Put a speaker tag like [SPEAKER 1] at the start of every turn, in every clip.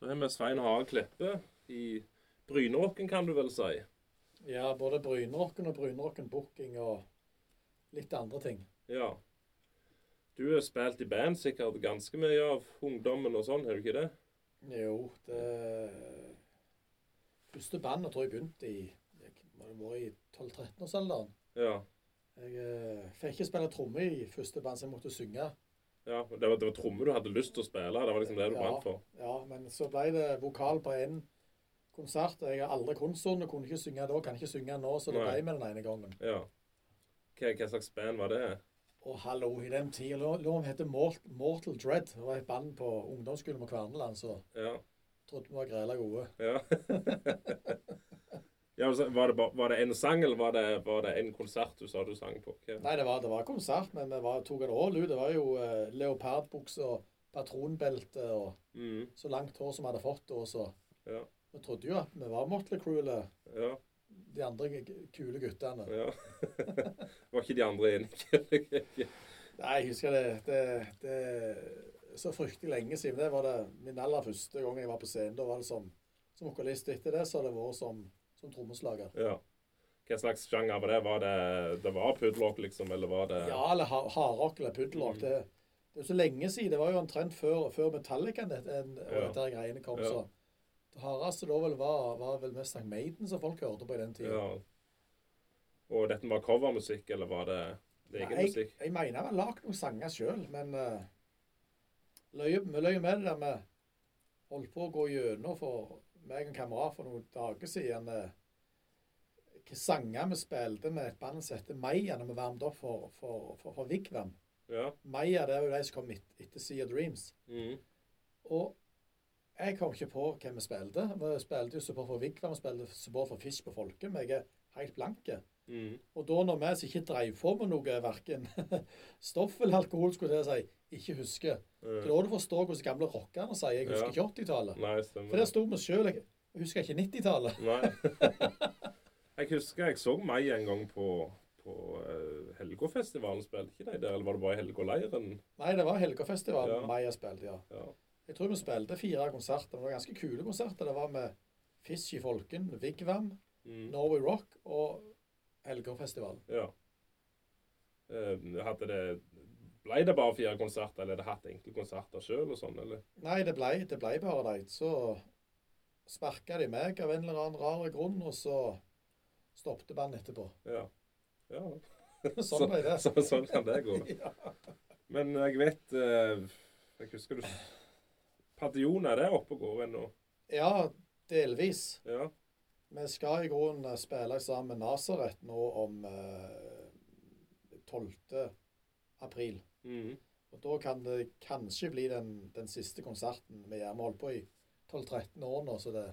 [SPEAKER 1] Vi er med Svein Hage Kleppe i Brynerocken, kan du vel si.
[SPEAKER 2] Ja, både Brynrocken og Brynrocken Booking og litt andre ting.
[SPEAKER 1] Ja. Du har spilt i band sikkert ganske mye av ungdommen og sånn, har du ikke det?
[SPEAKER 2] Jo, det Første bandet tror jeg begynte i jeg må det være i 12-13-årsalderen.
[SPEAKER 1] Ja.
[SPEAKER 2] Jeg eh, fikk ikke spille tromme i første band, så jeg måtte synge.
[SPEAKER 1] ja. og Det var, det var tromme du hadde lyst til å spille. Det var liksom det du
[SPEAKER 2] Ja.
[SPEAKER 1] brant for.
[SPEAKER 2] Ja, Men så ble det vokal på én konsert. og Jeg har aldri kunstner, kunne ikke synge da, kan ikke synge nå, så det
[SPEAKER 1] Nei.
[SPEAKER 2] ble med den ene gangen.
[SPEAKER 1] Ja. Hva, hva slags band var det?
[SPEAKER 2] Og hallo, i den tida lå lå vi hette Mort- Mortal Dread. Det var et band på ungdomsskolen på Kverneland, så
[SPEAKER 1] Ja.
[SPEAKER 2] trodde vi var grela gode.
[SPEAKER 1] Ja. ja altså, var, det, ba- var det en sang, eller var det, var det en konsert du sa du sang på? Hva?
[SPEAKER 2] Nei, det var, det var konsert, men vi var, tok en all ut. Det var jo eh, leopardbukse og patronbelte og
[SPEAKER 1] Mm,
[SPEAKER 2] så langt hår som vi hadde fått da, så
[SPEAKER 1] Ja.
[SPEAKER 2] vi trodde jo at vi var Motley Crue eller
[SPEAKER 1] ja,
[SPEAKER 2] de andre g- kule guttene.
[SPEAKER 1] ja. var ikke de andre enige?
[SPEAKER 2] Nei, jeg husker det, det, det er så fryktelig lenge siden. Det var det min aller første gang jeg var på scenen. Da var det som, som vokalist. Etter det så har det vært som, som trommeslager.
[SPEAKER 1] ja. Hva slags sjanger var det? Var det, det var puddelrock, liksom? Eller var det
[SPEAKER 2] Ja, eller ha- hardrock eller puddelrock.
[SPEAKER 1] Mm.
[SPEAKER 2] Det, det er jo så lenge siden. Det var jo omtrent før, før Metallica det, en, og
[SPEAKER 1] Ja.
[SPEAKER 2] dette her greiene kom.
[SPEAKER 1] Ja.
[SPEAKER 2] så det hardeste da vel var, var vel mest Sankt Maiden som folk hørte på i den tida.
[SPEAKER 1] Ja. Og dette var covermusikk, eller var det det egen
[SPEAKER 2] Nei,
[SPEAKER 1] musikk?
[SPEAKER 2] Jeg mener jeg har lagd noen sanger sjøl, men eh, løye, vi løy med det der vi holdt på å gå gjennom for meg og en kamerat for noen dager siden eh, hvilke sanger vi spilte med et band som heter Maya, når vi varmet opp for, for, for, for Vigvam.
[SPEAKER 1] Ja.
[SPEAKER 2] Maya det er jo de som kom et, etter Sea of Dreams.
[SPEAKER 1] Mm.
[SPEAKER 2] Og jeg kom ikke på hvem vi spilte. Vi spilte jo support for Vigvam, vi spilte support for Fish på Folket. men Jeg er helt blanke.
[SPEAKER 1] Mm.
[SPEAKER 2] Og da når vi som ikke drev på med noe, verken stoff eller alkohol, skulle jeg si, ikke husker. Det er
[SPEAKER 1] Eh,
[SPEAKER 2] da du forstår hvordan gamle rockerne sier 'jeg husker
[SPEAKER 1] Ja.
[SPEAKER 2] ikke 80-tallet'.
[SPEAKER 1] Nei,
[SPEAKER 2] For
[SPEAKER 1] stemmer.
[SPEAKER 2] der sto vi sjøl, jeg husker ikke 90-tallet.
[SPEAKER 1] Nei. Jeg husker jeg så meg en gang på, på eh, Helgåfestivalen. Spilte ikke de der, eller var det bare i Helgåleiren?
[SPEAKER 2] Nei, det var Helgafestivalen
[SPEAKER 1] Ja.
[SPEAKER 2] Maja spilte, ja.
[SPEAKER 1] Ja.
[SPEAKER 2] Jeg tror vi spilte fire konserter. men Det var ganske kule konserter. Det var med Fish i Folken, Vigvam,
[SPEAKER 1] Mm.
[SPEAKER 2] Norway Rock og Helgafestivalen.
[SPEAKER 1] ja. Eh, hadde det Ble det bare fire konserter, eller hadde det hatt enkle konserter sjøl og sånn, eller?
[SPEAKER 2] Nei, det ble, det ble bare det. Så sparka de meg av en eller annen rar grunn, og så stoppet bandet etterpå.
[SPEAKER 1] Ja. ja.
[SPEAKER 2] Sånn ble det.
[SPEAKER 1] Så, sånn kan det gå.
[SPEAKER 2] Ja.
[SPEAKER 1] Men jeg vet eh, Jeg husker du Padion, er det oppe og går ennå?
[SPEAKER 2] Ja, delvis.
[SPEAKER 1] Ja.
[SPEAKER 2] Vi skal i grunnen spille sammen med Nasaret nå om eh, 12. april.
[SPEAKER 1] Mm.
[SPEAKER 2] Og da kan det kanskje bli den, den siste konserten vi gjør. Vi har holdt på i 12-13 år nå, så det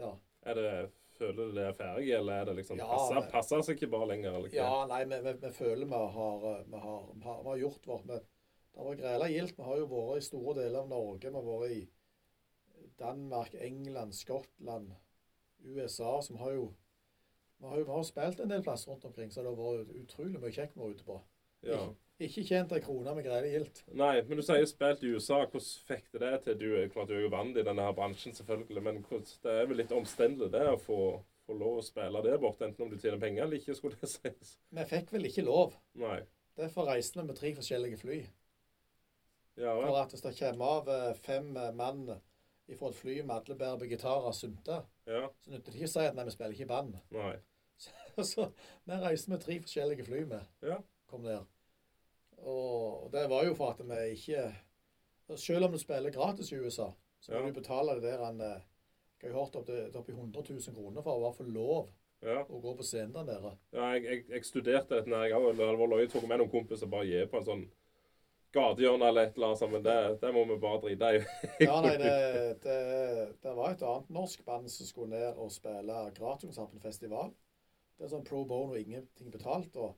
[SPEAKER 2] ja.
[SPEAKER 1] Er det Føler du det er ferdig, eller er det liksom
[SPEAKER 2] Ja,
[SPEAKER 1] passer,
[SPEAKER 2] det-
[SPEAKER 1] passer seg ikke bare lenger? Eller hva?
[SPEAKER 2] ja, nei, vi, vi, vi føler vi har, eh, vi har, vi har, vi har gjort vårt. Vi, det har vært grela gildt. Vi har jo vært i store deler av Norge. Vi har vært i Danmark, England, Skottland, USA, som har jo Vi har jo vi har spilt en del plasser rundt omkring, så det har vært utrolig mye kjekt vi har vært ute på.
[SPEAKER 1] Ja.
[SPEAKER 2] Ikke tjent ei krone med grele gildt.
[SPEAKER 1] Nei, men du sier spilt i USA. Hvordan fikk du det til? Du er klart du er jo vant i denne her bransjen, selvfølgelig, men hvordan, det er vel litt omstendelig det å få, få lov å spille der borte, enten om du tjener penger eller ikke, skulle det sies.
[SPEAKER 2] Vi fikk vel ikke lov.
[SPEAKER 1] Nei.
[SPEAKER 2] Derfor reiste vi med tre forskjellige fly.
[SPEAKER 1] Ja, vel.
[SPEAKER 2] For at hvis det kommer av eh, fem eh, mann ifra et fly med alle bærer på gitarer og synter,
[SPEAKER 1] ja.
[SPEAKER 2] så nytter det ikke å si at nei, vi spiller ikke i band.
[SPEAKER 1] Nei.
[SPEAKER 2] Så vi reiste med tre forskjellige fly med.
[SPEAKER 1] Ja.
[SPEAKER 2] Kom der. Og det var jo for at vi ikke Selv om du spiller gratis i USA, så
[SPEAKER 1] Ja.
[SPEAKER 2] må du betale det der en eh, Jeg har hørt opp til opp i 100 000 kroner for å bare få lov
[SPEAKER 1] Ja.
[SPEAKER 2] å gå på scenen der nede.
[SPEAKER 1] ja jeg, jeg, jeg studerte dette når jeg òg det var løye. Tok med noen kompiser bare gi på en sånn gatehjørne eller et eller annet, sånt, men det, det må vi bare drite i.
[SPEAKER 2] Ja, nei, det, det, det var et annet norsk band som skulle ned og spille gratiskonsert på en festival. Det er sånn pro bono og ingenting betalt. og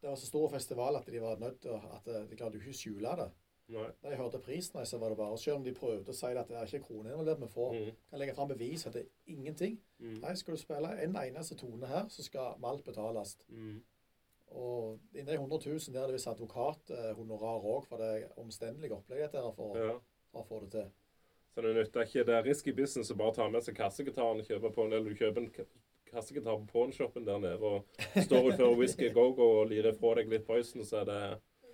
[SPEAKER 2] Det var så stor festival at de var nødt til å- at eh, de klarte jo ikke å skjule det.
[SPEAKER 1] Nei.
[SPEAKER 2] Da de hørte prisen, nei, så var det bare Selv om de prøvde å si at det er ikke kroner involvert, vi får
[SPEAKER 1] Mm.
[SPEAKER 2] kan legge fram bevis at det er ingenting.
[SPEAKER 1] Mm.
[SPEAKER 2] Nei, skal du spille en eneste tone her, så skal alt betales.
[SPEAKER 1] Mm.
[SPEAKER 2] Og innen de 100 000 der er det visst eh, advokathonorar òg, for det er omstendelig opplegg dette her for,
[SPEAKER 1] Ja.
[SPEAKER 2] for å få det til.
[SPEAKER 1] Så det nytter ikke. Det er risky business å bare ta med seg kassegitaren og kjøpe på en, eller du kjøper en ka- kassegitar på pawnshopen der nede og står utenfor Whisky Go-Go og lirer fra deg litt poison, så er det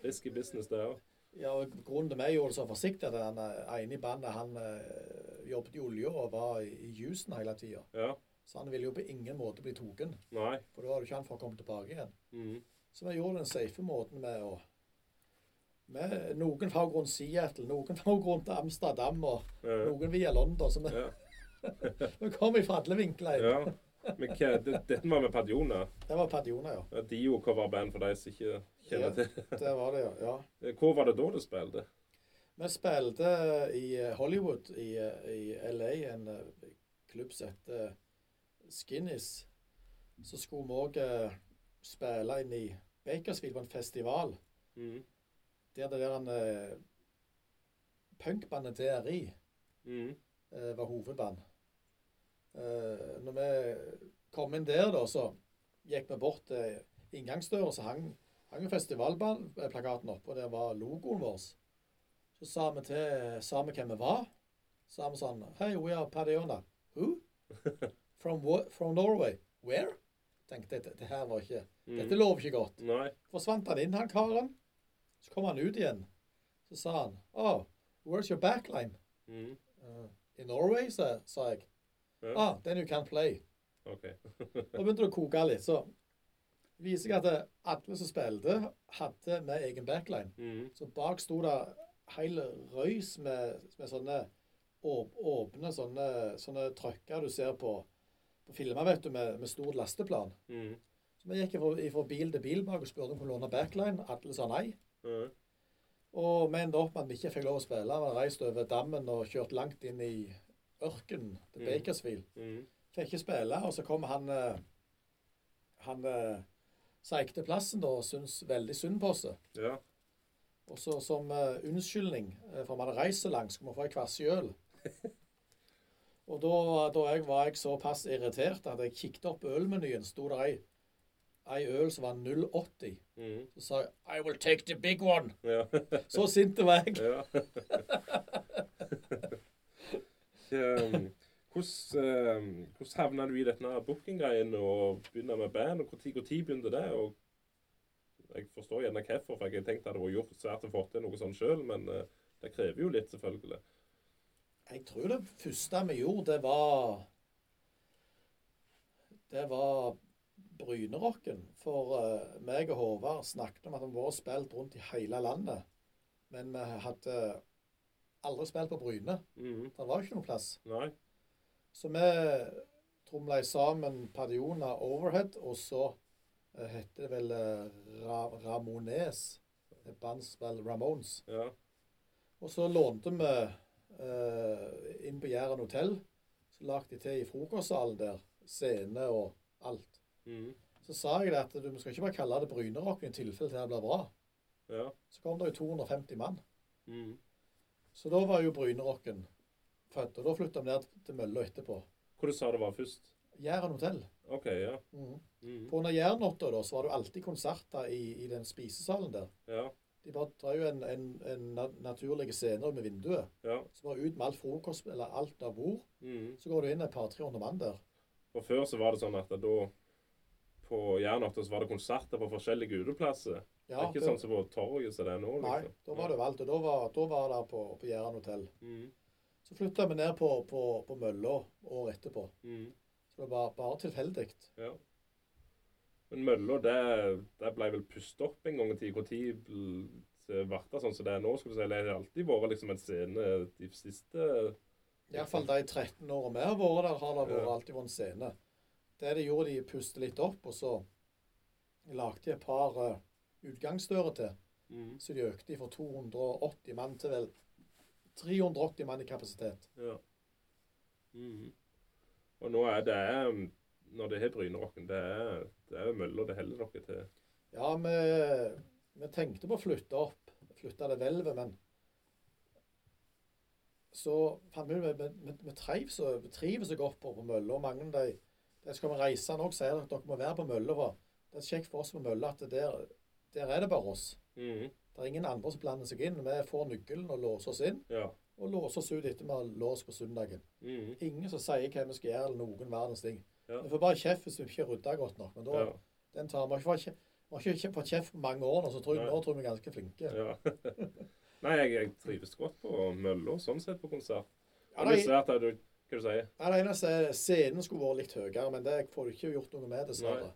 [SPEAKER 1] risky business, det òg.
[SPEAKER 2] Ja, og Grunnen til meg gjorde det så forsiktig, at han eh, ene i bandet han eh, jobbet i olja og var i i jusen hele tida.
[SPEAKER 1] Ja.
[SPEAKER 2] Så han ville jo på ingen måte bli tatt,
[SPEAKER 1] Nei.
[SPEAKER 2] for da var det ikke han for å komme tilbake igjen.
[SPEAKER 1] Mhm.
[SPEAKER 2] Så vi gjorde den safe måten med å med Noen fløy rundt Seattle, noen fløy rundt Amsterdam og
[SPEAKER 1] Ja.
[SPEAKER 2] noen via London. Så vi,
[SPEAKER 1] Ja.
[SPEAKER 2] vi kom i alle vinkler.
[SPEAKER 1] ja. Men hva, det, dette var med Padjona.
[SPEAKER 2] Det var Padjona, ja.
[SPEAKER 1] Ja, Dio coverband for de som ikke kjenner til det.
[SPEAKER 2] Det var det, ja. ja.
[SPEAKER 1] Eh, Hvor var det da du spilte?
[SPEAKER 2] Vi spilte i eh, Hollywood i, eh, i LA, en eh, klubb som heter eh, Skinnies. Så skulle vi òg spille inn i Bakersfield på en festival.
[SPEAKER 1] Mhm.
[SPEAKER 2] Der det der en eh, punkbandet DRI
[SPEAKER 1] Mhm.
[SPEAKER 2] eh, var hovedband. Eh, når vi kom inn der, da, så gikk vi bort til inngangsdøra, så hang, hang jo festivalplakaten oppe, og der var logoen vår. Så sa vi til sa vi hvem vi var. Så sa vi sånn Hei, we are Padiona. Who? From, wh- from Norway. Where? Tenkte jeg, det her var ikke
[SPEAKER 1] Mhm.
[SPEAKER 2] Dette lover ikke godt.
[SPEAKER 1] Nei.
[SPEAKER 2] Forsvant han inn, han karen. Så kom han ut igjen. Så sa han Oh, where's your backline?
[SPEAKER 1] Mhm.
[SPEAKER 2] Uh, I Norway, sa, sa jeg.
[SPEAKER 1] Ja.
[SPEAKER 2] Ah, then you can play.
[SPEAKER 1] OK.
[SPEAKER 2] Da begynte det å koke litt. Så viser jeg at det- alle som spilte, hadde med egen backline.
[SPEAKER 1] Mhm.
[SPEAKER 2] Så bak sto det hel røys med, med sånne åp åpne sånne, sånne trøkker du ser på, på filmer, vet du, med, med stor lasteplan.
[SPEAKER 1] Mhm.
[SPEAKER 2] Så vi gikk fra, fra bil til bil bak og spurte om vi kunne låne backline. Alle sa nei.
[SPEAKER 1] Ja.
[SPEAKER 2] Og vi endte opp med at vi ikke fikk lov å spille. Vi reiste over dammen og kjørt langt inn i ørkenen til
[SPEAKER 1] Mm.
[SPEAKER 2] Bakersfield.
[SPEAKER 1] Mhm.
[SPEAKER 2] Fikk ikke spille, og så kom han eh, Han eh, som eide plassen da, og syntes veldig synd på oss.
[SPEAKER 1] Ja.
[SPEAKER 2] Og så som eh, unnskyldning, eh, for vi hadde reist så langt, skulle vi få ei kvass øl. Og da, da jeg var jeg såpass irritert at jeg kikket opp ølmenyen, sto det ei, ei øl som var 0,80.
[SPEAKER 1] Mhm.
[SPEAKER 2] Så sa jeg 'I will take the big one'.
[SPEAKER 1] Ja.
[SPEAKER 2] Så sint var jeg.
[SPEAKER 1] ja. Ehm, Hvordan um, havna du i denne booking-greien og begynner med band? og Når begynte det? og Jeg forstår gjerne hvorfor, for jeg tenkte at det var gjort svært å få til noe sånt sjøl, men eh, det krever jo litt, selvfølgelig.
[SPEAKER 2] Jeg tror det første vi gjorde, det var Det var Brynerocken. For eh, meg og Håvard snakket om at vi var spilt rundt i hele landet. Men vi hadde aldri spilt på Bryne.
[SPEAKER 1] Mhm.
[SPEAKER 2] Det var ikke noen plass.
[SPEAKER 1] Nei.
[SPEAKER 2] Så vi tromla sammen Padiona Overhead, og så eh, heter det vel eh, Ra Ramones. Et band som vel Ramones.
[SPEAKER 1] Ja.
[SPEAKER 2] Og så lånte vi eh, inn på Jæren hotell. Så lagde de til i frokostsalen der. Scene og alt.
[SPEAKER 1] Mhm.
[SPEAKER 2] Så sa jeg det at du vi skal ikke bare kalle det Brynerocken i tilfelle det her blir bra.
[SPEAKER 1] Ja.
[SPEAKER 2] Så kom det jo 250 mann.
[SPEAKER 1] Mhm.
[SPEAKER 2] Så da var jo Brynerocken født. Og da flytta vi ned til Mølla etterpå.
[SPEAKER 1] Hvor du sa det var først?
[SPEAKER 2] Jæren hotell.
[SPEAKER 1] OK, ja.
[SPEAKER 2] Mhm.
[SPEAKER 1] Mhm.
[SPEAKER 2] På under Jærnatta da, så var det jo alltid konserter i, i den spisesalen der.
[SPEAKER 1] Ja.
[SPEAKER 2] De bare tar jo en, en, en na- naturlig scene ut med vinduet.
[SPEAKER 1] ja.
[SPEAKER 2] Så bare ut med alt frokost eller alt av bord.
[SPEAKER 1] Mhm.
[SPEAKER 2] Så går du inn et par-tre hundre mann der.
[SPEAKER 1] Og før så var det sånn at da på Jernhotta så var det konserter på forskjellige uteplasser. det er ikke sånn som liksom. på torget som det er nå.
[SPEAKER 2] Nei, da var det jo alt. Og da var, da var det på, på Jæren hotell.
[SPEAKER 1] Mm,
[SPEAKER 2] Så flytta vi ned på, på, på mølla året etterpå.
[SPEAKER 1] mm,
[SPEAKER 2] Så det var bare tilfeldig.
[SPEAKER 1] ja. Men mølla, det, det ble vel pustet opp en gang i tida. Når ble det sånn som det er nå? skal vi si, Eller har det alltid vært liksom en scene de siste
[SPEAKER 2] Iallfall de 13 åra vi har vært der, har det vært
[SPEAKER 1] Ja.
[SPEAKER 2] alltid vært en scene. Det de gjorde, de puste litt opp, og så lagde de et par eh, utgangsdører til.
[SPEAKER 1] mm,
[SPEAKER 2] Så de økte fra 280 mann til vel 380 mann i kapasitet.
[SPEAKER 1] Ja. Mm. Og nå er det Når det har Brynerocken, det er, det er mølla det holder dere til.
[SPEAKER 2] Ja, vi, vi tenkte på å flytte opp, flytte det hvelvet, men så fant vi ut at vi, vi, vi trives så- vi trives så godt på, på mølla. og Mange av de, de som kommer reisende òg, sier at dere må være på mølla. for Det er kjekt for oss på mølla at det der, der er det bare oss.
[SPEAKER 1] Mm.
[SPEAKER 2] Det er ingen andre som blander seg inn. Vi får nøkkelen og låser oss inn.
[SPEAKER 1] Ja.
[SPEAKER 2] og låse oss ut etter vi har låst på søndagen.
[SPEAKER 1] Mm.
[SPEAKER 2] Ingen som sier hva vi skal gjøre, eller noen verdens ting.
[SPEAKER 1] Ja.
[SPEAKER 2] Vi får bare kjeft hvis vi ikke rydder godt nok. Men da,
[SPEAKER 1] Ja.
[SPEAKER 2] den tar vi. Vi har ikke fått kje- vi har ikke fått kjeft på mange år nå, så tror jeg,
[SPEAKER 1] Nei.
[SPEAKER 2] nå tror jeg vi er ganske flinke.
[SPEAKER 1] ja. Nei, jeg, jeg trives godt på mølla, sånn sett, på konsert. det
[SPEAKER 2] Ja,
[SPEAKER 1] er
[SPEAKER 2] det,
[SPEAKER 1] litt svært, at du, hva du sier
[SPEAKER 2] ja, det eneste er scenen skulle vært litt høyere, men det får du ikke gjort noe med, dessverre.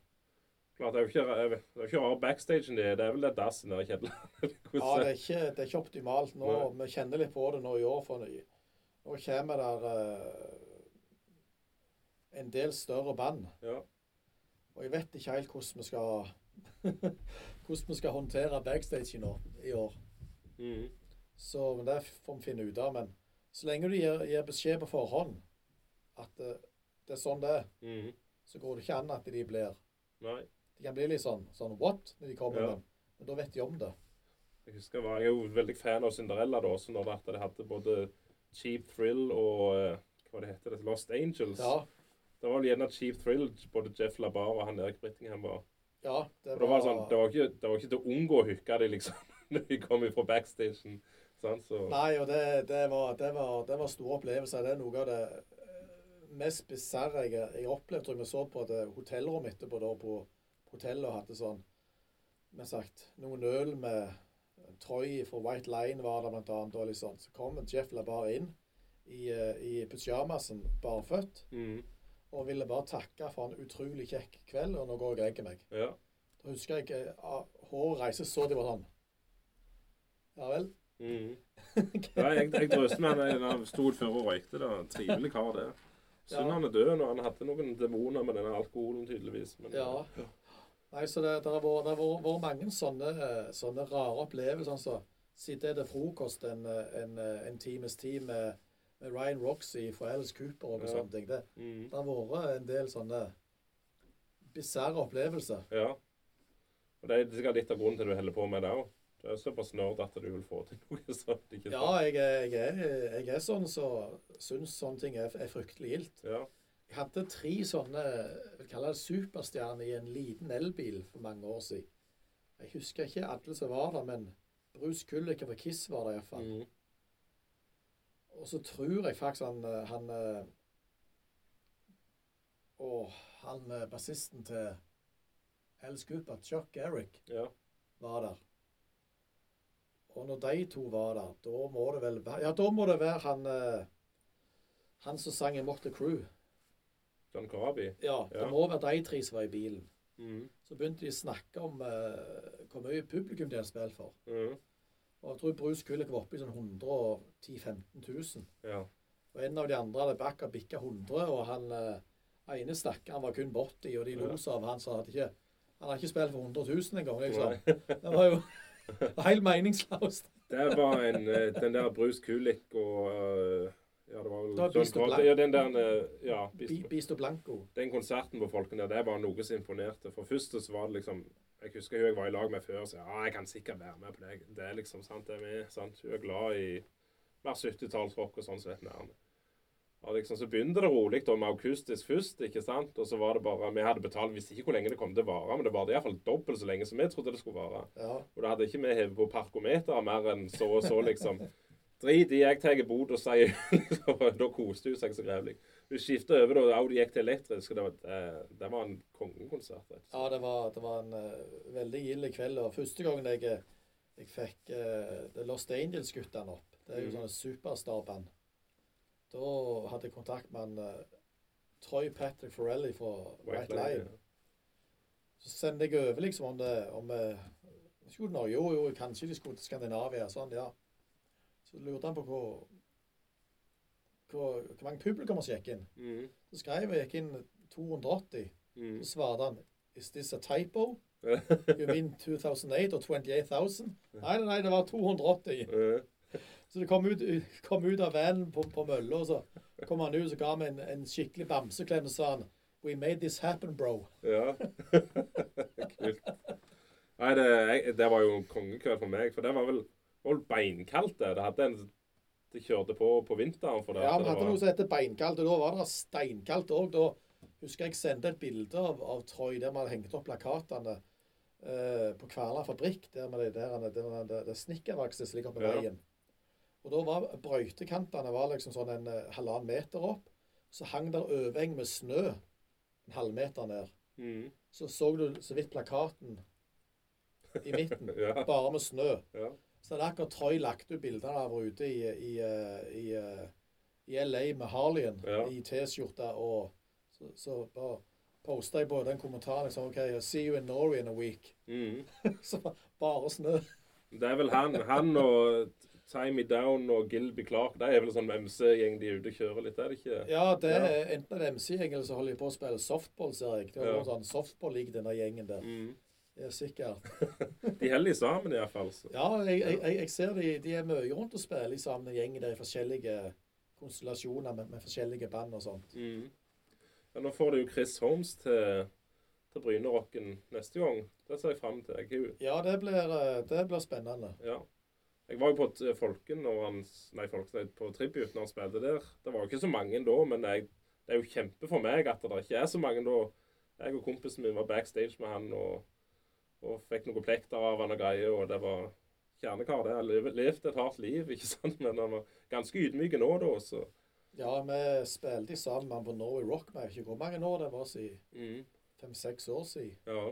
[SPEAKER 1] Klart, det er jo ikke, det er jo ikke rare backstagen det er. Det er vel det dassen der i kjelleren.
[SPEAKER 2] Ja, det er ikke, det er ikke optimalt nå. Vi kjenner litt på det nå i år. For nå nå kommer der eh, en del større band.
[SPEAKER 1] Ja.
[SPEAKER 2] Og jeg vet ikke helt hvordan vi skal hvordan vi skal håndtere backstage nå i år.
[SPEAKER 1] Mm.
[SPEAKER 2] Så men det får vi finne ut av. Men så lenge du gir, gir beskjed på forhånd at eh, det er sånn det er,
[SPEAKER 1] Mm.
[SPEAKER 2] så går det ikke an at de blir
[SPEAKER 1] Nei.
[SPEAKER 2] De kan bli litt sånn, sånn what når de kommer,
[SPEAKER 1] Ja.
[SPEAKER 2] men, men da vet de om det.
[SPEAKER 1] Jeg husker jeg var, jeg er jo veldig fan av Cinderella da, så når det, at de hadde både Cheap Thrill og eh, hva det heter det, Lost Angels.
[SPEAKER 2] Ja,
[SPEAKER 1] Det var vel gjerne Cheap Thrill, både Jeff LaBar og han Erik Brittingham var.
[SPEAKER 2] ja det
[SPEAKER 1] Og det var sånn, det var ikke, det var ikke til å unngå å hooke de liksom, når de kom fra backstagen. Sant? Så,
[SPEAKER 2] Nei, og det, det, var, det, var, det var store opplevelser. Det er noe av det eh, mest bisarre jeg, jeg opplevde. Tror jeg vi så på det hotellrommet etterpå da, på hotellet og hadde sånn men sagt, noen øl med Troy fra White Line var det blant annet. Og liksom. Så kom Jeff LaBar inn i, eh, i pysjamasen, barføtt,
[SPEAKER 1] mm,
[SPEAKER 2] og ville bare takke for en utrolig kjekk kveld, og nå går jeg og legger meg.
[SPEAKER 1] ja.
[SPEAKER 2] Da husker jeg eh, ah, håret reiste så de var sånn. Ja vel?
[SPEAKER 1] Mm. Nei, jeg, jeg drøste med han da han sto før og røykte. da. Trivelig kar, det. Synd
[SPEAKER 2] Ja.
[SPEAKER 1] han er død, og han hadde noen demoner med denne alkoholen, tydeligvis. Men,
[SPEAKER 2] Ja. Nei, så det, det har vært, det har vært, vært mange sånne, eh, sånne rare opplevelser. Altså. Sitte etter frokost en, eh, en, eh, en times tid med, med Ryan Roxy fra Alice Cooper og
[SPEAKER 1] Ja.
[SPEAKER 2] sånne ting. Det,
[SPEAKER 1] Mm.
[SPEAKER 2] det har vært en del sånne bisarre opplevelser.
[SPEAKER 1] Ja. Og det er sikkert litt av grunnen til du holder på med det òg. Du er såpass nerd at du vil få til noe sånt. ikke
[SPEAKER 2] Ja,
[SPEAKER 1] sant?
[SPEAKER 2] jeg, er- jeg, er, jeg er sånn som så syns sånne ting er, er fryktelig gildt.
[SPEAKER 1] Ja.
[SPEAKER 2] Jeg hadde tre sånne jeg vil kalle det superstjerner i en liten elbil for mange år siden. Jeg husker ikke alle som var der, men Bruce Kuliker fra Kiss var der iallfall.
[SPEAKER 1] Mm.
[SPEAKER 2] Og så tror jeg faktisk han, eh, han eh, Å, han eh, bassisten til Alice Cooper, Chuck Garrick,
[SPEAKER 1] ja.
[SPEAKER 2] var der. Og når de to var der, da må det vel være Ja, da må det være han eh, Han som sang i Motley Crew.
[SPEAKER 1] John Karabi.
[SPEAKER 2] Ja,
[SPEAKER 1] Ja.
[SPEAKER 2] det må være de tre som var i bilen.
[SPEAKER 1] Mm.
[SPEAKER 2] Så begynte de å snakke om eh, hvor mye publikum de hadde spilt for.
[SPEAKER 1] Mm.
[SPEAKER 2] Og jeg tror Bruce Kulik var oppe i sånn 110 000-15 000.
[SPEAKER 1] Ja.
[SPEAKER 2] Og en av de andre hadde bakka bikka 100, og han eh, ene stakkaren var kun 80, og de
[SPEAKER 1] Ja.
[SPEAKER 2] lo seg av han, så han hadde ikke han hadde ikke spilt for 100 000 engang, liksom.
[SPEAKER 1] Nei.
[SPEAKER 2] Det var jo helt meningsløst.
[SPEAKER 1] Det var en, eh, den der Bruce Kulik og eh, Ja, det var vel
[SPEAKER 2] Det var
[SPEAKER 1] John
[SPEAKER 2] Beast of
[SPEAKER 1] Karabi.
[SPEAKER 2] Black.
[SPEAKER 1] Ja, den der eh, Ja. Beast
[SPEAKER 2] Bi-
[SPEAKER 1] of-
[SPEAKER 2] Bisto Blanco.
[SPEAKER 1] den konserten på Folken der, det var noe som imponerte. For først så var det liksom Jeg husker hun jeg var i lag med før, så ja, jeg kan sikkert være med på det. Det er liksom sant, det er vi. sant? Hun er glad i mer 70-tallsrock og sånn som et nærme. Og liksom, så begynte det rolig da med akustisk først, ikke sant? Og så var det bare Vi hadde betalt visste ikke hvor lenge det kom til å vare, men det varte iallfall dobbelt så lenge som vi trodde det skulle vare.
[SPEAKER 2] Ja.
[SPEAKER 1] Og da hadde ikke vi hevet på parkometeret mer enn så og så, liksom. Drit i, jeg tar bod og sier liksom, Da koste hun seg så grevlig. Vi skifta over, da Audi gikk til elektrisk, og det var, eh, det, det var en kongekonsert. rett og slett.
[SPEAKER 2] Ja, det var, det var en eh, veldig gild kveld. Og første gangen jeg, eh, jeg fikk eh, The Lost Angels-guttene opp Det er jo
[SPEAKER 1] Mhm.
[SPEAKER 2] sånne superstarband. Da hadde jeg kontakt med han eh, Troy Patrick Forelli fra
[SPEAKER 1] White
[SPEAKER 2] White Line.
[SPEAKER 1] Line,
[SPEAKER 2] Så sendte jeg over liksom om det om, eh, Skulle til Norge? Jo, jo, kanskje de skulle til Skandinavia. Sånn, ja. Så lurte han på hvor, hvor, hvor mange publikummere som gikk inn.
[SPEAKER 1] ja. Mm,
[SPEAKER 2] Så skrev jeg gikk inn 280.
[SPEAKER 1] mm.
[SPEAKER 2] Så svarte han Is this a typo? You mean 2008 og 28,000? Nei, nei, nei, det var 280.
[SPEAKER 1] Eh,
[SPEAKER 2] Så det kom ut, kom ut av vanen på, på mølla, og så kom han ut og ga meg en, en skikkelig bamseklem og sa han We made this happen, bro.
[SPEAKER 1] ja. Kult. Nei, det, jeg, det var jo en kongekveld for meg, for det var vel det var vel beinkaldt, det. Det hadde en Det kjørte på på vinteren for det.
[SPEAKER 2] Ja,
[SPEAKER 1] at
[SPEAKER 2] vi
[SPEAKER 1] det
[SPEAKER 2] hadde
[SPEAKER 1] var-
[SPEAKER 2] noe som heter beinkaldt, og da var det steinkaldt òg. Da husker jeg sendte et bilde av, av Troy der man hengte opp plakatene eh, på Kverna fabrikk, der med det der, der, der, der, der snekkerverkstedet som ligger oppe ved
[SPEAKER 1] Ja.
[SPEAKER 2] veien. Og da var brøytekampene var liksom sånn en eh, halvannen meter opp. Så hang der overheng med snø en halvmeter ned.
[SPEAKER 1] Mm.
[SPEAKER 2] Så så du så vidt plakaten i midten,
[SPEAKER 1] Ja.
[SPEAKER 2] bare med snø.
[SPEAKER 1] Ja.
[SPEAKER 2] Så hadde akkurat Troy lagt ut bilder av henne ute i, i, eh, i, eh, i LA med Harleyen
[SPEAKER 1] Ja.
[SPEAKER 2] i T-skjorte. Og så, så bare posta jeg på den kommentaren liksom, OK, I'll see you in Norway in a week.
[SPEAKER 1] Mm.
[SPEAKER 2] så ba- bare snø.
[SPEAKER 1] Det er vel han, han og Timey Down og Gilby Clark. De er vel sånn MC-gjeng de er ute og kjører litt, er det ikke?
[SPEAKER 2] Ja, det
[SPEAKER 1] Ja.
[SPEAKER 2] er enten en MC-gjeng eller så holder de på å spille softball, ser jeg. Det er
[SPEAKER 1] Ja.
[SPEAKER 2] noen sånn softball-league, denne gjengen der.
[SPEAKER 1] Mm.
[SPEAKER 2] Det er sikkert.
[SPEAKER 1] De heller sammen iallfall.
[SPEAKER 2] Ja, jeg, jeg, jeg- jeg ser de, de er mye rundt og spiller sammen, en gjeng der i forskjellige konstellasjoner med, med forskjellige band og sånt.
[SPEAKER 1] Mm. Ja, nå får du jo Chris Holmes til, til Brynerocken neste gang. Det ser jeg fram til. Jeg, er jo-
[SPEAKER 2] Ja, det blir, eh, det blir spennende.
[SPEAKER 1] ja. jeg var jo på t- Folken når han, nei, Folken, nei, på Tribute når han spilte der. Det var jo ikke så mange da, men jeg, det er jo kjempe for meg at det ikke er så mange da. Jeg og kompisen min var backstage med han og, og fikk noen plekter av han og greier, og det var kjernekar. Det har lev- levd et hardt liv, ikke sant? Men han var ganske ydmyk nå da, så
[SPEAKER 2] Ja, vi spilte sammen med han på Norway Rock. Men jeg vet ikke hvor mange år det var siden.
[SPEAKER 1] mm,
[SPEAKER 2] Fem-seks år siden,
[SPEAKER 1] ja.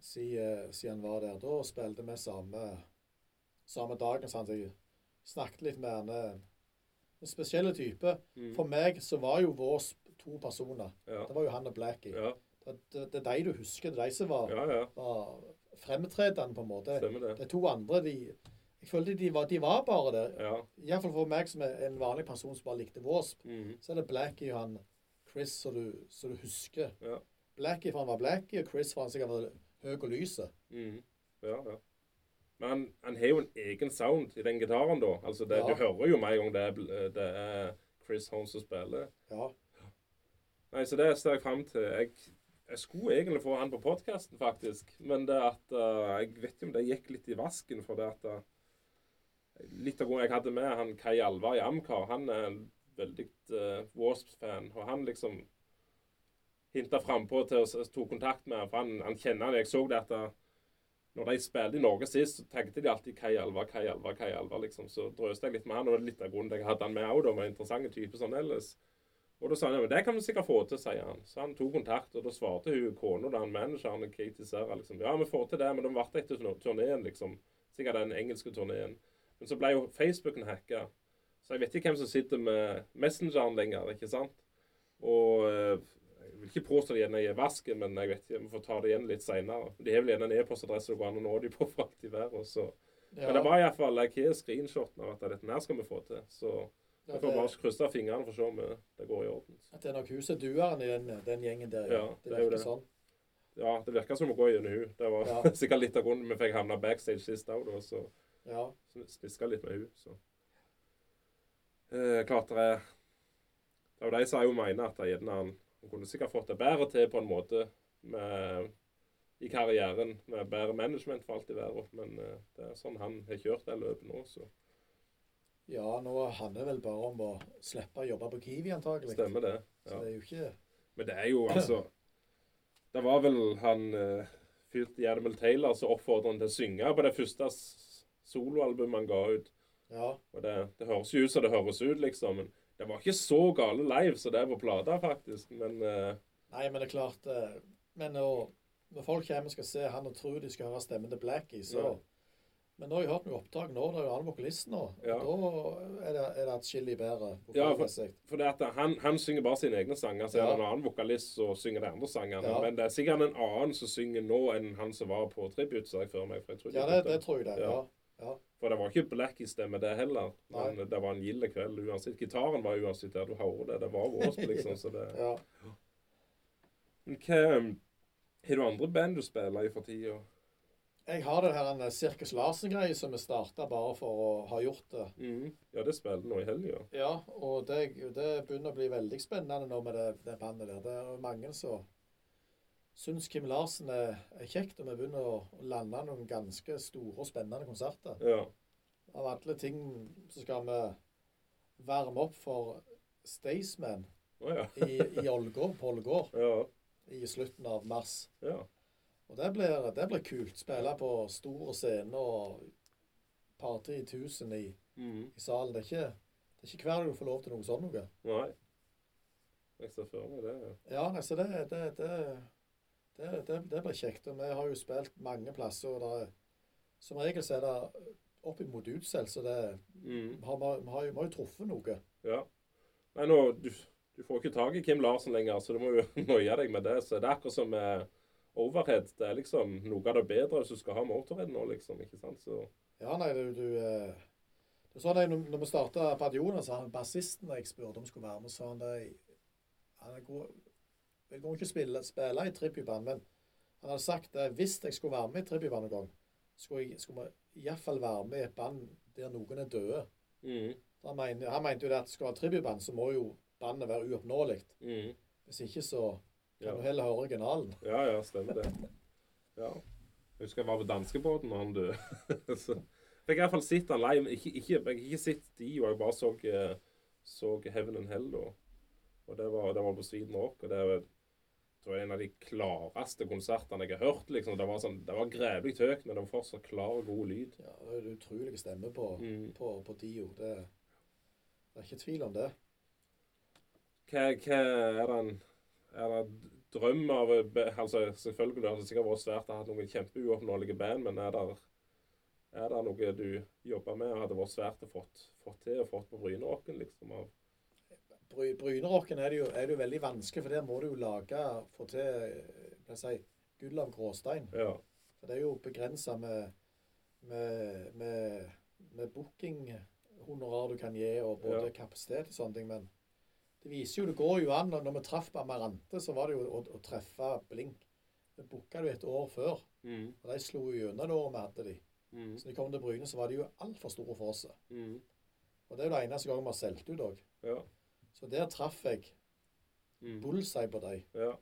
[SPEAKER 2] siden, siden han var der. Da spilte vi samme, samme dagen. Sant? Jeg snakket litt med han. eh, En spesiell type.
[SPEAKER 1] Mm,
[SPEAKER 2] For meg så var jo vår sp- to personer.
[SPEAKER 1] ja.
[SPEAKER 2] Det var jo han og Blackie.
[SPEAKER 1] Ja,
[SPEAKER 2] Det, det, det er de du husker. Det er de som var,
[SPEAKER 1] ja, ja,
[SPEAKER 2] var fremtredende, på en måte.
[SPEAKER 1] stemmer det.
[SPEAKER 2] De to andre, de Jeg følte de var, de var bare der.
[SPEAKER 1] Ja.
[SPEAKER 2] Iallfall for meg som er en vanlig person som bare likte Wasp.
[SPEAKER 1] Mm.
[SPEAKER 2] Så er det Blackie og han Chris som du, som du husker.
[SPEAKER 1] Ja.
[SPEAKER 2] Blackie for han var Blackie, og Chris for han sikkert var høy og lys.
[SPEAKER 1] Mm. Ja, ja. Men han, han har jo en egen sound i den gitaren, da. Altså, det,
[SPEAKER 2] Ja.
[SPEAKER 1] Du hører jo med en gang det er, bl- eh, det er Chris Holmes som spiller.
[SPEAKER 2] Ja.
[SPEAKER 1] Nei, Så det ser jeg fram til. Jeg, jeg skulle egentlig få han på podkasten, faktisk. Men det at eh, jeg vet ikke om det gikk litt i vasken. for det at eh, Litt av grunnen jeg hadde med han Kai Alvar i Amcar, han er en veldig eh, Wasps-fan. Og han liksom hinta frampå til oss, tok kontakt med han, for han, han kjenner han. Jeg så det at eh, når de spilte i Norge sist, så tenkte de alltid Kai Alvar, Kai Alvar, Kai Alvar, liksom. Så drøste jeg litt med han, og det var litt av grunnen til at jeg hadde han med òg, da. Var en interessant type sånn ellers. Og da sa han ja, men det kan vi sikkert få til, sier han. Så han tok kontakt, og da svarte hun kona, da han manageren, Katie Serra, liksom ja, vi får til det, men de ble etter turneen, liksom. Sikkert den engelske turneen. Men så ble jo Facebooken hacka, så jeg vet ikke hvem som sitter med Messengeren lenger, ikke sant? Og eh, jeg vil ikke påstå det gjerne i vasken, men jeg vet ikke, vi får ta det igjen litt seinere. De har vel gjerne en e-postadresse det går an å nå de på for alt de verre, så Men det var iallfall Jeg har screenshoten av at dette her skal vi få til, så
[SPEAKER 2] Ja,
[SPEAKER 1] vi får bare
[SPEAKER 2] det,
[SPEAKER 1] krysse fingrene for å se om eh, det går i orden.
[SPEAKER 2] at det er nok huset dueren i den, den gjengen der, ja.
[SPEAKER 1] Ja,
[SPEAKER 2] det,
[SPEAKER 1] det er jo
[SPEAKER 2] virker
[SPEAKER 1] det.
[SPEAKER 2] sånn.
[SPEAKER 1] Ja, det virka som å gå gjennom hun. Det var
[SPEAKER 2] Ja.
[SPEAKER 1] sikkert litt av grunnen vi fikk havna backstage sist òg, da, så
[SPEAKER 2] Ja.
[SPEAKER 1] spiska litt med hun, så eh, Klart det er Det er jo de som jo mener at det gjerne han han kunne sikkert fått det bedre til på en måte med, i karrieren, med bedre management for alt i verden, men eh, det er sånn han har kjørt det løpet nå, så
[SPEAKER 2] ja, nå handler det vel bare om å slippe å jobbe på Kiwi, antagelig.
[SPEAKER 1] stemmer det.
[SPEAKER 2] Så
[SPEAKER 1] ja.
[SPEAKER 2] det er jo ikke
[SPEAKER 1] Men det er jo altså Det var vel han uh, fylt i Animal Taylor som oppfordret han til å synge på det første s- soloalbumet han ga ut.
[SPEAKER 2] Ja.
[SPEAKER 1] Og det, det høres jo ut som det høres ut, liksom. Men det var ikke så gale live som det er på plata, faktisk. Men eh,
[SPEAKER 2] Nei, men det er klart eh, Men når, når folk kommer og skal se han og tror de skal høre stemmen til Blackie, så
[SPEAKER 1] Ja.
[SPEAKER 2] Men nå har jeg hørt noen opptak nå, det er jo han vokalisten nå. og
[SPEAKER 1] Ja.
[SPEAKER 2] Da er det, er det atskillig bedre.
[SPEAKER 1] Ja, for-
[SPEAKER 2] vokalmessig.
[SPEAKER 1] for det at han, han synger bare sine egne sanger, så er det
[SPEAKER 2] Ja.
[SPEAKER 1] en annen vokalist som synger de andre sangene.
[SPEAKER 2] Ja.
[SPEAKER 1] Men det er sikkert en annen som synger nå enn han som var på Tribute, ser jeg for meg. For, jeg tror de
[SPEAKER 2] ja det,
[SPEAKER 1] bytte.
[SPEAKER 2] det tror jeg det.
[SPEAKER 1] Ja.
[SPEAKER 2] Ja.
[SPEAKER 1] for det var ikke Blackie-stemme, det heller.
[SPEAKER 2] Nei.
[SPEAKER 1] Men det var en gild kveld uansett. Gitaren var uansett der, du hører det. Det var vårt, liksom. Så det
[SPEAKER 2] ja.
[SPEAKER 1] Men hva um, Har du andre band du spiller i for tida?
[SPEAKER 2] Jeg har det her en Sirkus Larsen-greie som vi starta bare for å ha gjort det.
[SPEAKER 1] Ja, det spiller nå i helga.
[SPEAKER 2] Ja, og det, det begynner å bli veldig spennende nå med det, det bandet der. Det er jo mange som syns Kim Larsen er, er kjekt, og vi begynner å å lande noen ganske store og spennende konserter.
[SPEAKER 1] Ja.
[SPEAKER 2] Av alle ting så skal vi varme opp for Staysman
[SPEAKER 1] Å ja.
[SPEAKER 2] i, i Ålgård, på Ålgård
[SPEAKER 1] ja.
[SPEAKER 2] i slutten av mars.
[SPEAKER 1] Ja.
[SPEAKER 2] Og det blir, det blir kult. Spille på stor scene og par-tre tusen i,
[SPEAKER 1] Mm.
[SPEAKER 2] i salen. Det er ikke, det er ikke hver gang du får lov til noe sånn noe.
[SPEAKER 1] Nei. Jeg ser for meg det.
[SPEAKER 2] Ja, nei, så det, det, det, det, det, det blir kjekt. Og vi har jo spilt mange plasser. og det, er- Som regel så er det oppimot utsolgt, så det,
[SPEAKER 1] Mm.
[SPEAKER 2] vi, har, vi, har, jo- vi har jo truffet noe.
[SPEAKER 1] Ja. Nei, nå, du, du får ikke tak i Kim Larsen lenger, så du må jo nøye deg med det. Så det er akkurat som med overhead. Det er liksom noe av det bedre hvis du skal ha motorhead nå, liksom. ikke sant? Så,
[SPEAKER 2] Ja, nei, du, du eh, Det er sånn jeg, når- når vi starta Padionen, så han bassisten jeg spurte om skulle være med, sa han det Han er god Jeg kommer ikke spille, spille i tributband, men han hadde sagt at hvis jeg skulle være med i tributband en gang, skulle jeg skulle iallfall være med i et band der noen er døde.
[SPEAKER 1] mm,
[SPEAKER 2] Da mener, han mente jo det at skal du ha tributband, så må jo bandet være uoppnåelig.
[SPEAKER 1] mm,
[SPEAKER 2] Hvis ikke så kan
[SPEAKER 1] Ja.
[SPEAKER 2] du heller høre originalen.
[SPEAKER 1] ja, ja, stemmer det. Ja. Jeg husker jeg var på danskebåten da han døde. så fikk jeg iallfall sett han live. men Ikke, ikke, jeg fikk ikke sett de, og jeg bare så, eh, så Heaven and Hell da. Og det var, det var på Sweden Rock. og det var tror jeg, en av de klareste konsertene jeg har hørt. liksom. Det var, sånn, det var grevlig høyt, men det var fortsatt klar og god lyd.
[SPEAKER 2] Ja, det er en utrolig stemme på,
[SPEAKER 1] Mm.
[SPEAKER 2] på, på Dio. Det, det er ikke tvil om det.
[SPEAKER 1] Hva, hva er det en er det en drøm av altså Selvfølgelig har det sikkert vært svært å ha hatt noen kjempeuoppnåelige band, men er det, er det noe du jobber med og hadde vært svært å fått, fått til og fått på Brynerocken? liksom? av-
[SPEAKER 2] Bry- Brynerocken er det jo, er det jo veldig vanskelig, for der må du jo lage få til eh, hva skal jeg si, gull av gråstein.
[SPEAKER 1] Ja.
[SPEAKER 2] For det er jo begrensa med, med, med, med bookinghonorar du kan gi, og både
[SPEAKER 1] Ja.
[SPEAKER 2] kapasitet og sånne ting. Men det viser jo, det går jo an. Og når vi traff på Amarante, så var det jo å, å treffe blink. Vi booka det jo et år før,
[SPEAKER 1] Mm,
[SPEAKER 2] og de slo jo gjennom det året vi hadde de.
[SPEAKER 1] mm,
[SPEAKER 2] Så når de kom til Bryne, så var de jo altfor store for oss.
[SPEAKER 1] mm,
[SPEAKER 2] Og det er jo det eneste gangen vi har solgt ut òg.
[SPEAKER 1] ja.
[SPEAKER 2] Så der traff jeg
[SPEAKER 1] Mm,
[SPEAKER 2] bullseye på dem.
[SPEAKER 1] ja.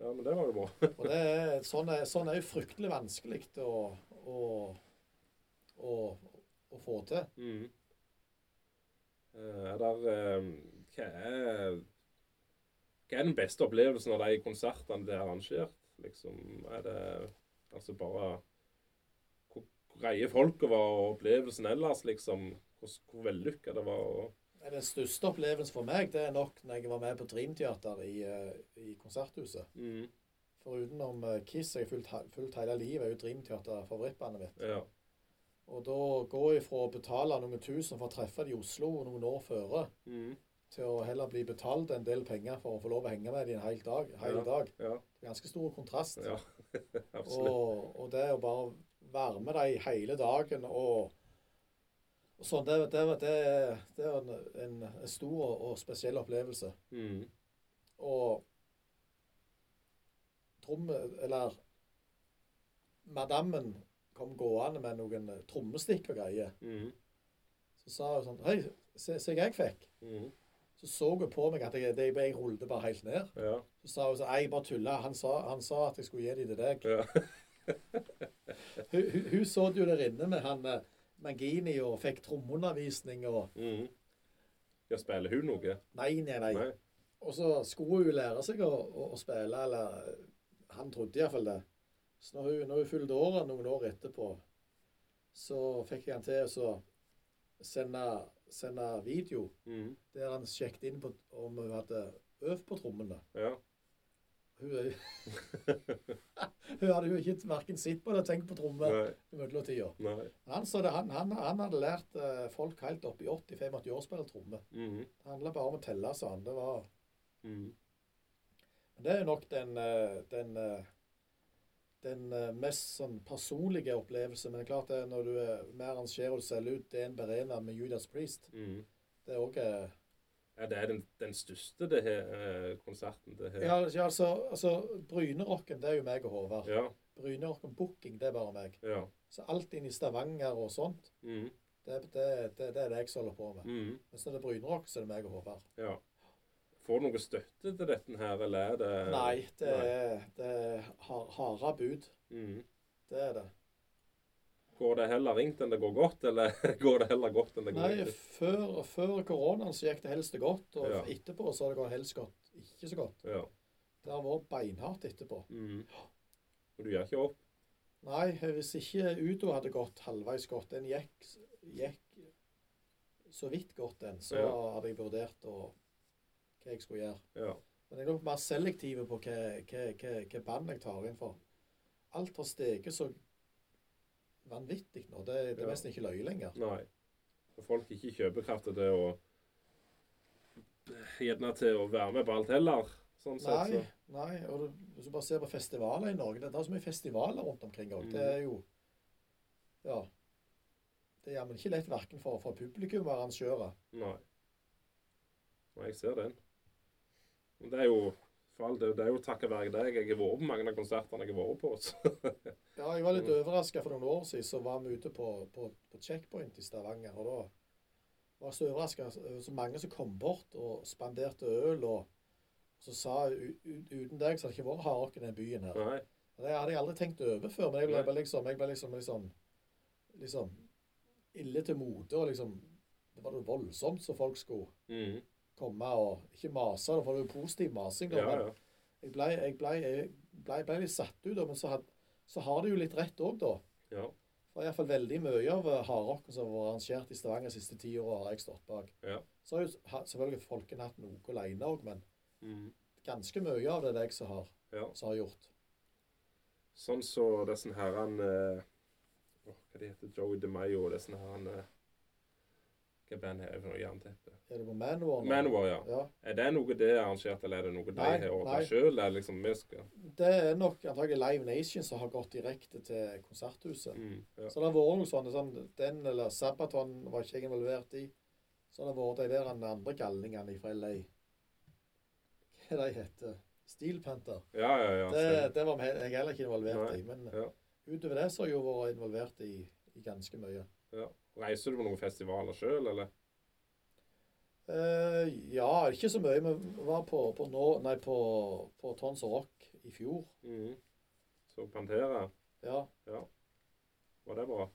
[SPEAKER 1] Ja, men det var jo bra.
[SPEAKER 2] Og det er, sånn, er, sånn er jo fryktelig vanskelig å, å, å, å få til.
[SPEAKER 1] Mm. Eh, Er det eh, hva, er, hva er den beste opplevelsen av de konsertene det er arrangert? Liksom, er det altså bare Hvor hvor greie folket var, og opplevelsen ellers, liksom? Hvor, hvor vellykka det var? Og,
[SPEAKER 2] Nei, Den største opplevelsen for meg det er nok når jeg var med på Dream Theater i, eh, i Konserthuset.
[SPEAKER 1] mm,
[SPEAKER 2] For utenom eh, Kiss jeg har fulgt, he- fulgt hele livet, er jo Dream Theater favorittbandet mitt.
[SPEAKER 1] ja.
[SPEAKER 2] Og da går jeg fra å betale noen tusen for å treffe dem i Oslo noen år føre,
[SPEAKER 1] Mm,
[SPEAKER 2] til å heller bli betalt en del penger for å få lov å henge med dem en hel dag. Hel dag.
[SPEAKER 1] ja,
[SPEAKER 2] Ganske stor kontrast.
[SPEAKER 1] ja. Absolutt.
[SPEAKER 2] Og, og det å bare være med dem hele dagen og, og sånn, det, det, det, det er en, en, en stor og, og spesiell opplevelse.
[SPEAKER 1] Mm,
[SPEAKER 2] Og tromme... Eller madammen kom gående med noen trommestikk og greier.
[SPEAKER 1] mm,
[SPEAKER 2] Så sa hun sånn Hei, se se hva jeg fikk.
[SPEAKER 1] mm,
[SPEAKER 2] Så så hun på meg at jeg, det, jeg rullet bare helt ned.
[SPEAKER 1] ja,
[SPEAKER 2] Så sa hun sånn Nei, bare tulla. Han sa, han sa at jeg skulle gi dem til deg.
[SPEAKER 1] ja.
[SPEAKER 2] Hun, hun, hun så det jo der inne med han eh, Mangini og fikk trommeundervisning og
[SPEAKER 1] Mm. Ja, spiller hun noe?
[SPEAKER 2] Nei, nei, nei.
[SPEAKER 1] Nei?
[SPEAKER 2] Og så skulle hun jo lære seg å, å, å spille, eller Han trodde iallfall det. Så når hun, når hun fylte året noen år etterpå, så fikk jeg han til å så sende, sende video
[SPEAKER 1] Mm,
[SPEAKER 2] der han sjekket inn på om hun hadde øvd på trommene.
[SPEAKER 1] ja.
[SPEAKER 2] Hun, er jo- hun hadde jo ikke verken sett på eller tenkt på trommer
[SPEAKER 1] Nei.
[SPEAKER 2] i mellomtida.
[SPEAKER 1] nei.
[SPEAKER 2] Han, sa det, han, han, han hadde lært eh, folk helt opp i 80-85 år å spille tromme.
[SPEAKER 1] Mm,
[SPEAKER 2] Det handla bare om å telle, sa han. Det, var,
[SPEAKER 1] mm,
[SPEAKER 2] men det er nok den, eh, den, eh, den eh, mest sånn, personlige opplevelsen. Men det er klart det er når du eh, er med arrangerer og selger ut det er en berena med Judas Priest.
[SPEAKER 1] mm.
[SPEAKER 2] Det er eh, òg
[SPEAKER 1] Ja, det er den, den største det her, eh, konserten det her.
[SPEAKER 2] ja, ja, altså, altså Brynerocken, det er jo meg og Håvard.
[SPEAKER 1] Ja,
[SPEAKER 2] Brynerocken Booking, det er bare meg.
[SPEAKER 1] ja.
[SPEAKER 2] Så alt inn i Stavanger og sånn, sånt,
[SPEAKER 1] Mm,
[SPEAKER 2] det, det, det, det er det jeg som holder på med.
[SPEAKER 1] mm,
[SPEAKER 2] Mens når det er Brynerock, så er det meg og Håvard.
[SPEAKER 1] ja. Får du noe støtte til dette her, eller er det
[SPEAKER 2] Nei, det er, det er har- harde bud.
[SPEAKER 1] Mm.
[SPEAKER 2] Det er det.
[SPEAKER 1] Går det heller ringt enn det går godt, eller går det heller godt enn det går
[SPEAKER 2] Nei,
[SPEAKER 1] ikke?
[SPEAKER 2] før, før koronaen så gikk det helst godt, og
[SPEAKER 1] Ja.
[SPEAKER 2] etterpå så har det gått helst godt, ikke så godt.
[SPEAKER 1] Ja.
[SPEAKER 2] Det har vært beinhardt etterpå.
[SPEAKER 1] Mm. Og du gjør ikke opp?
[SPEAKER 2] Nei, hvis ikke Udo hadde gått halvveis godt, den gikk, gikk så vidt godt den, så
[SPEAKER 1] Ja.
[SPEAKER 2] hadde jeg vurdert å, hva jeg skulle gjøre.
[SPEAKER 1] Ja.
[SPEAKER 2] Men jeg er nok mer selektiv på hva, hva, hva, hva band jeg tar inn for. Alt har steget så vanvittig nå. Det, det
[SPEAKER 1] Ja.
[SPEAKER 2] er nesten ikke løye lenger.
[SPEAKER 1] Nei. Og folk ikke kjøper kraft til å eh, Gjerne til å være med på alt heller, sånn sett.
[SPEAKER 2] Nei,
[SPEAKER 1] Så.
[SPEAKER 2] nei. Og du, hvis du bare ser på festivaler i Norge Det er så mye festivaler rundt omkring òg.
[SPEAKER 1] Mm.
[SPEAKER 2] Det er jo Ja. Det er jammen ikke lett verken for, for publikum og arrangører.
[SPEAKER 1] Nei. Nei, jeg ser den. Men det er jo for all del, det er jo takket være deg. Jeg har vært på mange av konsertene jeg har vært på. Så.
[SPEAKER 2] Ja, jeg var litt
[SPEAKER 1] Mm.
[SPEAKER 2] overraska for noen år siden, så var vi ute på, på, på Checkpoint i Stavanger. Og da var jeg så overraska over så mange som kom bort og spanderte øl. Og så sa jeg, "U- u- uten deg så hadde det ikke vært hardrock i den byen her.
[SPEAKER 1] Nei.
[SPEAKER 2] Og Det hadde jeg aldri tenkt over før, men jeg ble
[SPEAKER 1] Nei.
[SPEAKER 2] bare liksom, jeg ble liksom, liksom, liksom ille til mote. og liksom, Det var jo voldsomt så folk skulle
[SPEAKER 1] Mm.
[SPEAKER 2] komme og ikke mase. da, for Det var jo positiv masing. da,
[SPEAKER 1] Ja,
[SPEAKER 2] men
[SPEAKER 1] ja.
[SPEAKER 2] Jeg ble, jeg, ble, jeg ble, ble litt satt ut, da, men så, had, så har det jo litt rett òg, da.
[SPEAKER 1] ja.
[SPEAKER 2] For iallfall veldig mye av eh, hardrocken som har vært arrangert i Stavanger de siste ti åra, har jeg stått bak.
[SPEAKER 1] Ja.
[SPEAKER 2] Så har jo s- ha- selvfølgelig folken hatt noe alene òg, men
[SPEAKER 1] Mm.
[SPEAKER 2] ganske mye av det er det jeg som har,
[SPEAKER 1] ja.
[SPEAKER 2] som har gjort.
[SPEAKER 1] Sånn så disse herrene eh, åh, Hva de heter Joey DeMayo og disse herrene Hva band er det for noe jernteppe?
[SPEAKER 2] Er det på Manowar? nå?
[SPEAKER 1] Manowar, ja.
[SPEAKER 2] Ja.
[SPEAKER 1] Er det noe det er arrangert, eller er det noe de
[SPEAKER 2] Nei,
[SPEAKER 1] har
[SPEAKER 2] nei.
[SPEAKER 1] ordnet sjøl? Eller liksom vi skal
[SPEAKER 2] Det er nok antagelig Live Nation som har gått direkte til Konserthuset.
[SPEAKER 1] mm, ja.
[SPEAKER 2] Så det har vært noe sånne, sånn, den eller Sabaton var ikke jeg involvert i. Så har det vært de der andre galningene fra LA. Hva er det de heter? Steel Panther.
[SPEAKER 1] ja, ja, ja.
[SPEAKER 2] Det,
[SPEAKER 1] stemmer.
[SPEAKER 2] det var vi- jeg heller ikke involvert
[SPEAKER 1] Nei,
[SPEAKER 2] i. Men
[SPEAKER 1] ja.
[SPEAKER 2] utover det så har jeg jo vært involvert i, i ganske mye.
[SPEAKER 1] Reiser du på noen festivaler sjøl, eller?
[SPEAKER 2] Eh, ja, ikke så mye. Vi var på, på, nå, nei, på, på Tons og Rock i fjor.
[SPEAKER 1] Mm. Så Pantera,
[SPEAKER 2] Ja.
[SPEAKER 1] var det bra?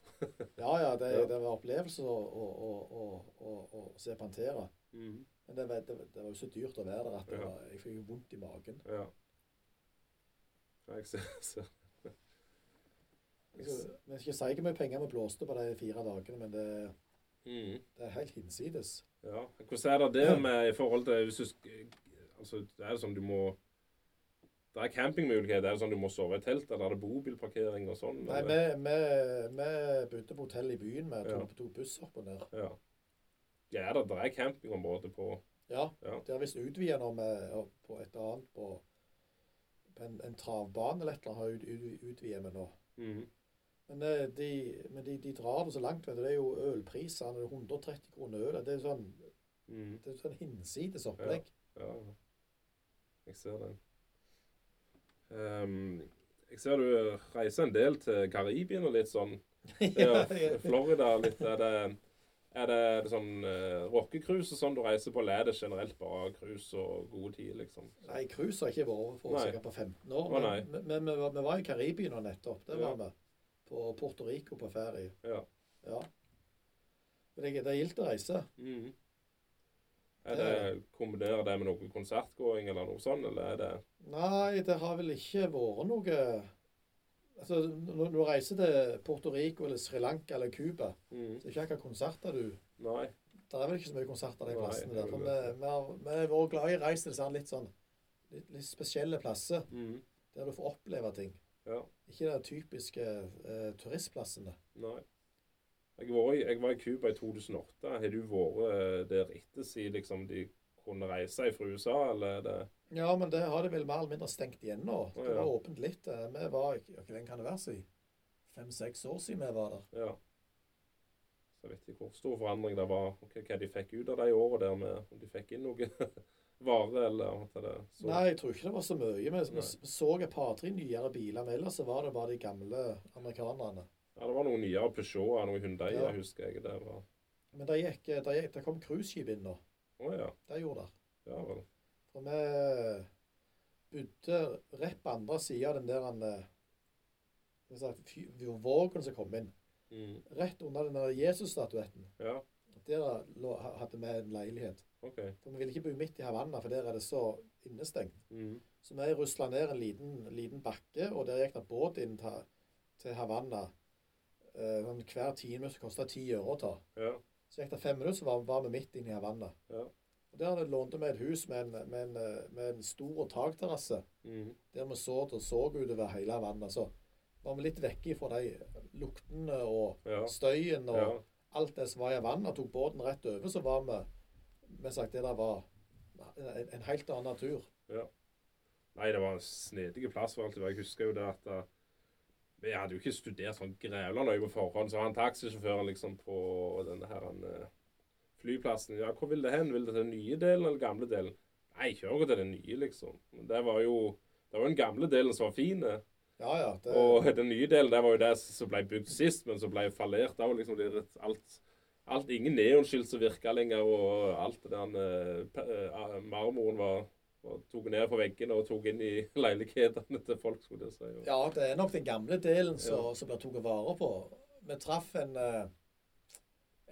[SPEAKER 2] Ja, ja, det,
[SPEAKER 1] Ja.
[SPEAKER 2] det var opplevelser å, å, å, å, å, å se Pantera.
[SPEAKER 1] Mm.
[SPEAKER 2] Men det, var- det, var- det var jo så dyrt å være der at det
[SPEAKER 1] Ja.
[SPEAKER 2] var, jeg fikk jo vondt i magen.
[SPEAKER 1] Ja. Ja, Jeg ser, ser.
[SPEAKER 2] Jeg skal- men Jeg skal si ikke hvor mye penger vi blåste på de fire dagene, men det,
[SPEAKER 1] Mm.
[SPEAKER 2] det er helt hinsides.
[SPEAKER 1] Ja. Hvordan er det det med i forhold til hvis du sk- Altså, det er sånn du må Det er campingmuligheter. Er det sånn du må sove i telt, eller er det bobilparkering og sånn?
[SPEAKER 2] Nei, vi,
[SPEAKER 1] eller?
[SPEAKER 2] vi, vi bodde på hotell i byen med to,
[SPEAKER 1] Ja.
[SPEAKER 2] to busser opp og ned.
[SPEAKER 1] Ja. ja, det det er campingområde på
[SPEAKER 2] Ja,
[SPEAKER 1] Ja.
[SPEAKER 2] De har visst utvidet nå med og på et eller annet på, på en, en travbane eller et eller annet. har ut- ut- utvidet med nå.
[SPEAKER 1] mm.
[SPEAKER 2] Men, eh, de, men de, de drar det så langt. Vet du. Det er jo ølprisene. det er 130 kroner øl. Det er sånn,
[SPEAKER 1] Mm.
[SPEAKER 2] det er sånn hinsides opplegg.
[SPEAKER 1] Ja, ja. jeg ser den. Ehm, jeg ser du reiser en del til Karibien og litt sånn. Det er jo Florida litt. Er det, er det, er det sånn uh, rockecruise og sånn du reiser på, eller er det generelt bare cruise og god tid, liksom?
[SPEAKER 2] Nei, cruise har ikke vært over for
[SPEAKER 1] Nei.
[SPEAKER 2] sikkert på 15 år.
[SPEAKER 1] Å,
[SPEAKER 2] Men,
[SPEAKER 1] nei.
[SPEAKER 2] men, men vi, var, vi var i Karibien nå nettopp. Det
[SPEAKER 1] Ja.
[SPEAKER 2] var vi. På Puerto Rico på ferie.
[SPEAKER 1] Ja.
[SPEAKER 2] Ja. Men det, det er gildt å reise.
[SPEAKER 1] Mm. Er det, kombinerer det med noe konsertgåing eller noe sånt, eller er det
[SPEAKER 2] Nei, det har vel ikke vært noe Altså, når du reiser til Puerto Rico eller Sri Lanka eller Cuba,
[SPEAKER 1] mm.
[SPEAKER 2] så er det ikke akkurat konserter du
[SPEAKER 1] Nei.
[SPEAKER 2] Det er vel ikke så mye konserter de
[SPEAKER 1] Nei,
[SPEAKER 2] plassene
[SPEAKER 1] det
[SPEAKER 2] der.
[SPEAKER 1] er vel
[SPEAKER 2] For vi, vi, har, vi har vært glad i å reise til disse her litt sånn litt, litt spesielle plasser,
[SPEAKER 1] Mm.
[SPEAKER 2] der du får oppleve ting.
[SPEAKER 1] Ja.
[SPEAKER 2] Ikke de typiske eh, turistplassene.
[SPEAKER 1] Nei. Jeg var, i, jeg var i Cuba i 2008. Har du vært eh, der etter siden liksom, de kunne reise fra USA, eller er det
[SPEAKER 2] Ja, men det har de vel mer eller mindre stengt igjen nå. Det
[SPEAKER 1] Å, ja.
[SPEAKER 2] var åpent litt. eh, Vi var ikke- Hvor lenge kan det være siden? Fem-seks år siden vi var der.
[SPEAKER 1] Ja. Så jeg vet ikke hvor stor forandring det var, og hva- hva de fikk ut av de årene der med om de fikk inn noe vare, eller at det så
[SPEAKER 2] Nei, jeg tror ikke det var så mye. Men
[SPEAKER 1] Nei.
[SPEAKER 2] vi s- så et par-tre nyere biler. Men ellers så var det bare de gamle amerikanerne.
[SPEAKER 1] Ja, det var noen nyere Peugeot og noen Hyundai,
[SPEAKER 2] Ja.
[SPEAKER 1] husker jeg. Det var
[SPEAKER 2] Men det gikk, eh, det gikk, det kom cruiseskip inn nå.
[SPEAKER 1] Å ja.
[SPEAKER 2] Det gjorde det.
[SPEAKER 1] Ja vel.
[SPEAKER 2] For vi eh, bodde rett på andre sida av den der han, eh, hva skal jeg si, fy- vågen som kom inn.
[SPEAKER 1] Mm.
[SPEAKER 2] Rett under den der Jesus-statuetten.
[SPEAKER 1] Ja,
[SPEAKER 2] Der lå, ha- hadde vi en leilighet.
[SPEAKER 1] OK.
[SPEAKER 2] For vi ville ikke bo midt i Havanna, for der er det så innestengt.
[SPEAKER 1] Mm.
[SPEAKER 2] Så vi rusla ned en liten, liten bakke, og der gikk det båt inn til, til Havanna. Eh, sånn hver tiende minutt kosta ti øre å ta.
[SPEAKER 1] Ja.
[SPEAKER 2] Så gikk det fem minutter, så var, var vi midt inne i Havanna.
[SPEAKER 1] Ja.
[SPEAKER 2] Og Der hadde- lånte vi et hus med en, med en, eh, med en stor takterrasse,
[SPEAKER 1] Mhm.
[SPEAKER 2] der vi så og så utover hele Havanna. Så var vi litt vekke fra de luktene og
[SPEAKER 1] Ja.
[SPEAKER 2] støyen og
[SPEAKER 1] Ja.
[SPEAKER 2] alt det som var i Havanna. Tok båten rett over, så var vi Vi sagt det der var en, en helt annen natur.
[SPEAKER 1] Nei, det var en snedig plass. for alt det var. Jeg husker jo det at eh, Vi hadde jo ikke studert sånn grævla nøye på forhånd. Så han taxisjåføren liksom på denne her han, eh, flyplassen Ja, hvor vil det hen? Vil det til den nye delen eller gamle delen? Nei, kjør jo til den nye, liksom. Men det var jo det var jo den gamle delen som var fin. eh.
[SPEAKER 2] Ja, ja. Det,
[SPEAKER 1] Og den nye delen det var jo det som ble bygd sist, men som ble fallert òg. Liksom, det er rett- alt, alt, ingen neonskilt som virka lenger, og alt det der eh, pe- eh, marmoren var, var tok ned fra veggene og tok inn i leilighetene til folk. skulle jeg si. Og,
[SPEAKER 2] Ja, det er nok den gamle delen som som blir tatt vare på. Vi traff en, eh,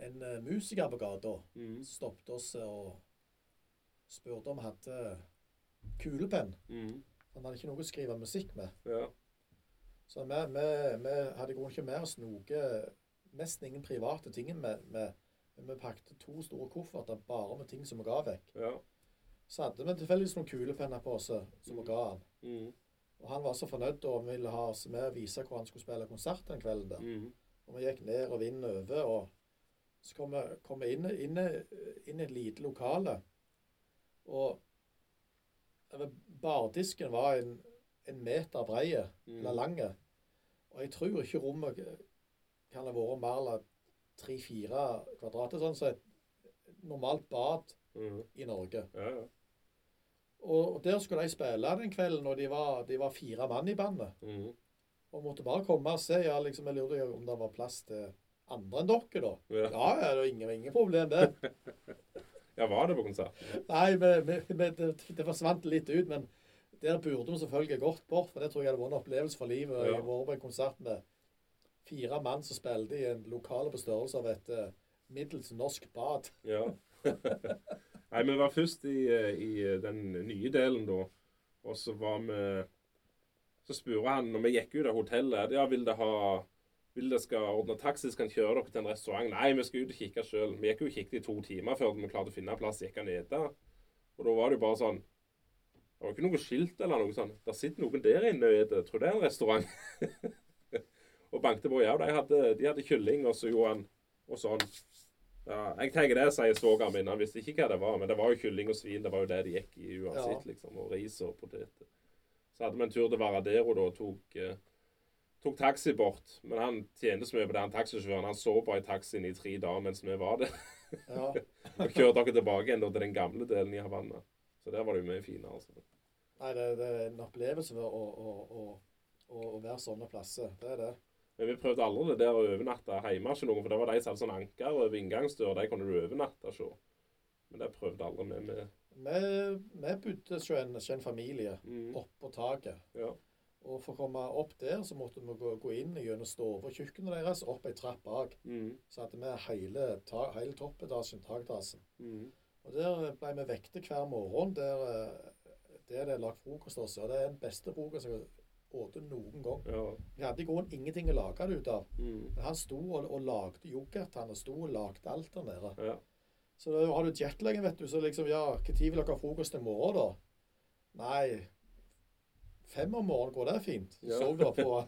[SPEAKER 2] en eh, musiker på gata.
[SPEAKER 1] Mm,
[SPEAKER 2] Stoppet oss eh, og spurte om vi hadde kulepenn.
[SPEAKER 1] mm,
[SPEAKER 2] Han hadde ikke noe å skrive musikk med.
[SPEAKER 1] ja.
[SPEAKER 2] Så vi, vi, vi hadde i grunnen ikke mer å snoke nesten ingen private ting med. med men vi pakket to store kofferter bare med ting som vi ga vekk.
[SPEAKER 1] ja.
[SPEAKER 2] Så hadde vi tilfeldigvis noen kulepenner på oss eh, som vi
[SPEAKER 1] Mhm.
[SPEAKER 2] ga han.
[SPEAKER 1] Mm,
[SPEAKER 2] Og han var så fornøyd og ville ha oss med og vise hvor han skulle spille konsert den kvelden der.
[SPEAKER 1] mm,
[SPEAKER 2] Og vi gikk ned og vinden over, og så kom vi, kom vi inn, inn, inn i et lite lokale. Og eller, bardisken var en, en meter breie, eller
[SPEAKER 1] mm.
[SPEAKER 2] lang. Og jeg tror ikke rommet kan ha vært mer enn tre-fire kvadrat. Sånn som et normalt bad
[SPEAKER 1] Mm,
[SPEAKER 2] i Norge.
[SPEAKER 1] ja, ja.
[SPEAKER 2] Og, og der skulle de spille den kvelden, og de var, de var fire mann i bandet.
[SPEAKER 1] Mm,
[SPEAKER 2] Og måtte bare komme og se. Ja, liksom, jeg lurte jo om det var plass til andre enn dere, da.
[SPEAKER 1] ja.
[SPEAKER 2] Ja, ja, det var ingen, ingen problem det.
[SPEAKER 1] ja, var det på konsert?
[SPEAKER 2] Nei, men, men, men det, det forsvant litt ut. Men der burde vi selvfølgelig gått bort, for det tror jeg hadde vært en opplevelse for livet. Jeg har vært på en konsert med fire mann som spilte i en lokale på størrelse av et eh, middels norsk bad.
[SPEAKER 1] Ja. Nei, vi var først i, eh, i den nye delen da, og så var vi Så spurte han, når vi gikk ut av hotellet, ja, vil det ha vil det skal ordne taxi, skal han kjøre dere til en restaurant? Nei, vi skal ut og kikke sjøl. Vi gikk jo og kikket i to timer før vi klarte å finne en plass gikk han ete. Og da var det jo bare sånn Det var ikke noe skilt eller noe sånt. Der sitter noen der inne og spiser. Tror det er en restaurant. og bankte på. Ja, de hadde, de hadde kylling, og så gjorde han og sånn. Ja, jeg tenker det, sier svogeren min. Han visste ikke hva det var, men det var jo kylling og svin. Det var jo det de gikk i uansett, liksom. Og ris og poteter. Så hadde vi en tur til Varadero da og tok, eh, tok taxi bort. Men han tjente så mye på det, han taxisjåføren. Han så bare i taxien i tre dager mens vi var der.
[SPEAKER 2] Ja,
[SPEAKER 1] Og kjørte dere tilbake igjen da til den gamle delen i Havanna. Så der var det jo mye finere, altså.
[SPEAKER 2] nei, det, det er en opplevelse å, å, å, å, å være sånne plasser. Det er det.
[SPEAKER 1] Men vi prøvde aldri det der å overnatte hjemme hos noen, for det var de som hadde sånn anker over inngangsdør. De kunne du overnatte hos. Men det prøvde aldri vi med.
[SPEAKER 2] Vi, vi bodde hos en, hos en familie
[SPEAKER 1] Mm.
[SPEAKER 2] oppå taket.
[SPEAKER 1] Ja.
[SPEAKER 2] Og for å komme opp der, så måtte vi gå, gå inn gjennom stue og kjøkkenet deres, opp ei trapp bak.
[SPEAKER 1] Mm.
[SPEAKER 2] Så hadde vi hele, ta, hele toppetasjen, takterrassen.
[SPEAKER 1] Mm.
[SPEAKER 2] Og der ble vi vekket hver morgen. Der, eh, der det er lagd frokost hos oss. Og det er den beste frokosten jeg har spist noen gang.
[SPEAKER 1] Ja.
[SPEAKER 2] Vi hadde i grunnen ingenting å lage det ut av.
[SPEAKER 1] Mm.
[SPEAKER 2] Men han sto og, og lagde yoghurt. Han og sto og lagde alt der nede.
[SPEAKER 1] Ja.
[SPEAKER 2] Så da har du jetlagen, vet du. Så liksom, ja, når vil dere ha frokost i morgen, da? Nei, fem om morgenen går det fint. Så
[SPEAKER 1] Ja.
[SPEAKER 2] sov du på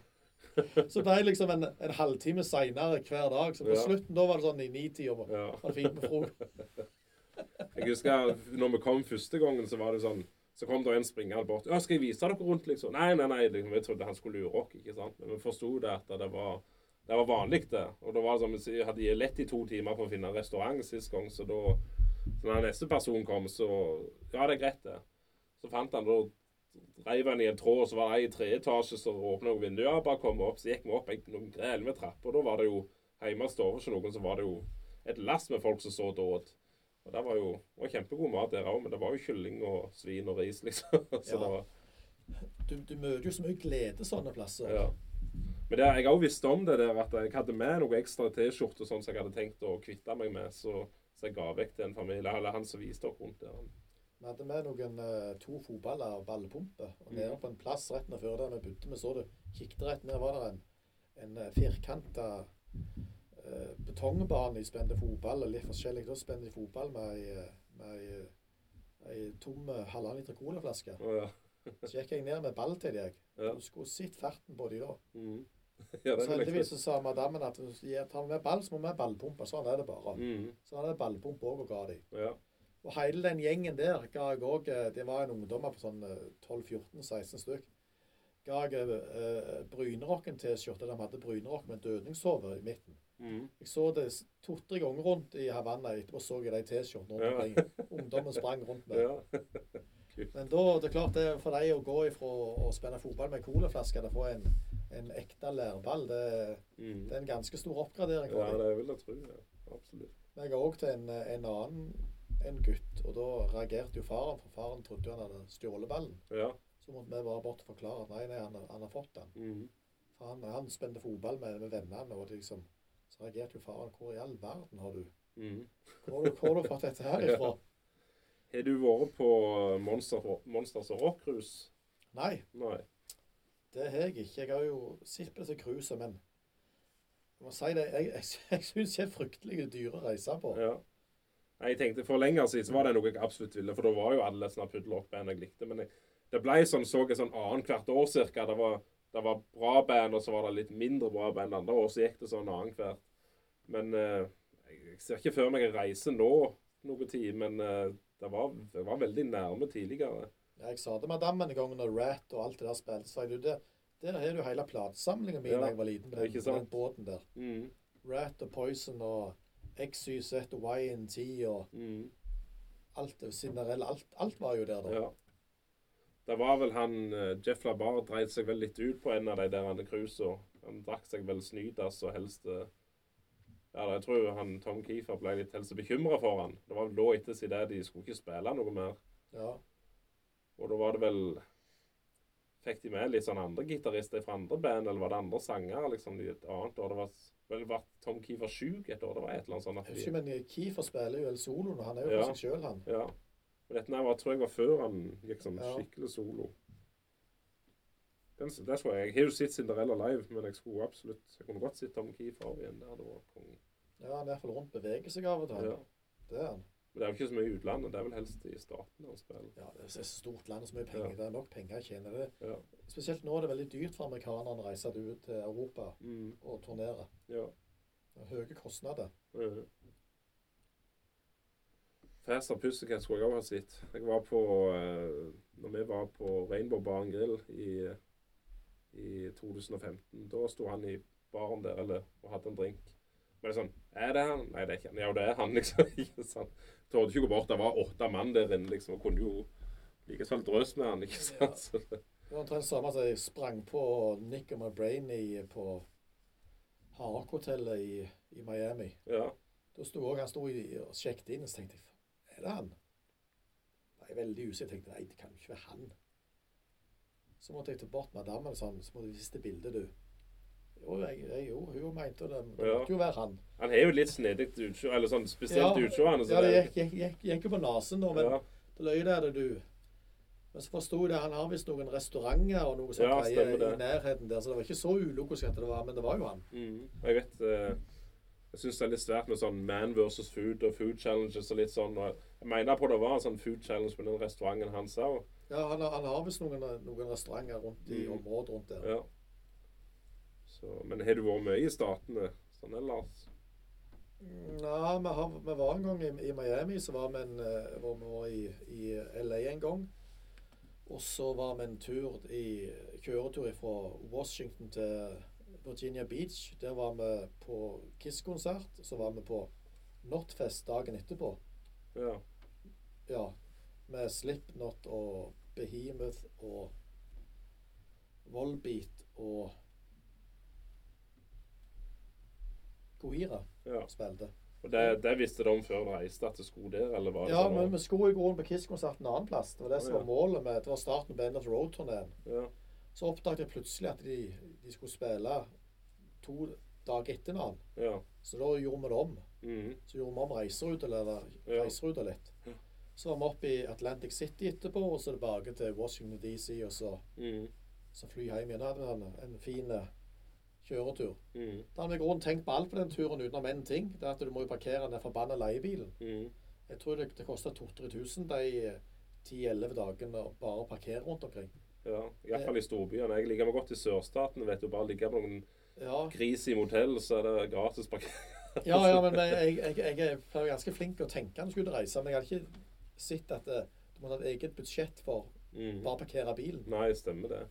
[SPEAKER 2] Så ble det liksom en, en halvtime seinere hver dag. Så på
[SPEAKER 1] Ja.
[SPEAKER 2] slutten da var det sånn i nitida. Var
[SPEAKER 1] ja.
[SPEAKER 2] det fint med frokost?
[SPEAKER 1] Jeg husker når vi kom første gangen, så var det sånn Så kom det en springende bort. Ja, 'Skal jeg vise dere rundt?' liksom. Nei, nei, nei. Liksom, jeg trodde han skulle lure oss, ikke sant. Men vi forsto det at det var, det var vanlig, det. Og da var det sånn, vi hadde lett i to timer for å finne en restaurant sist gang, så da så når neste person kom, så Ja, det er greit, det. Så fant han da Reiv han i en tråd, og så var det ei i tredje etasje som åpna noen vinduer. Bare kom opp, så gikk vi opp ei- noen grelle med trapper. Og da var det jo Hjemme i stua hos noen så var det jo et lass med folk som så og åt. Og det var jo det var kjempegod mat der òg, men det var jo kylling og svin og ris, liksom. Så
[SPEAKER 2] Ja.
[SPEAKER 1] det var,
[SPEAKER 2] Du, du møter jo så mye glede sånne plasser.
[SPEAKER 1] ja. Men det, jeg òg visste om det der, at jeg hadde med noe ekstra T-skjorte og sånn som jeg hadde tenkt å kvitte meg med, så, så jeg ga vekk til en familie. Eller han som viste oss rundt der.
[SPEAKER 2] Vi hadde med noen eh, to fotballer og ballpumpe. Og
[SPEAKER 1] Mhm.
[SPEAKER 2] nede på en plass rett ned før der vi bodde, vi så det, kikket rett ned, var det en, en firkanta eh, betongbane i spente fotball, eller litt forskjellig. Da spenner de fotball med ei, eh, med ei, eh, ei tom eh, halvannen liter colaflaske.
[SPEAKER 1] Å ja.
[SPEAKER 2] Så gikk jeg ned med ball til deg.
[SPEAKER 1] Ja.
[SPEAKER 2] Du skulle sett farten på de da.
[SPEAKER 1] Mhm. ja
[SPEAKER 2] Så
[SPEAKER 1] den er
[SPEAKER 2] heldigvis
[SPEAKER 1] lektig.
[SPEAKER 2] så sa madammen at hvis vi tar med ball, så må vi ha ballpumpe. Sånn er det bare.
[SPEAKER 1] Mhm.
[SPEAKER 2] Så han hadde ballpump òg og ga de.
[SPEAKER 1] Ja.
[SPEAKER 2] Og hele den gjengen der ga jeg òg Det var en ungdommer på sånn eh, 12-14-16 stykk. Ga jeg eh, Brynerocken-T-skjorte. De hadde Brynerock med en dødningshove i midten.
[SPEAKER 1] Mhm.
[SPEAKER 2] Jeg så det s- to-tre ganger rundt i Havanna. Etterpå så jeg de T-skjortene rundt
[SPEAKER 1] Ja.
[SPEAKER 2] omkring. Ungdommen sprang rundt med.
[SPEAKER 1] ja.
[SPEAKER 2] Men da, det er klart det er for deg å gå ifra å spille fotball med colaflaske til å få en, en ekte lærball, det,
[SPEAKER 1] Mhm.
[SPEAKER 2] det er en ganske stor oppgradering. for
[SPEAKER 1] Ja,
[SPEAKER 2] dem.
[SPEAKER 1] det vil jeg tro. Ja. Absolutt.
[SPEAKER 2] Men jeg ga òg til en, en annen en gutt, og da reagerte jo faren, for faren trodde jo han hadde stjålet ballen.
[SPEAKER 1] Ja.
[SPEAKER 2] Så måtte vi bare bort og forklare at nei, nei, han, han har fått den.
[SPEAKER 1] Mhm.
[SPEAKER 2] For han, han spente fotball med, med vennene, og det liksom, så reagerte jo faren. Hvor i all verden har du
[SPEAKER 1] Mhm.
[SPEAKER 2] Hvor har du, hvor har du fått dette her ifra?
[SPEAKER 1] Har du vært på Monster, Monsters og Rockrus?
[SPEAKER 2] Nei,
[SPEAKER 1] Nei.
[SPEAKER 2] det har jeg ikke. Jeg har jo sett på disse cruisene, men jeg må si det, jeg, jeg, jeg syns det er fryktelig dyre reiser på.
[SPEAKER 1] Ja. Nei, Jeg tenkte For lenger siden så var det noe jeg absolutt ville, for da var jo alle sånne puddelrock-band jeg likte. Men jeg, det ble sånn så jeg sånn annethvert år cirka. Det var, det var bra band, og så var det litt mindre bra band andre år. Så gikk det sånn annethvert. Men eh, jeg, jeg ser ikke før meg jeg reiser nå noe tid, men eh, det, var, det var veldig nærme tidligere.
[SPEAKER 2] Ja, jeg sa det madammen en gang når Rat og alt det der spilte, så sa jeg jo det. Der har du hele platesamlingen min da
[SPEAKER 1] Ja,
[SPEAKER 2] jeg var liten, på
[SPEAKER 1] ikke
[SPEAKER 2] den, på den
[SPEAKER 1] sant?
[SPEAKER 2] båten der.
[SPEAKER 1] Mm,
[SPEAKER 2] Rat og Poison og XYZ og YNT og
[SPEAKER 1] mm,
[SPEAKER 2] alt det Cinderella. Alt, alt var jo der, da.
[SPEAKER 1] ja. Det var vel han eh, Jeff Labar dreit seg vel litt ut på en av de der cruisene. Han drakk seg vel snytas og helst eh, Ja, jeg tror han Tom Keefer ble litt helst bekymra for han. Det var vel lå etter siden det de skulle ikke spille noe mer.
[SPEAKER 2] Ja.
[SPEAKER 1] Og da var det vel Fikk de med litt sånn andre gitarister fra andre band, eller var det andre sanger liksom i et annet år? Det var vel var Tom Keefer sjuk et år, det var et eller annet sånt. at
[SPEAKER 2] Jeg
[SPEAKER 1] de-
[SPEAKER 2] husker, men Keefer spiller jo El Solo nå. Han er jo
[SPEAKER 1] Ja.
[SPEAKER 2] for seg sjøl, han.
[SPEAKER 1] Ja. Men dette her var, tror jeg var før han gikk som
[SPEAKER 2] Ja.
[SPEAKER 1] skikkelig solo. Den, det tror jeg. Jeg har jo sett Cinderella live, men jeg skulle absolutt Jeg kunne godt sett Tom Keefer av igjen. Det hadde vært konge.
[SPEAKER 2] Ja, han er iallfall rundt beveger seg av og til.
[SPEAKER 1] Ja.
[SPEAKER 2] Det er han.
[SPEAKER 1] Men det er jo ikke så mye i utlandet. Det er vel helst i staten han spiller.
[SPEAKER 2] Ja, det er så stort land og så mye penger.
[SPEAKER 1] Ja.
[SPEAKER 2] Det er nok penger å tjene. Det.
[SPEAKER 1] Ja.
[SPEAKER 2] Spesielt nå er det veldig dyrt for amerikanerne å reise ut til Europa
[SPEAKER 1] Mm.
[SPEAKER 2] og turnere.
[SPEAKER 1] ja.
[SPEAKER 2] Det er Høye kostnader.
[SPEAKER 1] Mhm. Faster Pussycat skulle jeg også ha sett. Jeg var på eh, Når vi var på Rainbow Bar and Grill i, i 2015, da sto han i baren der eller, og hadde en drink. Men det er sånn Er det han? Nei, det er ikke han. Ja, det er han, liksom. ikke sant? Torde ikke gå bort. Det var åtte mann der inne, liksom, og kunne jo likeså drøs med han, ikke sant? Så det,
[SPEAKER 2] Det var omtrent samme som jeg sprang på Nick og McBrainy på Hardrock-hotellet i, i Miami.
[SPEAKER 1] ja.
[SPEAKER 2] Da sto også, han sto i, og sjekket inn, og så tenkte jeg Er det han? Jeg er veldig usikker. Jeg tenkte nei, det kan jo ikke være han. Så måtte jeg ta bort madammen og sånn, så må du vise det bildet, du. Jo, jeg, jeg, jo hun mente det. Det
[SPEAKER 1] Ja.
[SPEAKER 2] måtte jo være han.
[SPEAKER 1] Han har jo litt snedig utseende, eller sånn spesielt
[SPEAKER 2] Ja.
[SPEAKER 1] utseende. så
[SPEAKER 2] Ja, det gikk, gikk, gikk, gikk jo på nesen, da, men
[SPEAKER 1] Ja,
[SPEAKER 2] da løy det, det, du. Men så forsto jeg det, han har visst noen restauranter og noe sånt
[SPEAKER 1] Ja,
[SPEAKER 2] greier
[SPEAKER 1] stemmer det.
[SPEAKER 2] i nærheten der, så det var ikke så ulogisk at det var, men det var jo han.
[SPEAKER 1] Mm. Og jeg vet eh, Jeg syns det er litt svært med sånn man versus food og food challenges og litt sånn. Og jeg mener på det var en sånn food challenge på den restauranten hans òg.
[SPEAKER 2] Ja, han, har- han har visst noen, noen restauranter rundt i
[SPEAKER 1] Mm.
[SPEAKER 2] området rundt der.
[SPEAKER 1] Ja. Så, men har du vært mye i Statene sånn ellers?
[SPEAKER 2] Ja, vi, har, vi var en gang i, i Miami, så var vi, en, eh, var vi var i, i LA en gang. Og så var vi en tur i, kjøretur fra Washington til Virginia Beach. Der var vi på Kiss-konsert. Så var vi på Notfest dagen etterpå.
[SPEAKER 1] Ja.
[SPEAKER 2] Ja, med Slipknot og Behemoth og Volbeat og Gohira
[SPEAKER 1] ja.
[SPEAKER 2] spilte.
[SPEAKER 1] Og det, det visste de om før de reiste, at det skulle der, eller var det
[SPEAKER 2] Ja,
[SPEAKER 1] sånn?
[SPEAKER 2] men vi skulle i grunnen på Kiss-konsert en annen plass. Det var det som
[SPEAKER 1] Å, ja.
[SPEAKER 2] var målet med Det var starten på Band of Road-turneen.
[SPEAKER 1] ja.
[SPEAKER 2] Så oppdaget jeg plutselig at de, de skulle spille to dager etter hverandre.
[SPEAKER 1] ja.
[SPEAKER 2] Så da gjorde vi det om.
[SPEAKER 1] Mhm.
[SPEAKER 2] Så gjorde vi om reiseruta eller
[SPEAKER 1] Ja.
[SPEAKER 2] reiseruta litt.
[SPEAKER 1] Ja.
[SPEAKER 2] Så var vi oppe i Atlantic City etterpå, og så tilbake til Washington DC, og så,
[SPEAKER 1] Mhm.
[SPEAKER 2] så fly hjem igjen. Da Hadde vi en, en fin eh, kjøretur.
[SPEAKER 1] Mm.
[SPEAKER 2] Da har vi i grunnen tenkt på alt på den turen utenom én ting. Det er at du må jo parkere den forbanna leiebilen.
[SPEAKER 1] Mm.
[SPEAKER 2] Jeg tror det, det koster 2000-3000 de eh, 10-11 dagene å bare parkere rundt omkring.
[SPEAKER 1] Ja, Iallfall i storbyene. Jeg liker meg godt i sørstaten. vet du, Bare ligge på noen
[SPEAKER 2] Ja,
[SPEAKER 1] gris i motell, så er det gratis parkering.
[SPEAKER 2] ja, ja men jeg, jeg, jeg er pleier å være ganske flink til å tenke når jeg skulle reise, men jeg hadde ikke sett at eh, du måtte ha et eget budsjett for
[SPEAKER 1] Mm.
[SPEAKER 2] bare å parkere bilen.
[SPEAKER 1] Nei, stemmer det.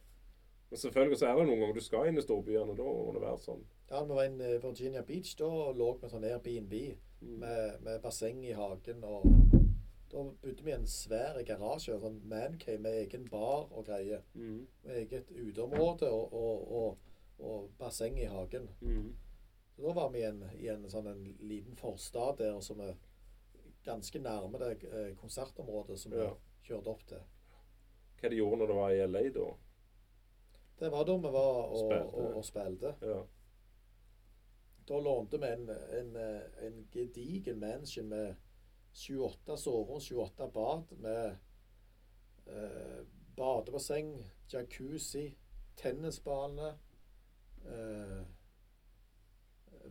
[SPEAKER 1] Men selvfølgelig så er det noen ganger du skal inn i storbyene. Da må det være sånn.
[SPEAKER 2] Ja, når vi var inne i eh, Virginia Beach, da lå vi sånn Airbnb
[SPEAKER 1] Mm.
[SPEAKER 2] med, med basseng i hagen. og Da bodde vi i en svær garasje, en sånn mancave med egen bar og greier.
[SPEAKER 1] Mm.
[SPEAKER 2] Med eget uteområde og, og, og, og basseng i hagen.
[SPEAKER 1] Mm.
[SPEAKER 2] Så da var vi i en, i en, sånn, en liten forstad der som er ganske nærme det eh, konsertområdet som vi
[SPEAKER 1] Ja.
[SPEAKER 2] kjørte opp til.
[SPEAKER 1] Hva de gjorde når det var i LA, da?
[SPEAKER 2] Det var da vi var og
[SPEAKER 1] Spilte.
[SPEAKER 2] spilte. Og, og spilte.
[SPEAKER 1] Ja.
[SPEAKER 2] Da lånte vi en, en, eh, en gedigen mansion med 28 soverom, 28 bad, med eh, badebasseng, jacuzzi, tennisbane, eh,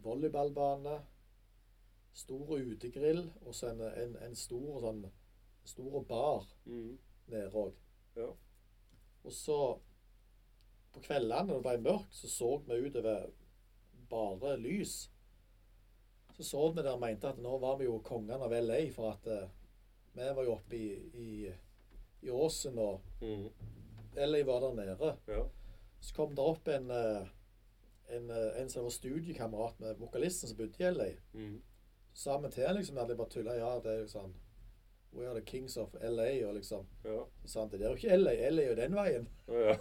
[SPEAKER 2] volleyballbane, stor utegrill og så en, en, en stor sånn stor bar
[SPEAKER 1] Mm.
[SPEAKER 2] nede òg.
[SPEAKER 1] Ja.
[SPEAKER 2] Og så på kveldene når det ble mørkt, så så vi utover bare lys. Så sov vi der og mente at nå var vi jo kongen av LA, for at eh, vi var jo oppe i, i, i åsen, og
[SPEAKER 1] Mm.
[SPEAKER 2] LA var der nede.
[SPEAKER 1] Ja.
[SPEAKER 2] Så kom det opp en, eh, en, eh, en som var studiekamerat med vokalisten som bodde i LA.
[SPEAKER 1] Mm.
[SPEAKER 2] Så sa vi til han liksom, at jeg bare tulla, ja, det er jo sånn We are the kings of LA, og liksom
[SPEAKER 1] Ja.
[SPEAKER 2] Så sa han det er jo ikke LA, LA er jo den veien.
[SPEAKER 1] Ja.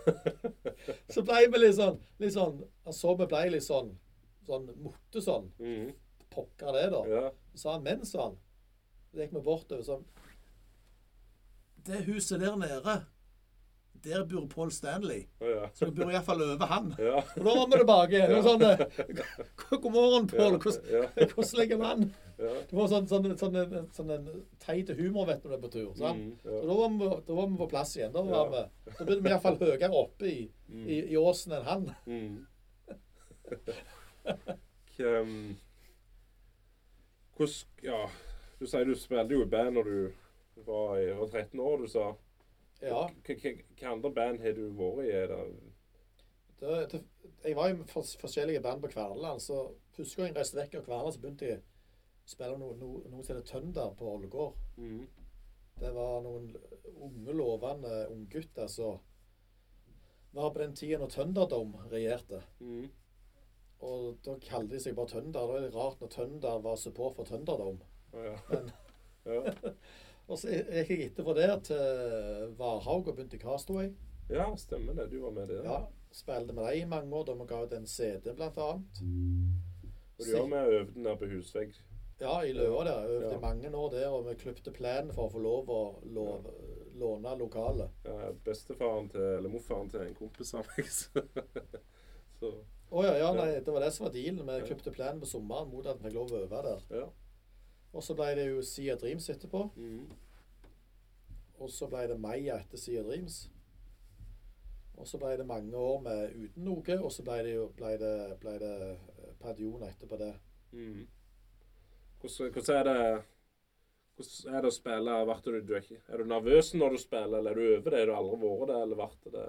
[SPEAKER 2] Så blei vi litt sånn, litt sånn Altså vi blei litt sånn sånn motte sånn.
[SPEAKER 1] Mm.
[SPEAKER 2] Pokker det, da.
[SPEAKER 1] ja.
[SPEAKER 2] Så sa han men, sa han. Så gikk vi bortover sånn Det huset der nede, der bor Paul Stanley.
[SPEAKER 1] Ja.
[SPEAKER 2] Så vi bor iallfall over han.
[SPEAKER 1] Ja.
[SPEAKER 2] Og da var vi tilbake. Det var sånn eh, God morgen, Paul. Hvordan
[SPEAKER 1] Ja.
[SPEAKER 2] hvordan ligger man?
[SPEAKER 1] Ja.
[SPEAKER 2] Det var sånn, sånn, sånn, en- sånn en teit humor, vet du, når du er på tur. sant?
[SPEAKER 1] Mm.
[SPEAKER 2] Så
[SPEAKER 1] Ja.
[SPEAKER 2] da var, vi, da var vi på plass igjen. Da, var
[SPEAKER 1] Ja.
[SPEAKER 2] vi, da begynte vi iallfall høyere oppe i, i, i åsen enn han.
[SPEAKER 1] Mm. K- um, Hvordan Ja, du sier du spilte jo i band når du var, i, var 13 år, du sa.
[SPEAKER 2] Ja.
[SPEAKER 1] Hvilke andre band har du vært i? Er det
[SPEAKER 2] Det, det, jeg var i fors- forskjellige band på Kverneland. så Første gang jeg reiste vekk av Kverneland, så begynte jeg å spille noe, noe, noe som heter Tønder på Ålgård.
[SPEAKER 1] mm.
[SPEAKER 2] Det var noen unge, lovende unggutter som var på den tida når Tønderdom regjerte.
[SPEAKER 1] Mm.
[SPEAKER 2] Og da kalte de seg bare Tønder. Det var litt rart når Tønder var support for Tønderdom.
[SPEAKER 1] Ja.
[SPEAKER 2] Men-
[SPEAKER 1] ja.
[SPEAKER 2] Og så gikk jeg etterpå der til Varhaug og begynte i Castaway.
[SPEAKER 1] ja, stemmer det. Du var med der.
[SPEAKER 2] Ja, Spilte med dem i mange år da vi ga ut en CD, blant annet.
[SPEAKER 1] Og du var med og øvde nede på Husvegg.
[SPEAKER 2] Ja, i Løa der. Øvde
[SPEAKER 1] Ja.
[SPEAKER 2] i mange år der, og vi klipte plenen for å få lov å lov, låne lokalet.
[SPEAKER 1] Ja, bestefaren til, eller morfaren til en kompis av meg. Så, så
[SPEAKER 2] Å ja, ja,
[SPEAKER 1] Ja.
[SPEAKER 2] nei, det var det som var dealen. Vi
[SPEAKER 1] Ja.
[SPEAKER 2] klipte plenen på sommeren mot at vi fikk lov å øve der.
[SPEAKER 1] ja.
[SPEAKER 2] Og så ble det jo Sea of Dreams etterpå.
[SPEAKER 1] Mm.
[SPEAKER 2] Og så ble det Maya etter Sea of Dreams. Og så ble det mange år med uten noe, og så ble det, jo- ble det, ble det eh, Padion etterpå det.
[SPEAKER 1] Mm. Hvordan, hvordan er det hvordan er det å spille? Vart du, du er, ikke, er du nervøs når du spiller, eller er du over det? Er du aldri vært det, eller vart det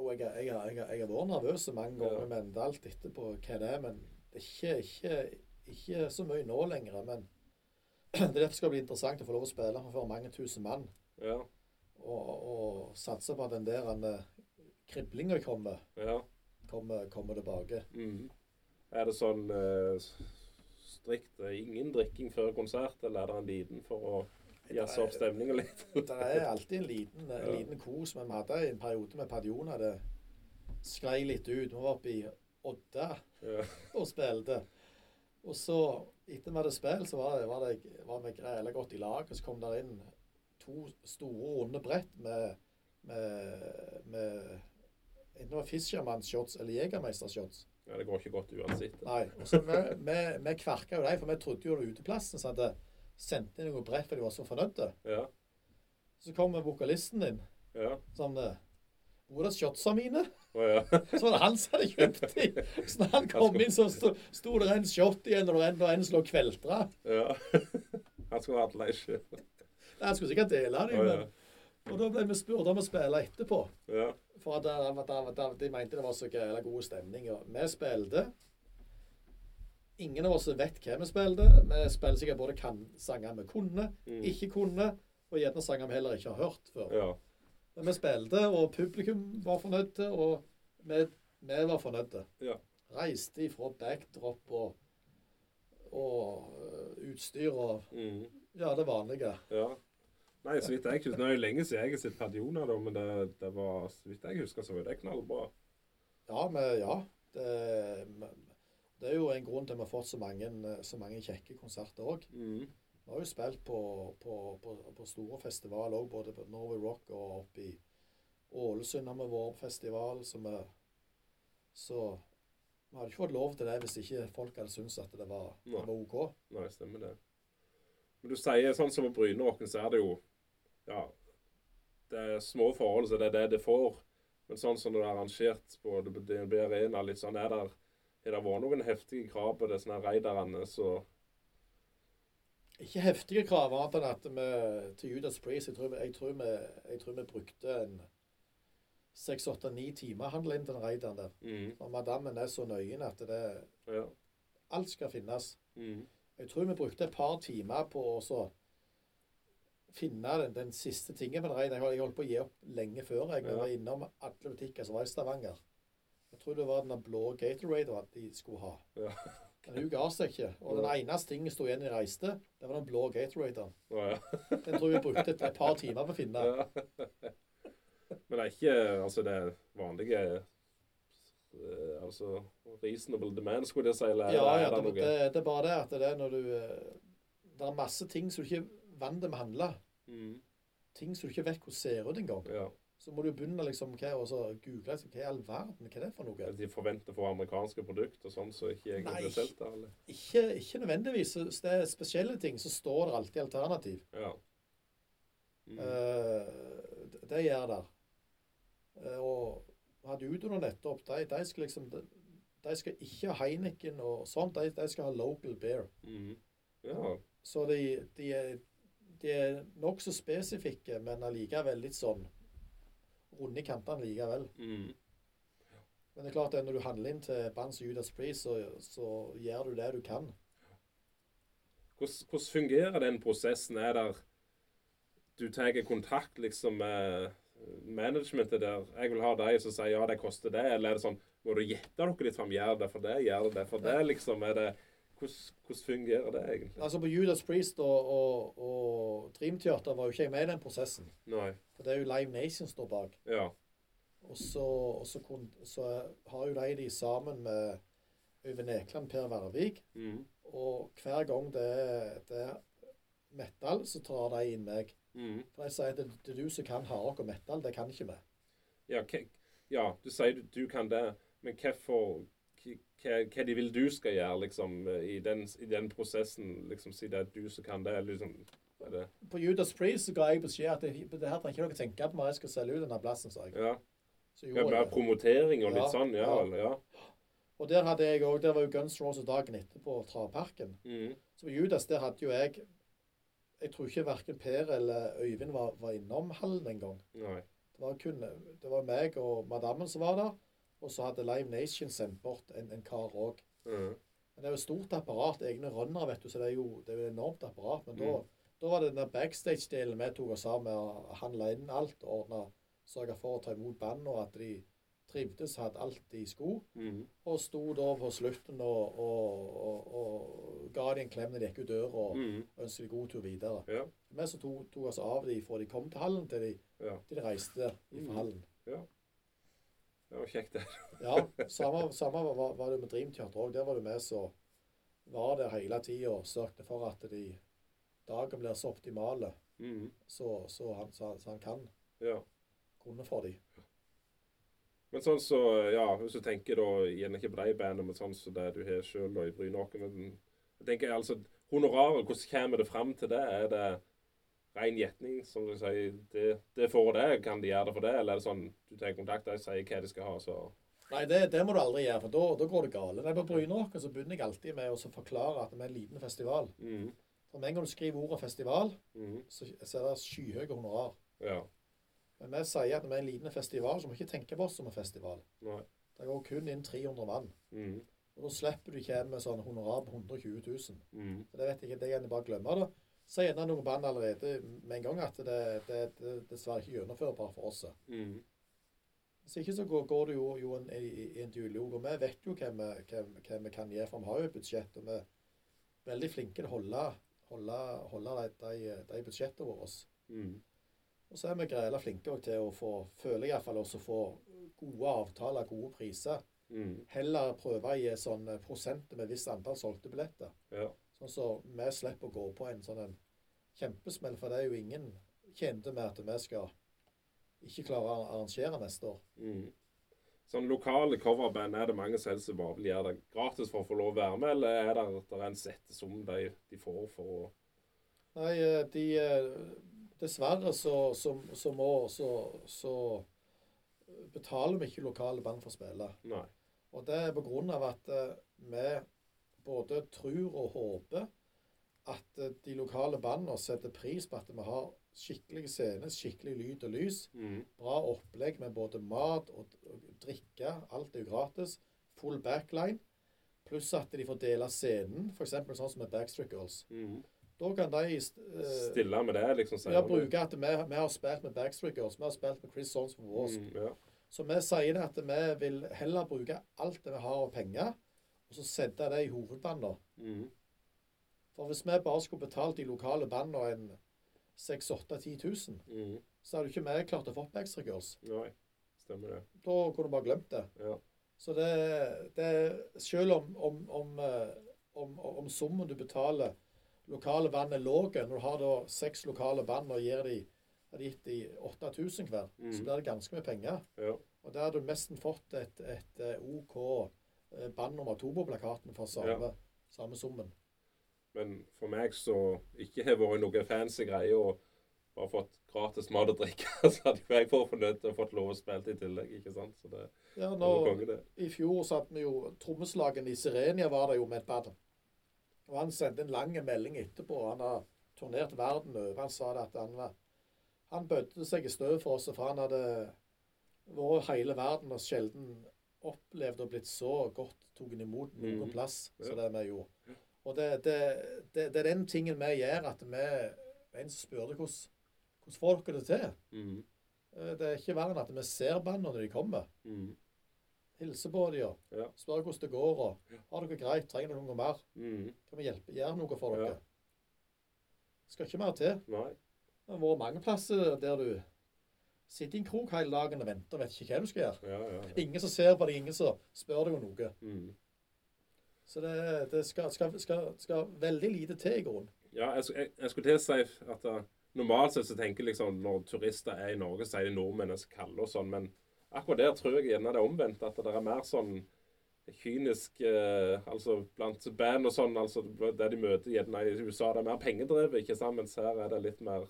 [SPEAKER 2] Og jeg, jeg, jeg, jeg, jeg har vært nervøs mange
[SPEAKER 1] Ja.
[SPEAKER 2] ganger, men det er alt etterpå hva det er. Men det er ikke, ikke, ikke så mye nå lenger. Men det er derfor det skal bli interessant å få lov å spille for mange tusen mann.
[SPEAKER 1] Ja.
[SPEAKER 2] Og, og satse på at den der eh, kriblinga kommer,
[SPEAKER 1] ja.
[SPEAKER 2] kommer, kommer tilbake.
[SPEAKER 1] Mm. Er det sånn eh, s- strikt eh, ingen drikking før konsert, eller er det en liten for å jazze opp stemninga litt?
[SPEAKER 2] Det er alltid en liten, en
[SPEAKER 1] Ja.
[SPEAKER 2] liten kos, men vi hadde en periode med Padiona det sklei litt ut. Vi var oppe i Odda.
[SPEAKER 1] Ja.
[SPEAKER 2] og spilte. Og så, etter vi hadde spilt, så var, det, var, det, var vi grela godt i lag. Og så kom der inn to store, runde brett med, med, med Enten det var Fisherman-shots eller Jegermeister-shots.
[SPEAKER 1] ja, det går ikke godt uansett.
[SPEAKER 2] Nei. Og så vi, vi, vi kverka jo dem, for vi trodde jo det var uteplassen. Så hadde sendt inn noen brett, for de var så fornøyde.
[SPEAKER 1] Ja.
[SPEAKER 2] Så kom vokalisten inn
[SPEAKER 1] Ja.
[SPEAKER 2] sånn eh, Hvor er shotsa mine?
[SPEAKER 1] Å ja.
[SPEAKER 2] Så var det han som hadde kjøpt de. Så når han kom inn, så sto, sto det en shot igjen, og en, og en som lå og kveltra.
[SPEAKER 1] ja. Han skulle hatt leisje.
[SPEAKER 2] Nei, Han skulle sikkert dele
[SPEAKER 1] Å
[SPEAKER 2] dem,
[SPEAKER 1] ja.
[SPEAKER 2] men Og da ble vi spurt om å spille etterpå.
[SPEAKER 1] ja.
[SPEAKER 2] For at, at, at, at de mente det var så gæla god stemning. Og vi spilte. Ingen av oss vet hva vi spilte. Vi spilte sikkert både kan, sanger vi kunne,
[SPEAKER 1] Mm.
[SPEAKER 2] ikke kunne, og gjerne sanger vi heller ikke har hørt før.
[SPEAKER 1] ja.
[SPEAKER 2] Men vi spilte, og publikum var fornøyde, og vi, vi var fornøyde.
[SPEAKER 1] Ja.
[SPEAKER 2] Reiste ifra backdrop og, og øh, utstyr og
[SPEAKER 1] Mm.
[SPEAKER 2] ja, det vanlige.
[SPEAKER 1] Ja. Nei, så vidt jeg husker, Nå er det jo lenge siden jeg har sett Padioner, da, men det, det var, så vidt jeg husker, så var det knallbra.
[SPEAKER 2] Ja, men ja. Det, men det er jo en grunn til at vi har fått så mange, så mange kjekke konserter òg.
[SPEAKER 1] Mm.
[SPEAKER 2] Vi har jo spilt på, på, på, på store festivaler òg, både på Norway Rock og oppe i Ålesund har vi vært på festival. Så vi, så vi hadde ikke fått lov til det hvis ikke folk hadde syntes at det var, det var OK.
[SPEAKER 1] Nei, stemmer det. Men du sier sånn som på Brynerocken, så er det jo Ja. Det er små forhold, så det er det det får. Men sånn som det er arrangert på DNB Arena, litt sånn er der Har det vært noen heftige krav på det sånne her raiderne, så
[SPEAKER 2] Ikke heftige krav, annet enn at vi til Judas Priest Jeg tror, jeg tror, vi, jeg tror vi brukte en seks, åtte, ni timer handla inn til den raideren der.
[SPEAKER 1] mm,
[SPEAKER 2] Og madammen er så nøyen at det
[SPEAKER 1] Ja.
[SPEAKER 2] Alt skal finnes.
[SPEAKER 1] Mm,
[SPEAKER 2] Jeg tror vi brukte et par timer på å så finne den, den siste tingen med rein. Jeg hol- jeg holdt på å gi opp lenge før jeg men
[SPEAKER 1] Ja.
[SPEAKER 2] var innom alle butikker som var i Stavanger. Jeg tror det var den blå Gatorade de skulle ha.
[SPEAKER 1] Ja.
[SPEAKER 2] Men hun ga seg ikke. Og den
[SPEAKER 1] Ja.
[SPEAKER 2] eneste tingen som sto igjen i reiste, det var den blå Gatoraden.
[SPEAKER 1] Å ja.
[SPEAKER 2] Den tror jeg vi brukte et, et par timer på å finne.
[SPEAKER 1] ja. Men det er ikke altså det vanlige eh, Altså reasonable demand, skulle jeg si. Eller
[SPEAKER 2] Ja,
[SPEAKER 1] er
[SPEAKER 2] ja, det,
[SPEAKER 1] det
[SPEAKER 2] det,
[SPEAKER 1] noe?
[SPEAKER 2] det er bare det at det er når du eh, Det er masse ting som du ikke er vant til å handle.
[SPEAKER 1] Mm,
[SPEAKER 2] Ting som du ikke vet hvordan ser ut engang.
[SPEAKER 1] ja.
[SPEAKER 2] så må du begynne liksom, hva, og så google liksom, hva i all verden hva er det for noe.
[SPEAKER 1] At De forventer å få amerikanske produkter og sånn, så ikke jeg
[SPEAKER 2] Nei.
[SPEAKER 1] blir solgt der, eller?
[SPEAKER 2] Ikke, ikke nødvendigvis. så Det er spesielle ting, så står det alltid alternativ.
[SPEAKER 1] Ja. Mm.
[SPEAKER 2] Eh, det- det gjør det. Uh, og vi hadde Udo nå nettopp. De, de skal liksom de, de skal ikke ha Heineken og sånt. De, de skal ha local beer.
[SPEAKER 1] Mm. Ja.
[SPEAKER 2] Så de, de er, de er nokså spesifikke, men allikevel litt sånn runde i kantene likevel.
[SPEAKER 1] Mm.
[SPEAKER 2] Men det er klart at når du handler inn til band som Judas Priest, så, så gjør du det du kan.
[SPEAKER 1] Hvordan, hvordan fungerer den prosessen? Er der du tar kontakt liksom med managementet der? Jeg vil ha deg som sier ja, det koster det, eller er det sånn må du gjette dere litt fram? Gjør det for det, gjør det for det, liksom? Er det, hvordan, hvordan fungerer det egentlig?
[SPEAKER 2] Altså På Judas Priest og, og, og Dream Theater var jo ikke jeg med i den prosessen.
[SPEAKER 1] Nei.
[SPEAKER 2] For det er jo Live Nation står bak.
[SPEAKER 1] Ja.
[SPEAKER 2] Og så, og så, kun, så har jo de de sammen med Øyvind Ekland, Per Værvik.
[SPEAKER 1] Mm.
[SPEAKER 2] Og hver gang det er, det er metal, så tar de inn meg.
[SPEAKER 1] Mm.
[SPEAKER 2] For de sier at det, det er du som kan hardrock og metal, det kan ikke vi.
[SPEAKER 1] Ja, hva, ja, du sier du, du kan det, men hvorfor hva- hva, hva de vil du skal gjøre liksom, i, den, i den prosessen? liksom Si det er du som kan det. liksom, er det,
[SPEAKER 2] På Judas Priest så ga jeg beskjed at det, det her trenger ikke dere tenke på når jeg skal selge ut denne plassen, sa jeg.
[SPEAKER 1] ja.
[SPEAKER 2] Så
[SPEAKER 1] Ja,
[SPEAKER 2] gjorde jeg
[SPEAKER 1] Mer
[SPEAKER 2] det.
[SPEAKER 1] promotering og
[SPEAKER 2] Ja,
[SPEAKER 1] litt sånn? Ja.
[SPEAKER 2] ja.
[SPEAKER 1] eller- ja.
[SPEAKER 2] Og der hadde jeg òg Der var jo Guns N' Roses dagen etterpå, Traparken.
[SPEAKER 1] Mm,
[SPEAKER 2] Så på Judas, der hadde jo jeg Jeg tror ikke verken Per eller Øyvind var, var innom hallen engang.
[SPEAKER 1] nei.
[SPEAKER 2] Det var kun Det var meg og madammen som var der. Og så hadde Live Nation sendt bort en, en kar òg.
[SPEAKER 1] Mm,
[SPEAKER 2] Men det er jo et stort apparat. Egne rønnere, vet du, så det er jo det er jo et enormt apparat. Men da,
[SPEAKER 1] Mm.
[SPEAKER 2] da var det den der backstage-delen vi tok oss av med å handle inn alt. Ordne, sørge for å ta imot band, og at de trivdes, hadde alt de skulle.
[SPEAKER 1] mm,
[SPEAKER 2] Og sto da på slutten og, og, og, og ga dem en klem når de gikk ut døra og
[SPEAKER 1] mm,
[SPEAKER 2] ønsket de god tur videre.
[SPEAKER 1] ja.
[SPEAKER 2] Vi som tok, tok oss av dem fra de kom til hallen, til de,
[SPEAKER 1] Ja.
[SPEAKER 2] til de reiste
[SPEAKER 1] Mm.
[SPEAKER 2] fra hallen.
[SPEAKER 1] Det var kjekt, det.
[SPEAKER 2] Ja, samme, samme var, var det med Dream Theater òg. Der var du med som var der hele tida og sørget for at de dagen blir så optimale
[SPEAKER 1] Mm,
[SPEAKER 2] så, så, han, så, han- så han kan
[SPEAKER 1] ja.
[SPEAKER 2] kunne for dem.
[SPEAKER 1] Men sånn så, ja, hvis du tenker da, gjerne ikke på de bandene, men sånn som det du har sjøl i Brynåker men Jeg tenker altså, Honoraret, hvordan kommer det fram til det? Er det ren gjetning, som du sier. Det, det får det, kan de gjøre det for det? Eller er det sånn du tar kontakt og sier hva de skal ha, så
[SPEAKER 2] Nei, det, det må du aldri gjøre, for da, da går det galt. Nei, På Brynrock så begynner jeg alltid med å så forklare at vi er en liten festival.
[SPEAKER 1] mm,
[SPEAKER 2] For Med en gang du skriver ordet festival,
[SPEAKER 1] mm,
[SPEAKER 2] så, så er det skyhøye honorar.
[SPEAKER 1] Ja.
[SPEAKER 2] Men vi sier at vi er en liten festival, så må vi ikke tenke på oss som en festival.
[SPEAKER 1] Nei.
[SPEAKER 2] Det går kun inn 300 mann.
[SPEAKER 1] Mm,
[SPEAKER 2] Og Da slipper du ikke en med sånn honorar på 120 000.
[SPEAKER 1] mm,
[SPEAKER 2] Så det vet jeg ikke, det kan jeg bare glemme. da. Så er det noen band allerede med en gang at det, det, det er dessverre ikke gjennomførbart for oss.
[SPEAKER 1] mm.
[SPEAKER 2] Hvis ikke så går, går det jo, jo en, i, i en dialog, og vi vet jo hva vi, hva, hva vi kan gjøre, for vi har jo et budsjett, og vi er veldig flinke til å holde, holde, holde de, de, de budsjettene våre.
[SPEAKER 1] mm.
[SPEAKER 2] Og så er vi grela flinke også til å få, føler jeg iallfall, også få gode avtaler, gode priser.
[SPEAKER 1] Mm,
[SPEAKER 2] Heller prøve å gi sånn prosent med visst antall solgte billetter.
[SPEAKER 1] ja.
[SPEAKER 2] Sånn så vi slipper å gå på en sånn en kjempesmell, for det er jo ingen tjente med at vi skal ikke klare å arrangere neste år.
[SPEAKER 1] Mm. Sånn lokale coverband, er det mange selv som bare vil gjøre det gratis for å få lov å være med, eller er det, der er en sette sum de, de får for å
[SPEAKER 2] Nei, eh, de eh, Dessverre så, så, så må så, så betaler vi ikke lokale band for å spille.
[SPEAKER 1] Nei.
[SPEAKER 2] Og det er på grunn av at eh, vi både tror og håper at eh, de lokale bandene setter pris på at vi har skikkelig scene, skikkelig lyd og lys,
[SPEAKER 1] Mm,
[SPEAKER 2] bra opplegg med både mat og, og drikke, alt er jo gratis, full backline, pluss at de får dele scenen, f.eks. sånn som med Backstreet Girls.
[SPEAKER 1] mm.
[SPEAKER 2] Da kan de eh,
[SPEAKER 1] Stille med det, liksom.
[SPEAKER 2] vi har brukt at vi, vi har spilt med Backstreet Girls, vi har spilt med Chris Sons for Wasp.
[SPEAKER 1] mm, ja.
[SPEAKER 2] Så vi sier det at vi vil heller bruke alt det vi har av penger, og så sette det i hovedbander.
[SPEAKER 1] mm,
[SPEAKER 2] For hvis vi bare skulle betalt de lokale bandene en 6 8 10 000,
[SPEAKER 1] mm.
[SPEAKER 2] så hadde jo ikke vi klart å få opp Backstreet Girls.
[SPEAKER 1] Nei. Stemmer det.
[SPEAKER 2] Da kunne du bare glemt det.
[SPEAKER 1] Ja.
[SPEAKER 2] Så det, det Selv om, om, om, eh, om, om summen du betaler lokale band er lav, når du har da seks lokale band og gir de, har gitt de 8000 hver, så
[SPEAKER 1] Mm.
[SPEAKER 2] blir det ganske mye penger.
[SPEAKER 1] Ja.
[SPEAKER 2] Og der har du nesten fått et, et eh, OK eh, band nummer to på plakaten for samme, samme summen.
[SPEAKER 1] Men for meg som ikke har vært noe fancy greie og bare fått gratis mat og drikke, så hadde jo jeg vært fornøyd til å fått lov å spille i tillegg, ikke sant. Så det
[SPEAKER 2] Ja,
[SPEAKER 1] det
[SPEAKER 2] nå,
[SPEAKER 1] var konge, det.
[SPEAKER 2] I fjor satt vi jo Trommeslagene i Sirenia var det jo med et band. Og han sendte en lang melding etterpå. Han har turnert verden over. Han sa det at han var Han bødde seg i støv for oss, for han hadde vært hele verden og sjelden opplevd og blitt så godt tatt imot noen
[SPEAKER 1] Mhm.
[SPEAKER 2] plass som
[SPEAKER 1] Ja.
[SPEAKER 2] det vi gjorde. Og det, det, det, det er den tingen vi gjør, at vi En som spurte hvordan, hvordan får dere det til?
[SPEAKER 1] Mm,
[SPEAKER 2] Eh, Det er ikke verre enn at vi ser bandene når de kommer
[SPEAKER 1] mm,
[SPEAKER 2] hilse på dem og
[SPEAKER 1] Ja.
[SPEAKER 2] spørre hvordan det går. og Har dere greit? Trenger dere noe mer?
[SPEAKER 1] mm.
[SPEAKER 2] Kan vi hjelpe? Gjøre noe for dere?
[SPEAKER 1] Ja.
[SPEAKER 2] Skal ikke mer til.
[SPEAKER 1] Nei.
[SPEAKER 2] Det har vært mange plasser der du sitter i en krok hele dagen og venter og vet ikke hva du skal gjøre.
[SPEAKER 1] Ja, ja. ja.
[SPEAKER 2] Ingen som ser på deg, ingen som spør deg om noe.
[SPEAKER 1] Mm.
[SPEAKER 2] Så det, det skal, skal, skal, skal veldig lite til i grunnen.
[SPEAKER 1] Ja, jeg, sk- jeg, jeg skulle til å si at uh, normalt sett så tenker jeg liksom når turister er i Norge, så er de nordmenn som kaller og sånn, men akkurat der tror jeg gjerne det er omvendt. At det er mer sånn kynisk eh, altså blant band og sånn, altså det de møter gjerne i USA, det er mer pengedrevet, ikke sant? Mens her er det litt mer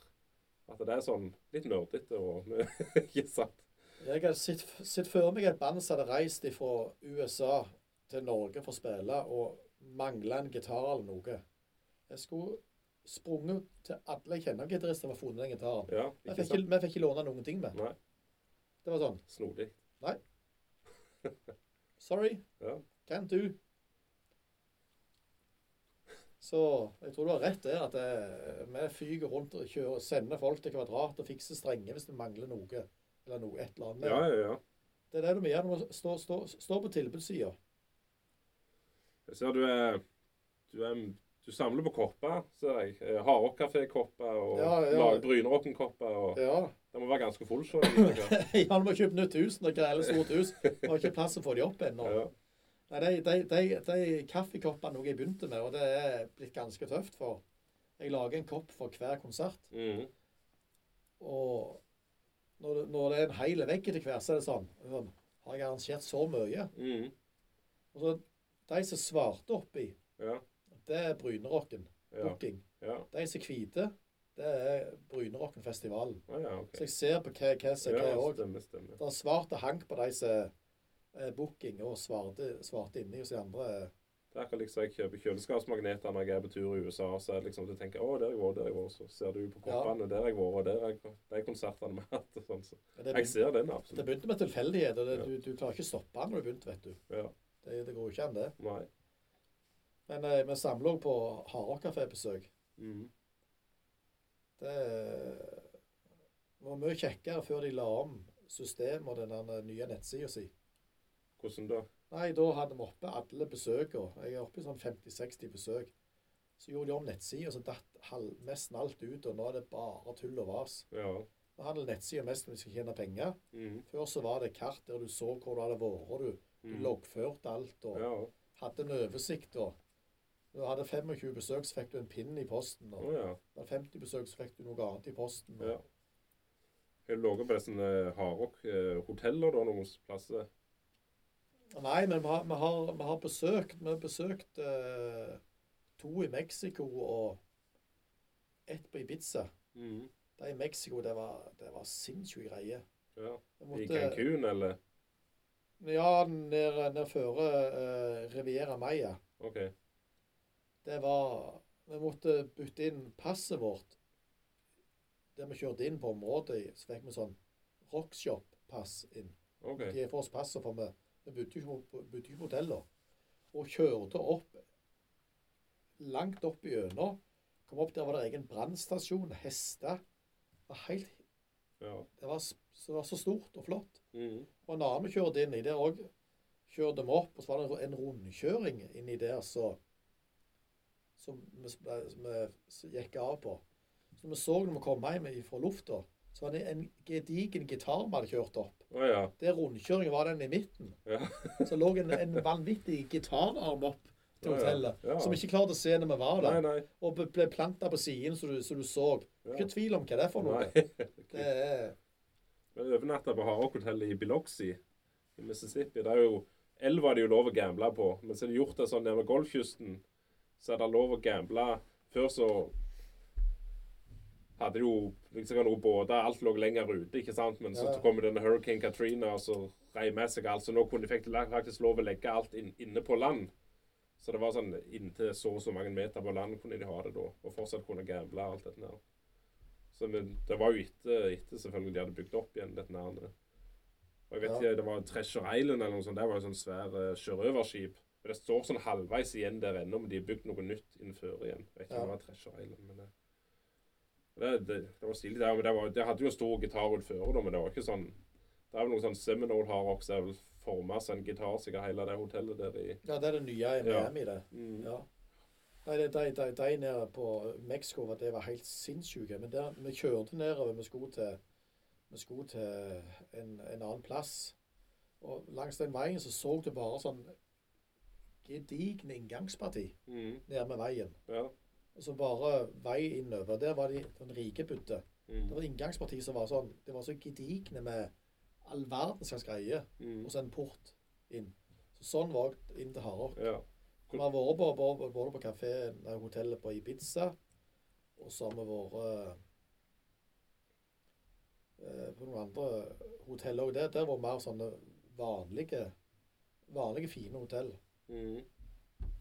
[SPEAKER 1] at det er sånn litt nerdete og Ikke sant?
[SPEAKER 2] Jeg har sett sett for meg et band som hadde reist fra USA til Norge for å spille, og mangla en gitar eller noe. Jeg skulle sprunget til alle jeg kjenner gitarister for å funnet den gitaren.
[SPEAKER 1] Ja,
[SPEAKER 2] Vi
[SPEAKER 1] ikke
[SPEAKER 2] fikk, ikke,
[SPEAKER 1] sant?
[SPEAKER 2] vi fikk ikke låne noen ting med.
[SPEAKER 1] Nei.
[SPEAKER 2] Det var sånn
[SPEAKER 1] Snodig.
[SPEAKER 2] Sorry,
[SPEAKER 1] Ja.
[SPEAKER 2] can't do. Så jeg tror du har rett der, at det, vi fyker rundt og kjører, sender folk til Kvadrat og fikser strenger hvis det mangler noe. Eller noe, et eller annet.
[SPEAKER 1] Ja, ja, ja.
[SPEAKER 2] Det er det du må gjøre når du står stå, stå på tilbudssida.
[SPEAKER 1] Jeg ser du er Du, er, du samler på kopper, ser jeg. Eh, Hardrock-kafé-kopper og
[SPEAKER 2] Ja, ja.
[SPEAKER 1] lag Brynrocken-kopper. og
[SPEAKER 2] Ja.
[SPEAKER 1] Det må være ganske full så jeg tenker.
[SPEAKER 2] Ja, du må kjøpe nytt hus når det er et stort hus. Vi har ikke plass til å få de opp ennå.
[SPEAKER 1] Ja.
[SPEAKER 2] Nei, de, de, de, de kaffekoppene noe jeg begynte med, og det er blitt ganske tøft, for jeg lager en kopp for hver konsert.
[SPEAKER 1] Mm.
[SPEAKER 2] Og når det, når det er en hel vegg etter hver, så er det sånn, sånn Har jeg arrangert så mye?
[SPEAKER 1] Mm.
[SPEAKER 2] Og så De som svarte oppi,
[SPEAKER 1] Ja.
[SPEAKER 2] det er Brynerocken.
[SPEAKER 1] Ja.
[SPEAKER 2] Booking.
[SPEAKER 1] ja.
[SPEAKER 2] De som er hvite, det er Brynerockenfestivalen.
[SPEAKER 1] Å ja, OK.
[SPEAKER 2] Så jeg ser på hva, hva som er
[SPEAKER 1] Ja,
[SPEAKER 2] hva
[SPEAKER 1] altså.
[SPEAKER 2] òg.
[SPEAKER 1] stemmer, stemmer.
[SPEAKER 2] Det er svart og hank på de som er booking, og svarte, svarte inni hos de andre. er-
[SPEAKER 1] Det er akkurat liksom jeg kjøper kjøleskapsmagneter når jeg er på tur i USA. Så er det liksom, du tenker 'Å, der har jeg vært, der har jeg vært', så ser du på poppene 'Der har jeg vært', og 'Der har jeg De konsertene vi har hatt, og sånn. Så.
[SPEAKER 2] Men det,
[SPEAKER 1] Jeg
[SPEAKER 2] begynte,
[SPEAKER 1] ser den
[SPEAKER 2] det
[SPEAKER 1] absolutt.
[SPEAKER 2] begynte med tilfeldigheter. Det-
[SPEAKER 1] Ja.
[SPEAKER 2] Du, du klarer ikke å stoppe den når du har begynt, vet du.
[SPEAKER 1] Ja.
[SPEAKER 2] Det, det går jo ikke an, det.
[SPEAKER 1] Nei.
[SPEAKER 2] Men eh, vi samler òg på hardrockcafébesøk.
[SPEAKER 1] Mm.
[SPEAKER 2] Det eh, var mye kjekkere før de la om systemet og den der nye nettsida si.
[SPEAKER 1] Hvordan da?
[SPEAKER 2] Nei, da hadde vi oppe alle besøkene. Jeg er oppe i sånn 50-60 besøk. Så gjorde de om nettsida, så datt halv, nesten alt ut. Og nå er det bare tull og vas.
[SPEAKER 1] Ja.
[SPEAKER 2] Nå handler nettsida mest om de skal tjene penger.
[SPEAKER 1] Mm.
[SPEAKER 2] Før så var det kart der du så hvor du hadde vært. Du, du
[SPEAKER 1] Mm.
[SPEAKER 2] loggførte alt og
[SPEAKER 1] Ja.
[SPEAKER 2] hadde en oversikt. og Når du hadde 25 besøk, så fikk du en pinn i posten.
[SPEAKER 1] Å
[SPEAKER 2] og
[SPEAKER 1] ja.
[SPEAKER 2] Når du hadde 50 besøk, så fikk du noe annet i posten. og
[SPEAKER 1] ja. Har du ligget på sånne hardrock-hoteller da, noen plasser?
[SPEAKER 2] Nei, men vi har, vi har, vi har besøkt Vi har besøkt eh, to i Mexico og ett på Ibiza.
[SPEAKER 1] Mm.
[SPEAKER 2] De i Mexico, det var, det var sinnssyke greier.
[SPEAKER 1] Ja.
[SPEAKER 2] Jeg
[SPEAKER 1] I
[SPEAKER 2] Måtte,
[SPEAKER 1] Cancún, eller?
[SPEAKER 2] ja, nede ned føre eh, Riviera Maya.
[SPEAKER 1] OK.
[SPEAKER 2] Det var Vi måtte bytte inn passet vårt. Der vi kjørte inn på området, så fikk vi sånn Rockshop-pass inn.
[SPEAKER 1] ok.
[SPEAKER 2] De får oss passet, for vi, vi bodde jo ikke på- bodde ikke på hoteller. Og kjørte opp langt opp gjennom. Kom opp der var det egen brannstasjon, hester. Det var, helt,
[SPEAKER 1] Ja.
[SPEAKER 2] det, var, s- så det var så stort og flott.
[SPEAKER 1] Mm.
[SPEAKER 2] Og en annen vi kjørte inn i der òg, kjørte vi opp, og så var det en rundkjøring inni der så, som vi, s- ble- som vi s- gikk av på. Så vi så når vi kom hjem fra lufta, så var det en gedigen gitar vi hadde kjørt opp.
[SPEAKER 1] Å ja.
[SPEAKER 2] Der rundkjøringen var den i midten.
[SPEAKER 1] Ja.
[SPEAKER 2] Så lå en, en vanvittig gitararm opp til
[SPEAKER 1] Ja, ja.
[SPEAKER 2] hotellet,
[SPEAKER 1] Ja.
[SPEAKER 2] som vi ikke klarte å se når vi var
[SPEAKER 1] Nei,
[SPEAKER 2] der.
[SPEAKER 1] nei.
[SPEAKER 2] Og ble- ble planta på siden, så du, så du så.
[SPEAKER 1] Ja.
[SPEAKER 2] Ikke tvil om hva det er for noe.
[SPEAKER 1] Nei.
[SPEAKER 2] Det er,
[SPEAKER 1] Men overnatta på hardrockhotellet i Biloxi i Mississippi. Det er jo elva det er jo lov å gamble på, men så er det gjort det sånn nede ved Golfkysten. Så er det lov å gamble. Før så hadde jo liksom noen båter, alt lå lenger ute, ikke sant. Men så
[SPEAKER 2] Ja.
[SPEAKER 1] kom denne Hurricane Katrina, og så rei med seg alt. Så nå kunne de fikk de faktisk lov å legge alt inn, inne på land. Så det var sånn inntil så og så mange meter på land kunne de ha det da, og fortsatt kunne gamble alt dette her. Så men, det var jo etter, etter selvfølgelig de hadde bygd opp igjen dette her. Og jeg vet
[SPEAKER 2] Ja.
[SPEAKER 1] ikke, det var Treasure Island eller noe sånt, der var jo sånn svær eh, sjørøverskip. Og det står sånn halvveis igjen der ennå, men de har bygd noe nytt innenfor igjen. Jeg vet ikke
[SPEAKER 2] Ja.
[SPEAKER 1] om det var Treasure Island, men det, det, det, det var stilig der. Men det, var, det hadde jo stor gitar rundt føret da, men det var ikke sånn, det er vel noen sånn Seminole Hardrock som er vel formet som en gitar, sikkert hele det hotellet der i.
[SPEAKER 2] ja, det er det nye i
[SPEAKER 1] Ja.
[SPEAKER 2] Miami, det.
[SPEAKER 1] Mm.
[SPEAKER 2] Ja. Nei, det- de, de, de nede på Mexico var- det var helt sinnssyke. Men der, vi kjørte nedover. Vi skulle til, vi skulle til en, en annen plass. Og langs den veien så så du bare sånn gedigne inngangsparti
[SPEAKER 1] Mm.
[SPEAKER 2] nede med veien.
[SPEAKER 1] Ja.
[SPEAKER 2] Og så bare vei innover. Der var de den rike bodde. Det
[SPEAKER 1] Mm.
[SPEAKER 2] var et inngangsparti som var sånn Det var så gedigne med all verdens slags greier.
[SPEAKER 1] Mm.
[SPEAKER 2] Og så en port inn. Så sånn var det inn til Hardrock.
[SPEAKER 1] Ja.
[SPEAKER 2] Vi har vært på, på, både på kafé, nei, hotellet på Ibiza, og så har vi vært eh, på noen andre hotell òg. Der, der var mer sånne vanlige, vanlige fine hotell.
[SPEAKER 1] Mm.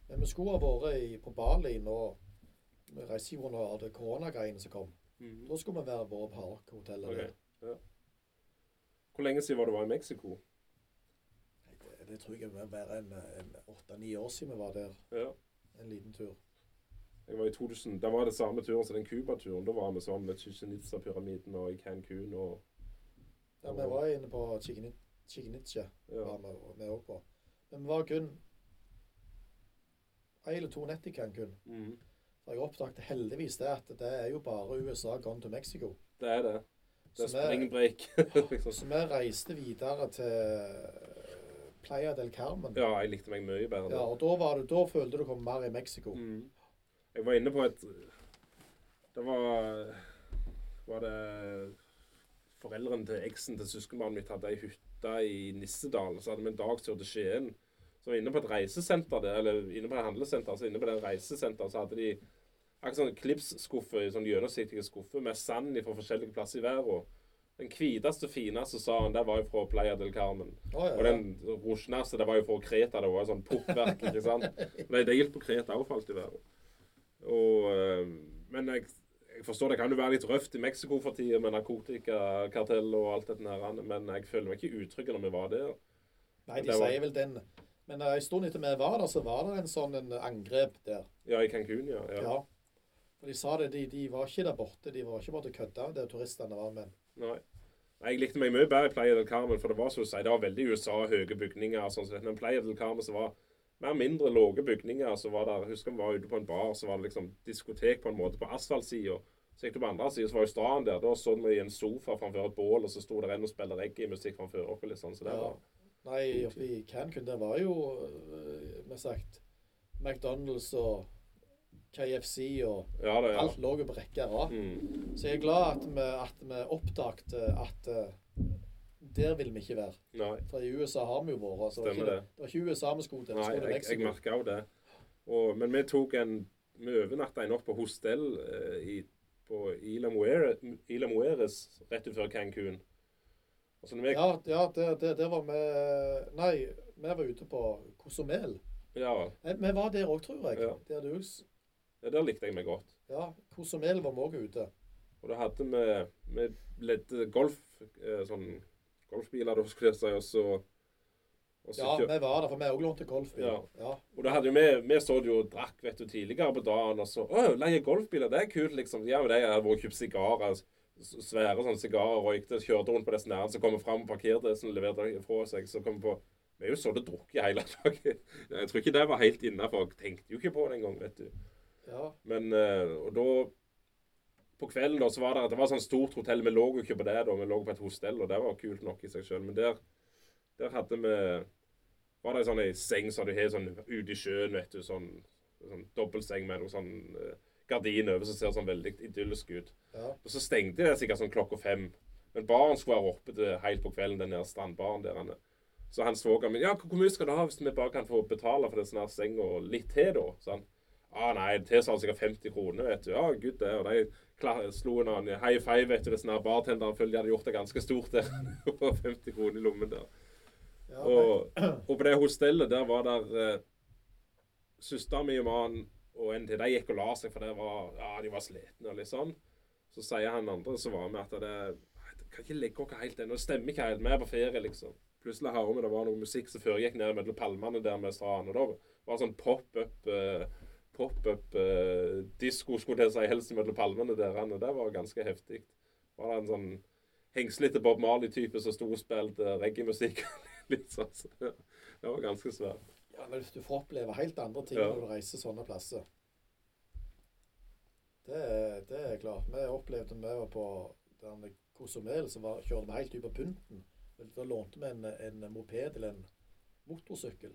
[SPEAKER 2] Men vi skulle ha vært i, på Bali nå. Vi reiste jo under det koronagreiene som kom.
[SPEAKER 1] Mm.
[SPEAKER 2] Da skulle vi være vært på Hark-hotellet.
[SPEAKER 1] Ok, ja. Hvor lenge siden var det du var i Mexico?
[SPEAKER 2] Det, det tror jeg må være en, en åtte-ni år siden vi var der.
[SPEAKER 1] Ja.
[SPEAKER 2] En liten tur.
[SPEAKER 1] Jeg var i 2000. Da var det samme turen som den Cuba-turen. Da var vi sammen med Chichen Itza-pyramiden og i Cancún og
[SPEAKER 2] Ja, vi var inne på Chichen- Chichen Itza.
[SPEAKER 1] ja.
[SPEAKER 2] var vi- vi òg på. Men vi var kun ei eller to nett i Cancún.
[SPEAKER 1] Mm.
[SPEAKER 2] For jeg oppdaget heldigvis det at det er jo bare USA gone to Mexico.
[SPEAKER 1] Det er det. Det er
[SPEAKER 2] Så vi-
[SPEAKER 1] springbreak. liksom.
[SPEAKER 2] Så vi reiste videre til Playa del Carmen.
[SPEAKER 1] ja, jeg likte meg mye bedre.
[SPEAKER 2] Ja,
[SPEAKER 1] der.
[SPEAKER 2] og da, var du, da følte du kom mer i Mexico.
[SPEAKER 1] Mm. Jeg var inne på et Det var Var det Foreldrene til eksen til søskenbarnet mitt hadde ei hytte i Nissedal. Så hadde vi en dag til Skien. Så var jeg inne på et reisesenter der, eller inne på et handlesenter, så inne på det reisesenteret så hadde de akkurat sånn klipsskuffe, sånn gjennomsiktige skuffe med sand fra forskjellige plasser i verden. Den hviteste, fineste sa han, det var jo fra Playa del Carmen.
[SPEAKER 2] Å, ja,
[SPEAKER 1] Og den rosjneste, det var jo fra Kreta. Det var jo sånn puppverk, ikke sant. Nei, det gikk på Kreta òg, falt i verden. Og, eh, men jeg, jeg forstår det kan jo være litt røft i Mexico for tida med narkotikakartell og alt dette her, men jeg føler meg ikke utrygg når vi var der.
[SPEAKER 2] Nei, de
[SPEAKER 1] det var-
[SPEAKER 2] sier vel den. Men eh, en stund etter vi var der, så var det en sånn en angrep der.
[SPEAKER 1] Ja, i Cancún, ja. ja.
[SPEAKER 2] Ja. For de sa det, de, de var ikke der borte. De var ikke borte og kødda, det turistene var med.
[SPEAKER 1] Nei. Nei, Jeg likte meg mye bedre i Playa del Carmen, for det var som du sier, det var veldig USA, høye bygninger. og sånn, så Men Playa del Carmen så var mer mindre lave bygninger. så var der, Husker vi var ute på en bar, så var det liksom diskotek på en måte på asfaltsida. Så gikk du på andre sida, så var jo stranden der. Da så vi i en sofa framfor et bål, og så sto der en og spilte reggae-musikk framfor oss. Liksom, så det
[SPEAKER 2] Ja.
[SPEAKER 1] var
[SPEAKER 2] Nei, oppe i Cancun, der var jo, øh, vi sagt, McDonald's og KFC og
[SPEAKER 1] Ja, det, ja.
[SPEAKER 2] Alt lå jo på rekke og rad.
[SPEAKER 1] Mm.
[SPEAKER 2] Så jeg er glad at vi, at vi oppdaget at eh, der vil vi ikke være.
[SPEAKER 1] Nei.
[SPEAKER 2] For i USA har vi jo vært. Så det var
[SPEAKER 1] Stemmer
[SPEAKER 2] ikke,
[SPEAKER 1] det.
[SPEAKER 2] det var ikke USA vi skulle til. Vi
[SPEAKER 1] Nei,
[SPEAKER 2] skulle til
[SPEAKER 1] jeg, jeg
[SPEAKER 2] Mexico.
[SPEAKER 1] merka òg det. Og, men vi tok en Vi overnatta en natt på hostell eh, i, på Isla Muere- Isla Mujeres rett utenfor Cancún. Og så når vi, ja.
[SPEAKER 2] Ja, ja det, det, det var vi Nei, vi var ute på Cozumel.
[SPEAKER 1] Ja,
[SPEAKER 2] Nei, Vi var der òg, tror jeg.
[SPEAKER 1] Ja.
[SPEAKER 2] Der du s-
[SPEAKER 1] der likte jeg meg godt.
[SPEAKER 2] Ja, Cozumel var vi òg ute.
[SPEAKER 1] Og da hadde vi Vi ledde golf eh, sånn golfbiler, da, skulle jeg si, og så og så
[SPEAKER 2] Ja,
[SPEAKER 1] kjø-
[SPEAKER 2] vi var der, for vi òg lånte golfbil.
[SPEAKER 1] Ja.
[SPEAKER 2] Ja.
[SPEAKER 1] Og da hadde jo vi, vi så det jo og drakk vet du, tidligere på dagen, og så Å, leie golfbiler, det er kult, liksom. Ja, men det hadde vært kjøpt sigarer. s- Svære sånne sigarer, røykte, kjørte rundt på disse nærmene som kommer fram, parkerte som leverte fra seg. Så kom vi på Vi er jo så det drukket hele dagen. Jeg tror ikke det var helt innafor. Tenkte jo ikke på det engang, vet du.
[SPEAKER 2] ja.
[SPEAKER 1] Men eh, Og da På kvelden da, så var det at det var sånn stort hotell. Vi lå jo ikke på det, da. Vi lå på et hostell, og det var kult nok i seg sjøl. Men der, der hadde vi Var det ei sånn ei seng som du har sånn ute i sjøen, vet du. Sånn, sånn dobbeltseng med noe sånn eh, gardin over som ser sånn veldig idyllisk ut.
[SPEAKER 2] ja.
[SPEAKER 1] Og så stengte de det sikkert sånn klokka fem. Men baren skulle være oppe til helt på kvelden, den der strandbaren der. han er. Så han svogeren min Ja, hvor hvor mye skal du ha hvis vi bare kan få betale for den senga og litt til, da? Så han ah, nei, det tilsvarer sikkert 50 kroner, vet du. Ja, gud, det. Og de klar, slo en annen high five, vet du. Det sånn bartenderen følte de hadde gjort det ganske stort der. Det var 50 kroner i lommen der.
[SPEAKER 2] ja
[SPEAKER 1] Og, og på det hostellet der var der uh, søsteren min og mannen og en til. De gikk og la seg, for det var, ja, de var slitne og litt sånn. Så sier han andre som var med, at det, «Nei, det kan ikke ligge oss helt ennå. Det stemmer ikke helt. Vi er på ferie, liksom. Plutselig hører vi det var noe musikk som foregikk nede mellom palmene der med stranden. Og da var det sånn pop-up eh, pop-up eh, disko, skulle jeg si, helst mellom palmene der. Og det var ganske heftig. Var det en sånn hengslete Bob Marley-type som sto og spilte eh, reggae-musikk? Litt sånn. så Det det var ganske svært.
[SPEAKER 2] Ja, men du får oppleve helt andre ting
[SPEAKER 1] Ja.
[SPEAKER 2] når du reiser sånne plasser. Det, er- det er klart. Vi opplevde vi var på den Cozumel, så var, kjørte vi helt ut på pynten. Men Da lånte vi en, en moped eller en motorsykkel.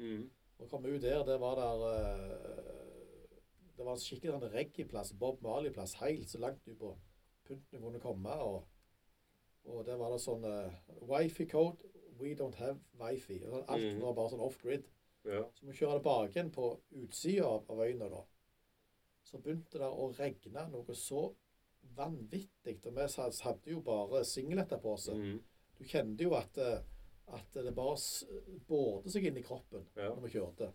[SPEAKER 1] Mm.
[SPEAKER 2] Og kom ut der, det var der eh, Det var en skikkelig sånn reggae-plass, Bob Marley-plass, helt så langt ut på pynten du kunne komme. Og, og der var det sånn eh, Wifi-code. We don't have wifi. Og Alt
[SPEAKER 1] Mhm.
[SPEAKER 2] var bare sånn off-grid.
[SPEAKER 1] Ja.
[SPEAKER 2] Så vi kjører tilbake igjen på utsida av, av øyene da. Så begynte det å regne noe så vanvittig. Og vi sa- hadde jo bare singleter på oss.
[SPEAKER 1] Mm.
[SPEAKER 2] Du kjente jo at, eh, at det bare s- bårde seg inn i kroppen
[SPEAKER 1] Ja.
[SPEAKER 2] når vi kjørte.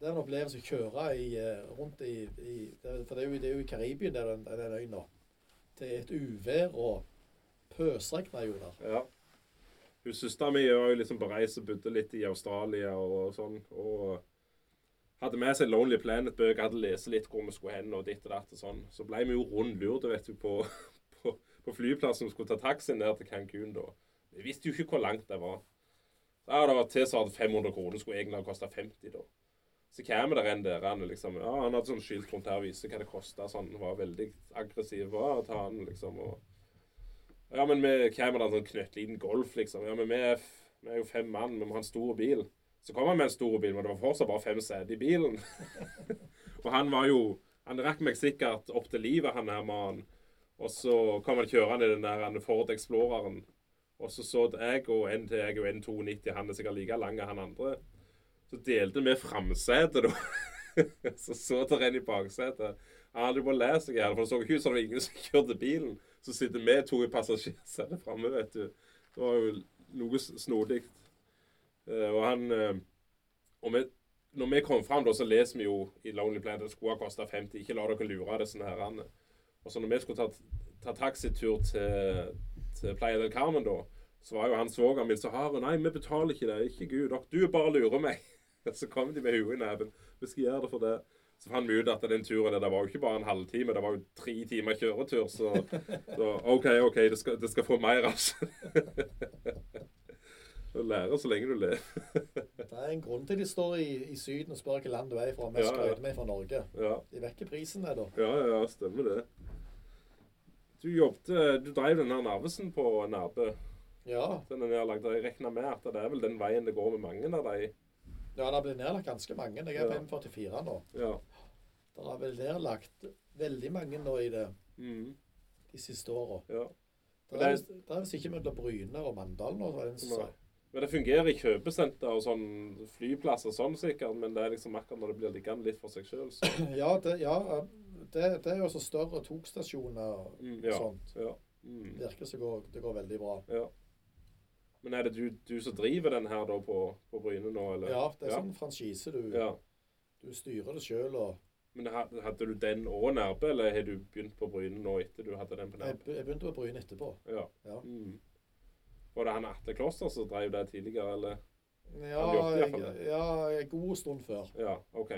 [SPEAKER 2] Det er en opplevelse å kjøre i, eh, rundt i, i det, er- For det er jo, det er jo i Karibien, det er den, den øyen nå. Til et uvær og pøsregn jo der.
[SPEAKER 1] ja. Hun Søstera mi var jo liksom på reise, bodde litt i Australia og sånn. og hadde med seg Lonely Planet-bøker, hadde lest litt hvor vi skulle hen og ditt og datt og sånn. Så ble vi jo rundlurt, vet du, på, på, på flyplassen. Vi skulle ta taxien ned til Cancún da. Vi visste jo ikke hvor langt det var. Ja, det var tilsvarende 500 kroner. Skulle egentlig ha kosta 50, da. Så kommer der en der han er liksom Ja, han hadde sånn skilt rundt her og viste hva det kosta. Sånn, var veldig aggressiv. Var å ta han, liksom. Og Ja, men vi kommer der en sånn knøttliten Golf, liksom. Ja, men vi er, f- vi er jo fem mann, vi må ha en stor bil. Så kom han med en stor bil, men det var fortsatt bare fem seter i bilen. og han var jo Han rakk meg sikkert opp til livet, han her mannen. Og så kom han kjørende i den der han Ford Exploreren. Og så så jeg og en til jeg og en 290, han er sikkert like lang han andre. Så delte vi framsetet, da. så så der en i baksetet. Ja, du må lære seg her, for det så ikke ut som det var ingen som kjørte bilen. Så sitter vi to i passasjersetet framme, vet du. Det var jo noe s- snodig. Eh, Og han eh, og vi, Når vi kom fram, da, så leser vi jo i Lonely Planet at det skulle ha kosta 50. Ikke la dere lure av disse herrene. Og så når vi skulle ta, ta taxitur til, til Playa del Carmen, da, så var jo han svogeren min så hard. Nei, vi betaler ikke det. Ikke gud. dere- Du bare lurer meg. Så kom de med huet i neven. Vi skal gjøre det for det. Så fant vi ut at den turen der, det var jo ikke bare en halvtime, det var jo tre timer kjøretur. Så, så OK, OK, det skal, det skal få mer av seg. Du lærer så lenge du lever.
[SPEAKER 2] Det er en grunn til de står i, i Syden og spør hvilket land du er fra. Vi
[SPEAKER 1] Ja, ja.
[SPEAKER 2] skrøter med fra Norge.
[SPEAKER 1] Ja,
[SPEAKER 2] De vekker prisen, det, da.
[SPEAKER 1] ja, ja stemmer det. Du jobbet, du drev den her Narvesen på Narbe.
[SPEAKER 2] Ja,
[SPEAKER 1] Den er nedlagt. Jeg regner med at det er vel den veien det går med mange av de.
[SPEAKER 2] ja det har blitt nedlagt ganske mange. Jeg
[SPEAKER 1] Ja.
[SPEAKER 2] er 544 nå.
[SPEAKER 1] Ja.
[SPEAKER 2] Det har vel nedlagt veldig mange nå i det
[SPEAKER 1] Mm,
[SPEAKER 2] de siste åra.
[SPEAKER 1] ja.
[SPEAKER 2] Det er visst- det er visst ikke mellom Bryne og Mandal nå. var det en som sa.
[SPEAKER 1] Nei. Men det fungerer i kjøpesenter og sånn flyplasser og sånn sikkert, men det er liksom akkurat når det blir liggende litt for seg sjøl, så
[SPEAKER 2] Ja, det, ja det, det er jo også større togstasjoner og
[SPEAKER 1] mm, Ja.
[SPEAKER 2] sånt.
[SPEAKER 1] ja. Mm.
[SPEAKER 2] Virker som det går, det går veldig bra.
[SPEAKER 1] Ja. Men er det du, du som driver den her da på, på Bryne nå, eller?
[SPEAKER 2] Ja, det er
[SPEAKER 1] Ja.
[SPEAKER 2] sånn franchise. Du,
[SPEAKER 1] Ja.
[SPEAKER 2] du styrer det sjøl og
[SPEAKER 1] Men ha- hadde du den og Nærbø, eller har du begynt på Bryne nå etter du hadde den på
[SPEAKER 2] Jeg,
[SPEAKER 1] Nærbø?
[SPEAKER 2] jeg begynte på Bryne etterpå.
[SPEAKER 1] Ja.
[SPEAKER 2] Ja.
[SPEAKER 1] Mm. Var det han Atle Kloster som drev det tidligere, eller?
[SPEAKER 2] Ja,
[SPEAKER 1] jobbet i
[SPEAKER 2] jeg,
[SPEAKER 1] hvert fall det.
[SPEAKER 2] ja, en god stund før.
[SPEAKER 1] Ja, OK.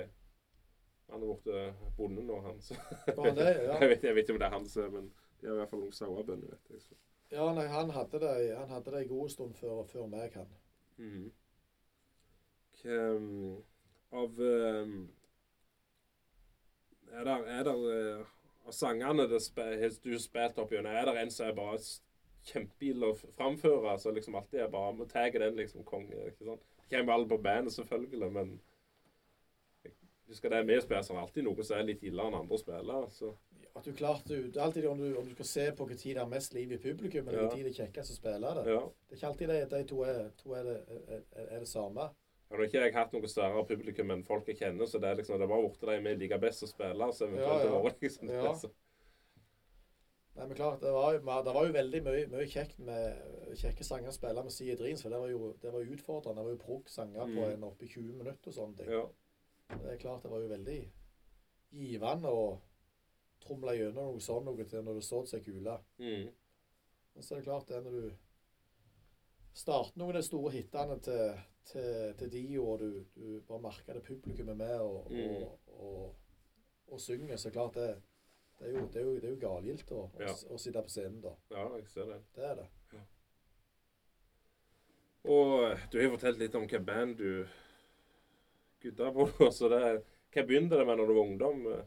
[SPEAKER 1] Han er borte bonde nå, han. Så.
[SPEAKER 2] Var han det? Ja.
[SPEAKER 1] Jeg, vet, jeg vet ikke om det er han som er, men de har i hvert fall noen sauebønder, vet jeg. Så.
[SPEAKER 2] Ja, nei, han hadde det han hadde det en god stund før, før meg, han.
[SPEAKER 1] Mhm. Hvem- Av ehm, Er der, er der eh, Av sangene det spe, har du spilt opp gjennom, er det en som er bare s- kjempegild å f- framføre? Som liksom alltid er bare må tagge den, liksom, konge? ikke sant? Det Kommer alle på bandet, selvfølgelig, men jeg husker det vi spiller, så er det alltid noe som er litt ille enn andre altså. spillere. Så.
[SPEAKER 2] At du klart, du, det er alltid om du, om du skal se på hvor tid det er mest liv i publikum, eller
[SPEAKER 1] Ja.
[SPEAKER 2] hvor tid det er kjekkest å spille det.
[SPEAKER 1] Ja.
[SPEAKER 2] Det er ikke alltid de, de to, er, to er, det, er, er- er det samme.
[SPEAKER 1] Ja, Nå har ikke jeg hatt noe større publikum enn folk jeg kjenner, så det er liksom, det var borte de vi liker best å spille. Så eventuelt
[SPEAKER 2] Ja, ja.
[SPEAKER 1] det var liksom det,
[SPEAKER 2] Ja.
[SPEAKER 1] så.
[SPEAKER 2] Nei, men klart, det var, jo- det var jo veldig mye, mye kjekt med kjekke sanger å spille med Sea Dreams, for det var jo, det var jo utfordrende. Det var jo prog-sanger på
[SPEAKER 1] Mm.
[SPEAKER 2] en oppe i 20 minutter og sånne ting.
[SPEAKER 1] Ja.
[SPEAKER 2] Det er klart det var jo veldig givende å tromle gjennom noe sånn noe til når du så seg kule.
[SPEAKER 1] Mm.
[SPEAKER 2] Men så er det klart det når du starter noen av de store hitene til, til, til de, og du, du bare merker det publikummet med og,
[SPEAKER 1] Mm.
[SPEAKER 2] og, og, og synger, så er det klart det, det er jo, det er jo, det er jo galgilt å, å
[SPEAKER 1] Ja.
[SPEAKER 2] s- å sitte på scenen da.
[SPEAKER 1] Ja, jeg ser det.
[SPEAKER 2] Det er det.
[SPEAKER 1] Og eh, du har jo fortalt litt om hva band du gutta på. Så det, hva begynte det med når du var ungdom? eh,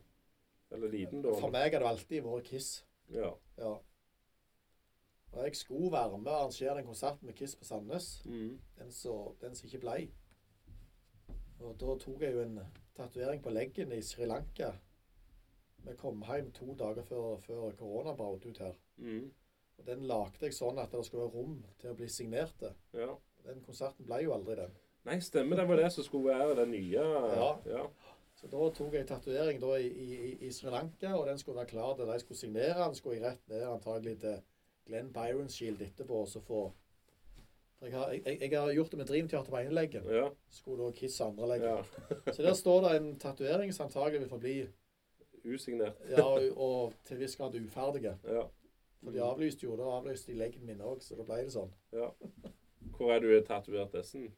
[SPEAKER 1] Eller liten, da?
[SPEAKER 2] For meg har det alltid vært Kiss.
[SPEAKER 1] Ja.
[SPEAKER 2] Ja. Og jeg skulle være med og arrangere en konsert med Kiss på Sandnes.
[SPEAKER 1] Mm.
[SPEAKER 2] den som den som ikke blei. Og da tok jeg jo en tatovering på leggen i Sri Lanka. Vi kom hjem to dager før, før korona brøt ut her.
[SPEAKER 1] Mm.
[SPEAKER 2] Og Den lagde jeg sånn at det skulle være rom til å bli signerte.
[SPEAKER 1] ja.
[SPEAKER 2] Den konserten ble jo aldri den.
[SPEAKER 1] Nei, stemmer. Det var det som skulle være det nye.
[SPEAKER 2] Ja.
[SPEAKER 1] ja.
[SPEAKER 2] Så da tok jeg tatovering da i, i, i Sri Lanka, og den skulle være klar til de skulle signere. Den skulle jeg rett ned antagelig til Glenn Byrons Shield etterpå og så få For jeg har, jeg, jeg har gjort det med Dream Theater på ene leggen.
[SPEAKER 1] Ja.
[SPEAKER 2] Skulle da Kiss andre leggen.
[SPEAKER 1] ja.
[SPEAKER 2] Så der står det en tatovering som antagelig vil forbli
[SPEAKER 1] Usignert.
[SPEAKER 2] ja, og til en viss grad uferdige.
[SPEAKER 1] Ja.
[SPEAKER 2] For de avlyste jo, da avlyste de leggen min òg, så da ble det sånn.
[SPEAKER 1] Hvor er du tatovert dessen?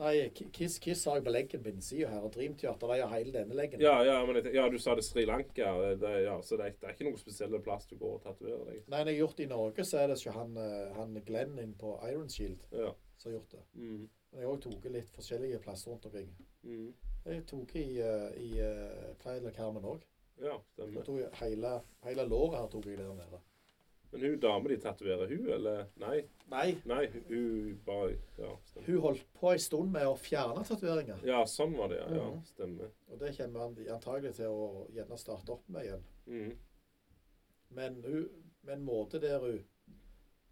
[SPEAKER 2] Nei, Ki- Kiss Kiss har jeg på leggen på innsida her, og Dream Theater de har hele denne leggen.
[SPEAKER 1] Ja, ja, men jeg, tenk- ja, du sa det Sri Lanka. Det, ja, så det er, det er ikke noen spesielle plass du går og tatoverer deg.
[SPEAKER 2] Nei, når jeg har gjort det i Norge, så er det ikke han, eh, han Glenn inn på Iron Shield
[SPEAKER 1] Ja.
[SPEAKER 2] som har gjort det.
[SPEAKER 1] Mm.
[SPEAKER 2] Men jeg har òg tatt litt forskjellige plasser rundt omkring.
[SPEAKER 1] Mm.
[SPEAKER 2] Jeg tok i, eh, i eh, Playa del Carmen òg.
[SPEAKER 1] Ja, stemmer.
[SPEAKER 2] Hele, hele låret her tok jeg der nede.
[SPEAKER 1] Men hun dama de tatoverer hun, eller? Nei.
[SPEAKER 2] Nei,
[SPEAKER 1] Nei, hun- hun bare Ja, stemmer.
[SPEAKER 2] hun holdt på en stund med å fjerne tatoveringer.
[SPEAKER 1] Ja, sånn var det, ja. ja
[SPEAKER 2] Mhm.
[SPEAKER 1] stemmer.
[SPEAKER 2] Og det kommer han antagelig til å gjerne starte opp med igjen.
[SPEAKER 1] Mhm.
[SPEAKER 2] Men hun, med en måte der hun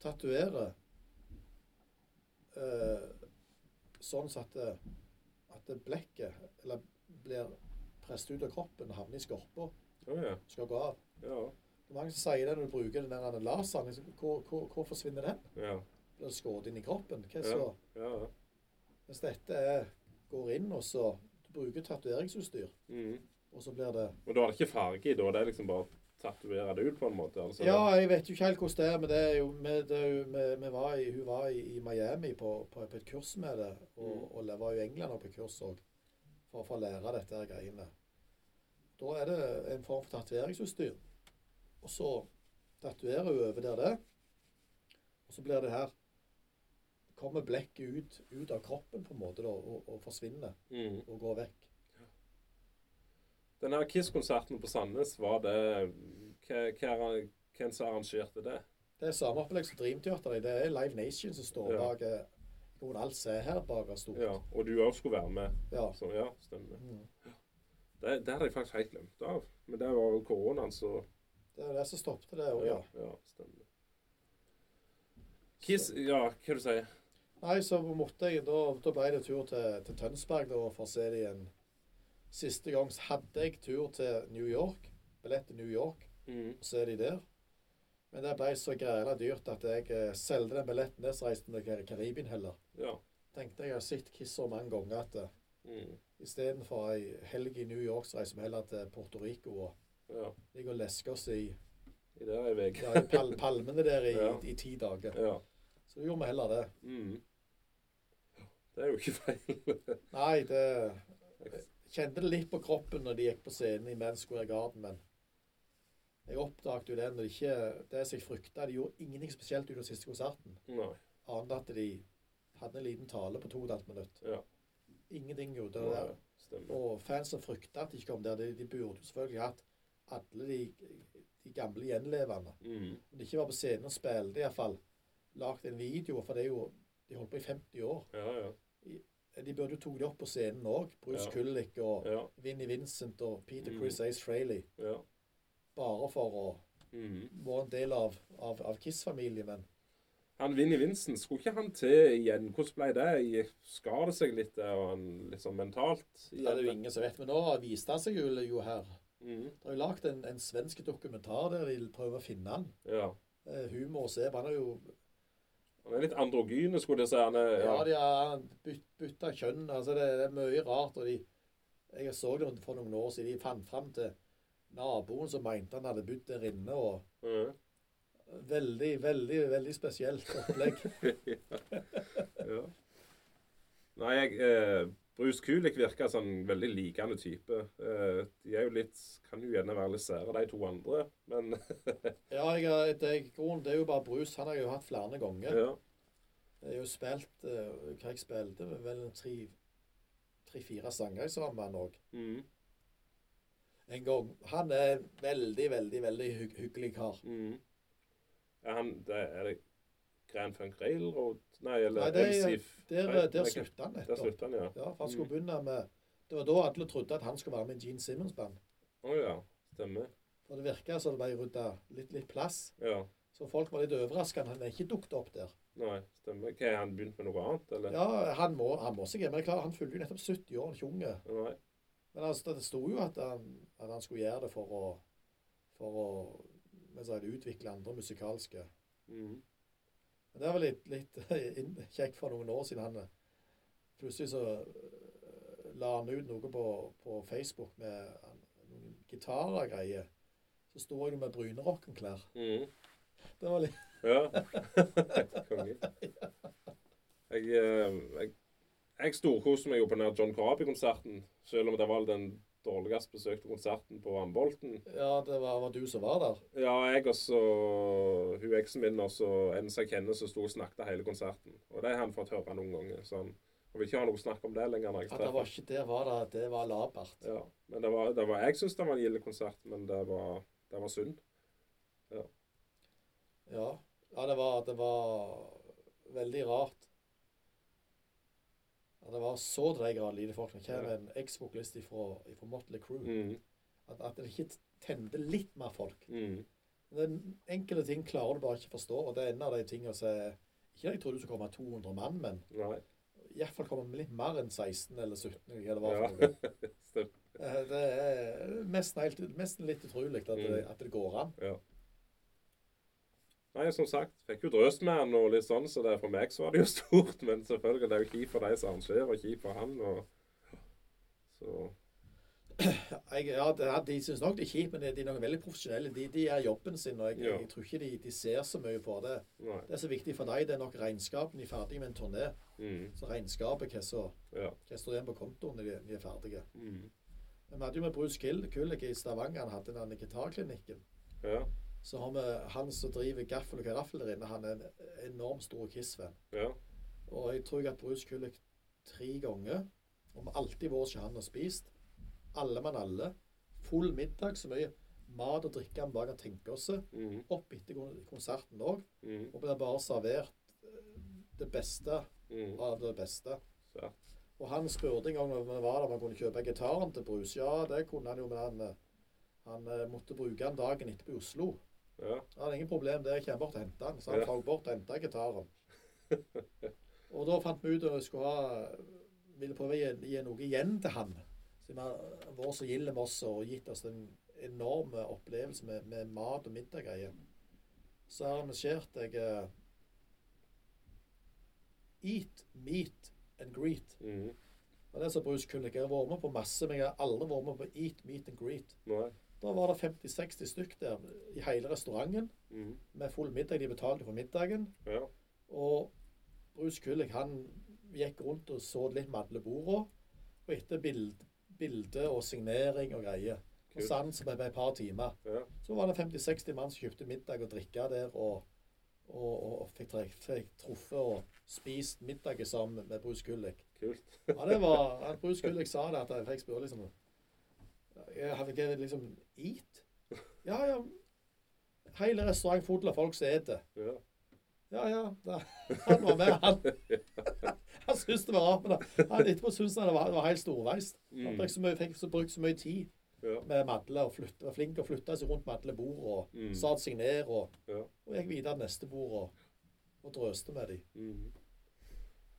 [SPEAKER 2] tatoverer eh, sånn så at, det- at det blekket eller blir presset ut av kroppen og havner i skorpa,
[SPEAKER 1] Å ja.
[SPEAKER 2] skal gå av.
[SPEAKER 1] Ja.
[SPEAKER 2] Det er mange som sier det når du bruker den der laseren. liksom, Hvor, hvor, hvor forsvinner den?
[SPEAKER 1] Ja.
[SPEAKER 2] Blir det skåret inn i kroppen? Hva så?
[SPEAKER 1] ja.
[SPEAKER 2] Hvis dette er, går inn, og så Du bruker tatoveringsutstyr,
[SPEAKER 1] Mm.
[SPEAKER 2] og så blir det
[SPEAKER 1] Og da er det ikke farge i, da. Det er liksom bare å tatovere det ut, på en måte. Altså,
[SPEAKER 2] Ja, jeg vet jo ikke helt hvordan det er, men det er jo, vi, det er jo, vi, vi var i, hun var i, i Miami på, på, på et kurs med det, og,
[SPEAKER 1] Mm.
[SPEAKER 2] og det var jo i England og på kurs òg, for, for å lære dette her greiene. Da er det en form for tatoveringsutstyr. Og så tatoverer hun over der det, og så blir det her Kommer blekket ut, ut av kroppen på en måte da, og, og forsvinner
[SPEAKER 1] Mm.
[SPEAKER 2] og går vekk.
[SPEAKER 1] Den her Kiss-konserten på Sandnes, var det hva, hva, Hvem som arrangerte det?
[SPEAKER 2] Det er samme opplegg som Dream Theater. Det er Live Nation som står
[SPEAKER 1] Ja.
[SPEAKER 2] bak eh, Noen alt ser her bak er stort.
[SPEAKER 1] Ja, Og du òg skulle være med.
[SPEAKER 2] Ja.
[SPEAKER 1] Så ja, stemmer.
[SPEAKER 2] Mm.
[SPEAKER 1] Det, det hadde jeg faktisk helt glemt av. Men det var jo koronaen, så
[SPEAKER 2] Det er det som stoppet det. Og, ja.
[SPEAKER 1] ja, ja, stemmer. Kiss Ja, hva er det du sier du?
[SPEAKER 2] Nei, så måtte jeg, da, da ble det tur til, til Tønsberg da, for å se det igjen. Siste gang så hadde jeg tur til New York. Billett til New York.
[SPEAKER 1] Mm.
[SPEAKER 2] og se de der. Men det ble så græla dyrt at jeg eh, solgte den billetten der, så reiste jeg til Karibien heller.
[SPEAKER 1] Ja.
[SPEAKER 2] Tenkte jeg har sett Kiss så mange ganger at eh,
[SPEAKER 1] Mm.
[SPEAKER 2] istedenfor ei helg i New York, så reiser vi heller til Puerto Rico og
[SPEAKER 1] ja.
[SPEAKER 2] ligger og lesker oss i,
[SPEAKER 1] I det er jeg
[SPEAKER 2] ja, i pal palmene der i,
[SPEAKER 1] Ja.
[SPEAKER 2] i, i ti dager.
[SPEAKER 1] Ja.
[SPEAKER 2] Så gjorde vi heller det.
[SPEAKER 1] Mm. Det er jo ikke feil.
[SPEAKER 2] Nei, det kjente det litt på kroppen når de gikk på scenen i Men's Square Garden, men jeg oppdaget jo det når de ikke Det som jeg frykta, de gjorde ingenting spesielt under siste konserten,
[SPEAKER 1] Nei.
[SPEAKER 2] annet enn at de hadde en liten tale på to og et halvt minutt.
[SPEAKER 1] Ja.
[SPEAKER 2] Ingenting gjorde det
[SPEAKER 1] Ja,
[SPEAKER 2] der.
[SPEAKER 1] stemmer.
[SPEAKER 2] Og fansen frykta at de ikke kom der. De, de burde jo selvfølgelig hatt alle de, de gamle gjenlevende.
[SPEAKER 1] Mm.
[SPEAKER 2] Om de ikke var på scenen og spilte, iallfall lagd en video, for det er jo De holdt på i 50 år.
[SPEAKER 1] Ja, ja.
[SPEAKER 2] De burde jo tatt det opp på scenen òg. Bruce
[SPEAKER 1] Ja.
[SPEAKER 2] Kulick og
[SPEAKER 1] Ja.
[SPEAKER 2] Vinnie Vincent og Peter
[SPEAKER 1] Mm.
[SPEAKER 2] Chris Ace Frehley,
[SPEAKER 1] ja.
[SPEAKER 2] bare for å
[SPEAKER 1] Mm.
[SPEAKER 2] være en del av, av, av Kiss-familien. Men
[SPEAKER 1] Han Vinnie Vincent, skulle ikke han til igjen? Hvordan ble det? Skar det seg litt der, og han liksom mentalt?
[SPEAKER 2] det er jo ingen som vet. Men nå viste han seg jo, jo her.
[SPEAKER 1] Mm.
[SPEAKER 2] Det er jo lagd en, en svensk dokumentar der de prøver å finne han.
[SPEAKER 1] Ja.
[SPEAKER 2] Eh, Humor og seb. Han er jo
[SPEAKER 1] Han er litt androgyne, skulle jeg si. Han er,
[SPEAKER 2] Ja,
[SPEAKER 1] ja.
[SPEAKER 2] de har byt, bytta kjønn. Altså, det, det er mye rart. Og de Jeg så det for noen år siden. De fant fram til naboen som mente han hadde bodd der inne. og
[SPEAKER 1] Mm.
[SPEAKER 2] Veldig, veldig, veldig spesielt opplegg.
[SPEAKER 1] ja. Nei, jeg, eh, Bruce Kulik virker som en veldig likende type. Eh, de er jo litt Kan jo gjerne være litt sære, de to andre, men
[SPEAKER 2] Ja, jeg, har- det, er- grunnen, det er jo bare Bruce. Han har jeg jo hatt flere ganger.
[SPEAKER 1] ja.
[SPEAKER 2] Jeg har jo spilt eh, hva jeg spilte, vel en tre- tre-fire sanger jeg sammen med han òg.
[SPEAKER 1] Mm.
[SPEAKER 2] En gang. Han er en veldig, veldig veldig hygg, hyggelig kar.
[SPEAKER 1] Mm. Er han det, Er det Grand Funk Railroad? Nei, eller
[SPEAKER 2] Nei, det er-
[SPEAKER 1] MCF?
[SPEAKER 2] Der,
[SPEAKER 1] Nei,
[SPEAKER 2] der
[SPEAKER 1] nei,
[SPEAKER 2] slutta han
[SPEAKER 1] Der
[SPEAKER 2] nettopp.
[SPEAKER 1] slutta han, ja.
[SPEAKER 2] Ja, for han skulle begynne med Det var da alle trodde at han skulle være med i Gene Simmons-band.
[SPEAKER 1] Å ja. Stemmer.
[SPEAKER 2] For det virka som det ble rydda litt, litt plass.
[SPEAKER 1] Ja.
[SPEAKER 2] Så folk var litt overraska. Han er ikke dukket opp der.
[SPEAKER 1] Nei, stemmer. Hva, har han begynt med noe annet, eller?
[SPEAKER 2] Ja, han må, han må sikkert, men det er klart, han fyller jo nettopp 70 år, han er ikke unge.
[SPEAKER 1] Nei.
[SPEAKER 2] Men altså, det sto jo at han, at han skulle gjøre det for å, for å hva skal jeg si, utvikle andre musikalske.
[SPEAKER 1] Mm.
[SPEAKER 2] Men det er vel litt, litt inn- kjekt for noen år siden han eh, plutselig så øh, la han ut noe på, på Facebook med han- noen gitarer og greier. Så sto jeg jo med brynerockenklær.
[SPEAKER 1] Mm.
[SPEAKER 2] Det var litt
[SPEAKER 1] Ja. Konge. Jeg, eh, jeg, jeg storkoste meg jo på den her John Carby-konserten, selv om det var den dårligst besøkte konserten på Vannbolten.
[SPEAKER 2] Ja, det var, var du som var der.
[SPEAKER 1] Ja, jeg og så hun eksen min og så en som jeg kjenner, som sto og snakket hele konserten. Og det har han fått høre noen ganger, så han han vil ikke ha noe snakk om det lenger. når jeg
[SPEAKER 2] At det
[SPEAKER 1] treffer
[SPEAKER 2] var ikke der var det, det var labert.
[SPEAKER 1] Ja, men det var, det var, jeg syns det var en gild konsert, men det var, det var synd.
[SPEAKER 2] Ja. Ja, det var, det var veldig rart. Ja, det var så til de grader lite folk. Nå kommer en eks-vokalist fra, Motley Crew.
[SPEAKER 1] Mm,
[SPEAKER 2] At, at det ikke tente litt mer folk.
[SPEAKER 1] mm,
[SPEAKER 2] Men enkelte ting klarer du bare ikke forstå, og det er en av de tingene som er- Ikke det jeg trodde det skulle komme 200 mann, men
[SPEAKER 1] nei.
[SPEAKER 2] iallfall komme litt mer enn 16 eller 17. eller hva det var
[SPEAKER 1] Ja.
[SPEAKER 2] for noe.
[SPEAKER 1] Stemmer.
[SPEAKER 2] Eh, Det er nesten, helt, nesten litt utrolig at det, at det går an.
[SPEAKER 1] Ja. Nei, som sagt, fikk jo drøst med han og litt sånn, så det, for meg så var det jo stort. Men selvfølgelig, det er jo kjipt for de som arrangerer, og kjipt for han. og så...
[SPEAKER 2] Jeg, ja, det, er- de syns nok det er kjipt, men de de er nok veldig profesjonelle. De, de gjør jobben sin, og jeg,
[SPEAKER 1] Ja.
[SPEAKER 2] jeg tror ikke de, de ser så mye på det.
[SPEAKER 1] Nei.
[SPEAKER 2] Det som er viktig for deg, det er nok regnskapen. De er ferdige med en turné.
[SPEAKER 1] Mm,
[SPEAKER 2] Så regnskapet, hva som
[SPEAKER 1] ja.
[SPEAKER 2] hva står igjen på kontoen når de, de er ferdige.
[SPEAKER 1] Mm,
[SPEAKER 2] Men vi hadde jo med Bruce Kill- Kulik i Stavanger, han hadde den gitarklinikken.
[SPEAKER 1] ja.
[SPEAKER 2] Så har vi han som driver gaffel og karaffel der inne, han er en enormt stor Kiss-venn.
[SPEAKER 1] Ja.
[SPEAKER 2] Og jeg tror jeg har Bruce Kulik tre ganger. Og vi har alltid vært hos han og spist. Alle mann alle. Full middag, så mye mat og drikke han bare kan tenke oss.
[SPEAKER 1] Mm,
[SPEAKER 2] Opp etter kon- konserten òg.
[SPEAKER 1] mm,
[SPEAKER 2] Og blir bare servert eh, det beste
[SPEAKER 1] mm.
[SPEAKER 2] av det beste.
[SPEAKER 1] Så,
[SPEAKER 2] Og han spurte en gang når vi var der om han kunne kjøpe gitaren til Bruce. Ja, det kunne han jo, men han, eh, han eh, måtte bruke den dagen etterpå i Oslo.
[SPEAKER 1] ja.
[SPEAKER 2] Han hadde ingen problem, det jeg kommer bort og henter den. Så han
[SPEAKER 1] Ja.
[SPEAKER 2] fløy bort og hentet gitaren. Og da fant vi ut at vi skulle ha ville prøve å gi, gi noe igjen til han. Så vi har vært så gilde med oss og gitt oss en enorm opplevelse med, med mat og middag og greier. Så arrangerte jeg eh, Eat, meet and greet.
[SPEAKER 1] Mm,
[SPEAKER 2] Og det er så Bruce Kulik. Jeg har vært med på masse, men jeg har aldri vært med på Eat, meet and greet.
[SPEAKER 1] nei.
[SPEAKER 2] Da var det 50-60 stykk der i hele restauranten
[SPEAKER 1] Mm,
[SPEAKER 2] med full middag. De betalte for middagen.
[SPEAKER 1] ja.
[SPEAKER 2] Og Bruce Kulik han gikk rundt og så litt med alle borda. Og etter bild, bilde og signering og greier. Og
[SPEAKER 1] Kult.
[SPEAKER 2] sans med et par timer.
[SPEAKER 1] Ja.
[SPEAKER 2] Så var det 50-60 mann som kjøpte middag og drikke der. og og, og, og fikk, tre- fikk truffet og spist middag sammen med Bruce Kulik.
[SPEAKER 1] Kult.
[SPEAKER 2] Ja, det var, at Bruce Kulik sa det, at jeg fikk spørre liksom jeg Hadde ikke liksom Eat? Ja, ja. Hele restauranten full av folk som spiser.
[SPEAKER 1] Ja.
[SPEAKER 2] Ja, ja. Da. Han var med, han. Han syntes det var rart, men da- han etterpå syntes han det var, det var helt storveist. Han
[SPEAKER 1] Mm,
[SPEAKER 2] fikk så mye, fikk så brukt så mye tid
[SPEAKER 1] ja.
[SPEAKER 2] med Madle og flytte, var flink til å flytte seg rundt med alle bord og
[SPEAKER 1] Mm.
[SPEAKER 2] sa at signer og,
[SPEAKER 1] Ja.
[SPEAKER 2] og gikk videre til neste bord og, og drøste med dem.
[SPEAKER 1] Mm.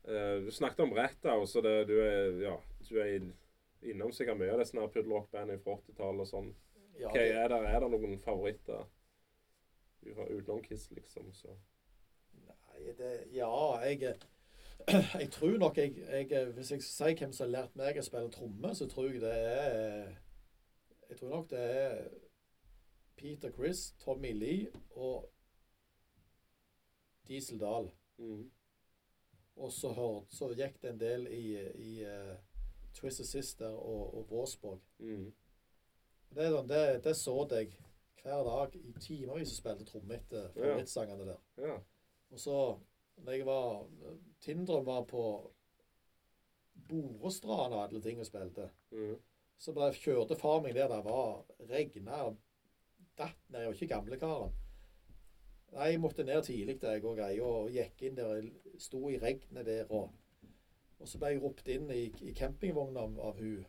[SPEAKER 1] Eh, du snakket om Rettau, så det, du er, ja, du er inn- innom sikkert mye av disse her puddel-rock-bandene fra 80-tallet og sånn.
[SPEAKER 2] Ja,
[SPEAKER 1] Ok,
[SPEAKER 2] det,
[SPEAKER 1] er, der, er der noen favoritter u- utenom Kiss, liksom? Så.
[SPEAKER 2] nei, det, ja jeg, eh, jeg tror nok jeg, jeg eh, Hvis jeg sier hvem som har lært meg å spille tromme, så tror jeg det er eh, Jeg tror nok det er Peter Chris, Tommy Lee og Diesel Dahl.
[SPEAKER 1] Mm.
[SPEAKER 2] Og så, hør, så gikk det en del i, i eh, Twisted Sister og, og Vårsborg.
[SPEAKER 1] Mm.
[SPEAKER 2] Det, er sånn, det, det så jeg hver dag i timevis og spilte trommer etter favorittsangene der.
[SPEAKER 1] Ja.
[SPEAKER 2] Og så, når jeg var Tindrum var på Borestrand og alle ting og spilte,
[SPEAKER 1] Mm.
[SPEAKER 2] så bare kjørte far meg der det var regna og datt ned. Jeg var ikke gamlekaren. Nei, jeg måtte ned tidlig der jeg og greier, og gikk inn der jeg sto i regnet der. Og, og så ble jeg ropt inn i, i campingvogna av, av hun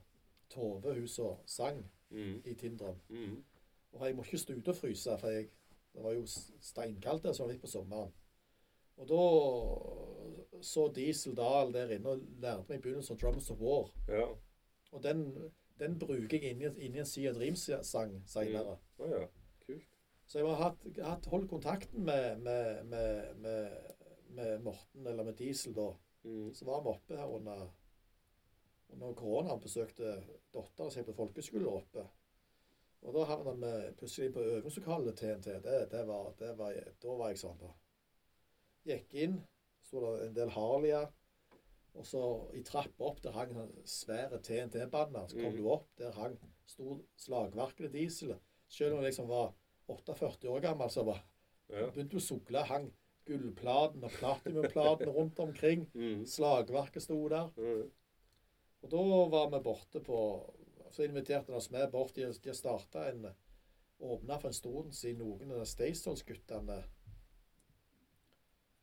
[SPEAKER 2] Tove, hun som sang
[SPEAKER 1] Mm.
[SPEAKER 2] i Tindrum.
[SPEAKER 1] Mm.
[SPEAKER 2] Og jeg må ikke stå ute og fryse, for jeg, det var jo steinkaldt der, så det var litt på sommeren. Og da så Diesel Dahl der inne og lærte meg begynnelsen av Drums of War.
[SPEAKER 1] Ja.
[SPEAKER 2] Og den, den bruker jeg inni, inni en Sea of Dreams-sang senere.
[SPEAKER 1] Å ja. Kult.
[SPEAKER 2] Så jeg har hatt, hatt holdt kontakten med, med, med, med, med Morten, eller med Diesel, da.
[SPEAKER 1] Mm.
[SPEAKER 2] Så var vi oppe her under, under koronaen og besøkte dattera si på folkeskole oppe. Og da havna vi plutselig inn på øvingslokalet til TNT. Det, det var, det var, da var jeg sånn, da. Gikk inn, sto det en del Harlier. Og så i trappa opp der hang en svære TNT-banner. Så kom
[SPEAKER 1] Mm.
[SPEAKER 2] du opp, der hang stor slagverket til diesel. Selv om jeg liksom var 48 år gammel, så bare
[SPEAKER 1] Ja.
[SPEAKER 2] begynte du å sugle. Hang gullplaten og platinumplaten rundt omkring.
[SPEAKER 1] Mm.
[SPEAKER 2] Slagverket sto der.
[SPEAKER 1] Mm.
[SPEAKER 2] Og da var vi borte på Så inviterte han oss med bort. De, de starta en Åpna for en stund siden noen av de Staysons-guttene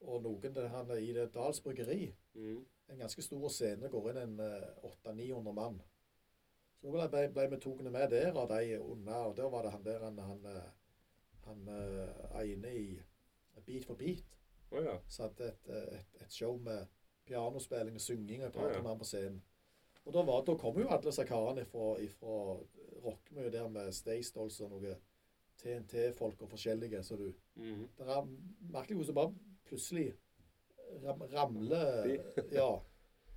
[SPEAKER 2] og noen av han i det Dals bryggeri
[SPEAKER 1] Mm.
[SPEAKER 2] en ganske stor scene, går inn en eh, 800-900 mann. Så da ble, ble vi togene med der, og de unna, og der var det han der, han, han, eh, han eh, ene i Beat for beat,
[SPEAKER 1] Å ja.
[SPEAKER 2] så hadde et, eh, et, et show med pianospilling og synging og et
[SPEAKER 1] Ja,
[SPEAKER 2] par
[SPEAKER 1] ja.
[SPEAKER 2] mann på scenen. Og da, var, da kom jo alle disse karene fra, fra rockemøyet der med Stay Stolz og noe TNT-folk og forskjellige. Så du
[SPEAKER 1] Mm.
[SPEAKER 2] Det er merkelig hvordan det bare plutselig ram, ramler Ja.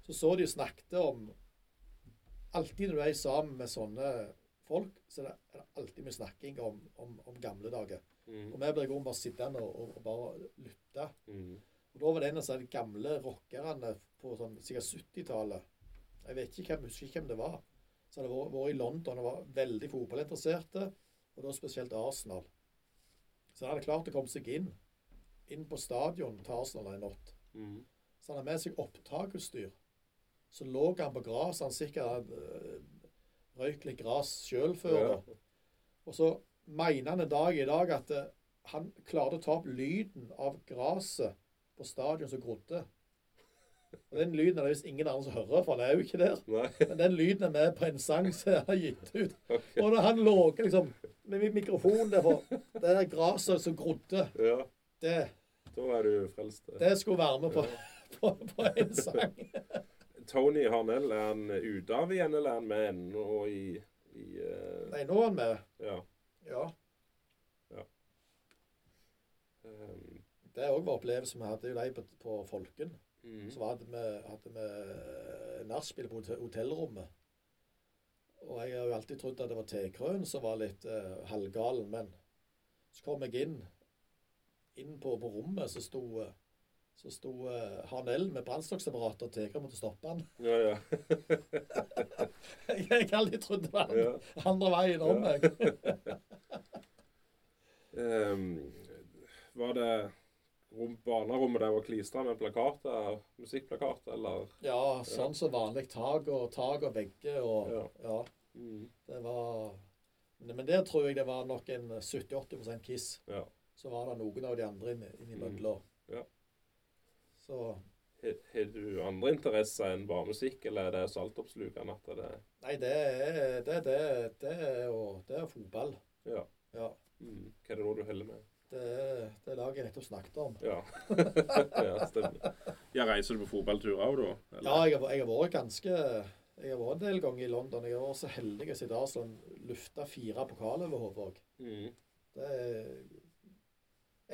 [SPEAKER 2] Så så de snakket om Alltid når du er sammen med sånne folk, så er det- er det alltid mye snakking om, om, om gamle dager.
[SPEAKER 1] Mm.
[SPEAKER 2] Og vi ble i grunnen bare sittende og, og, og bare lytte.
[SPEAKER 1] Mm.
[SPEAKER 2] Og da var det en av de gamle rockerne på sånn, sikkert 70-tallet. Jeg vet ikke hvem, husker ikke hvem det var. Så hadde vært vært i London og var veldig fotballinteresserte, og da spesielt Arsenal. Så han hadde klart å komme seg inn, inn på stadion til Arsenal en natt.
[SPEAKER 1] Mm.
[SPEAKER 2] Så han hadde med seg opptaksutstyr. Så lå han på gras, han sikkert øh, røyk litt gras sjøl før.
[SPEAKER 1] Ja.
[SPEAKER 2] da. Og så mener han en dag i dag at eh, han klarte å ta opp lyden av gresset på stadion som grodde. Og den lyden er det visst ingen andre som hører, for han er jo ikke der.
[SPEAKER 1] Nei,
[SPEAKER 2] Men den lyden er med på en sang som han har gitt ut.
[SPEAKER 1] ok.
[SPEAKER 2] Og da han lå liksom med mikrofonen der, for det der gresset som grodde,
[SPEAKER 1] Ja,
[SPEAKER 2] det,
[SPEAKER 1] da er du frelst.
[SPEAKER 2] det skulle være med på, på, på en sang.
[SPEAKER 1] Tony Harnell, er han ute av igjen, eller er han med ennå i, i eh,
[SPEAKER 2] Nei, nå er han med.
[SPEAKER 1] Ja.
[SPEAKER 2] Ja.
[SPEAKER 1] Um,
[SPEAKER 2] Det òg var opplevelsen vi hadde jo de på, på Folken.
[SPEAKER 1] mm.
[SPEAKER 2] Så hadde vi, hadde vi nachspiel på hotell- hotellrommet. Og jeg har jo alltid trodd at det var Tekrøen som var litt eh, halvgalen, men så kom jeg inn. Inn på, på rommet så sto, eh, så sto eh, Harnell med brannstokkapparat, og Tekrøen måtte stoppe han.
[SPEAKER 1] Ja, ja.
[SPEAKER 2] jeg har aldri trodd det var
[SPEAKER 1] ja.
[SPEAKER 2] andre veien om meg.
[SPEAKER 1] Ehm, var det rom, barnerommet der var klistra med plakater, musikkplakater, eller
[SPEAKER 2] Ja, sånn som vanlig. Tak og, tak og vegger og
[SPEAKER 1] Ja. Mm.
[SPEAKER 2] ja. Det var Men men der tror jeg det var nok en 70-80 Kiss.
[SPEAKER 1] Ja.
[SPEAKER 2] Så var det noen av de andre inni inn mølla.
[SPEAKER 1] Mm. Ja.
[SPEAKER 2] Så
[SPEAKER 1] Har har du andre interesser enn bare musikk, eller er det saltoppslukende at det
[SPEAKER 2] Nei, det er det, er- det, er- det er jo Det er fotball.
[SPEAKER 1] Ja.
[SPEAKER 2] Ja.
[SPEAKER 1] mm. Hva er det nå du holder med?
[SPEAKER 2] Det er det laget jeg nettopp snakket om.
[SPEAKER 1] Ja. ja, stemmer. Ja, reiser du på fotballturer òg, da? eller?
[SPEAKER 2] Ja, jeg har, jeg har vært ganske Jeg har vært en del ganger i London. Jeg har vært så heldig å sitte Arsenal lufta fire pokaler over hodet òg.
[SPEAKER 1] Mm.
[SPEAKER 2] Det er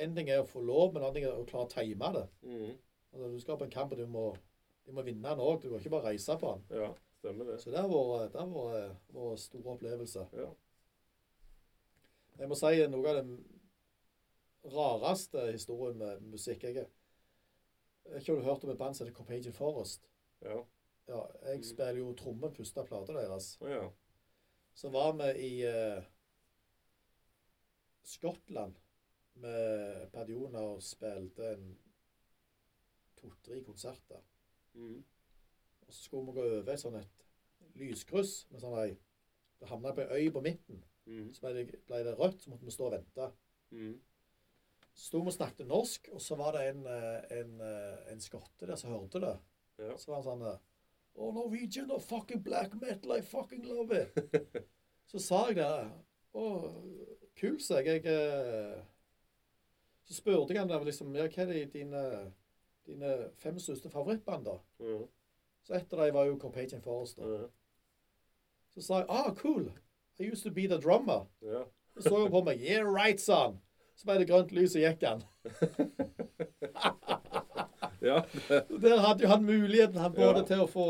[SPEAKER 2] En ting er å få lov, men en annen ting er å klare å time det.
[SPEAKER 1] Mm.
[SPEAKER 2] Altså, du skal på en kamp, og du må, du må vinne den òg. Du kan ikke bare reise på den.
[SPEAKER 1] ja, stemmer det.
[SPEAKER 2] Så det har vært det har vært- vært en stor opplevelse.
[SPEAKER 1] Ja.
[SPEAKER 2] Jeg må si noe av den rareste historien med musikk. Jeg jeg vet ikke om du har hørt om et band som heter Companion Forest.
[SPEAKER 1] Ja.
[SPEAKER 2] Ja, jeg
[SPEAKER 1] Mhm.
[SPEAKER 2] spiller jo tromme på første plata deres.
[SPEAKER 1] Å, ja.
[SPEAKER 2] Så var vi i eh, Skottland med Padjona og spilte en to-tre konserter.
[SPEAKER 1] Mm.
[SPEAKER 2] Og så skulle vi gå over et sånn et lyskryss med sånn ei Det havna på ei øy på midten.
[SPEAKER 1] Mm.
[SPEAKER 2] Så ble det, ble det rødt, så måtte vi stå og vente.
[SPEAKER 1] Mm.
[SPEAKER 2] sto vi og snakket norsk, og så var det en, eh, en, eh, en skotte der som hørte det.
[SPEAKER 1] Ja.
[SPEAKER 2] Så var han sånn eh, Oh, Norwegian og fucking black metal, I fucking love it. så sa jeg det. Å, kult, sa jeg. jeg eh, så spurte jeg han der, liksom, ja, hva er de- dine, dine fem største favorittband, da?
[SPEAKER 1] Mm.
[SPEAKER 2] Så et av dem var jo Companion Forest. da.
[SPEAKER 1] Ja.
[SPEAKER 2] Så sa jeg ah, cool. I used to be the drummer.
[SPEAKER 1] Ja.
[SPEAKER 2] Så så han på meg. Yeah right, sa han. Så ble det grønt lys, og gikk han.
[SPEAKER 1] ja.
[SPEAKER 2] Der hadde jo han muligheten han både
[SPEAKER 1] Ja.
[SPEAKER 2] til å få,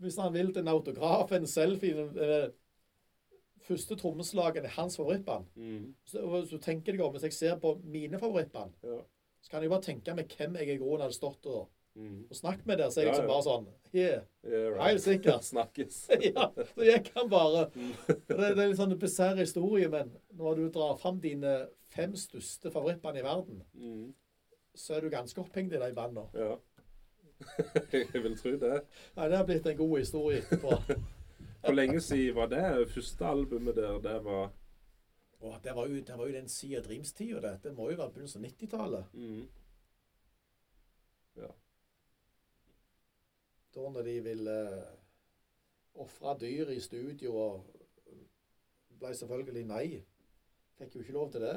[SPEAKER 2] hvis han vil, til en autograf, en selfie den, eh, Første trommeslagen er hans favorittband.
[SPEAKER 1] Mm.
[SPEAKER 2] Så, og så tenker jeg om, Hvis jeg ser på mine favorittband,
[SPEAKER 1] Ja.
[SPEAKER 2] så kan jeg jo bare tenke meg hvem jeg i grunnen hadde stått og,
[SPEAKER 1] Mm.
[SPEAKER 2] og snakket med der. Så er jeg
[SPEAKER 1] Ja,
[SPEAKER 2] liksom
[SPEAKER 1] ja.
[SPEAKER 2] bare sånn Yeah,
[SPEAKER 1] Yeah, right.
[SPEAKER 2] helt sikkert.
[SPEAKER 1] Snakkes.
[SPEAKER 2] ja, så gikk han bare.
[SPEAKER 1] Mm.
[SPEAKER 2] Og Det, det er en sånn bisarr historie, men når du drar fram dine fem største favorittband i verden,
[SPEAKER 1] Mm.
[SPEAKER 2] så er du ganske opphengt i de bandene.
[SPEAKER 1] Ja. Jeg vil tro det.
[SPEAKER 2] Nei, det har blitt en god historie etterpå.
[SPEAKER 1] Hvor lenge siden var det første albumet der? Det var
[SPEAKER 2] Og det var jo, det var jo den sida av Dreams-tida, det. Det må jo være begynnelsen av 90-tallet.
[SPEAKER 1] mm.
[SPEAKER 2] Da når de ville eh, ofre dyr i studio og ble selvfølgelig nei. Fikk jo ikke lov til det.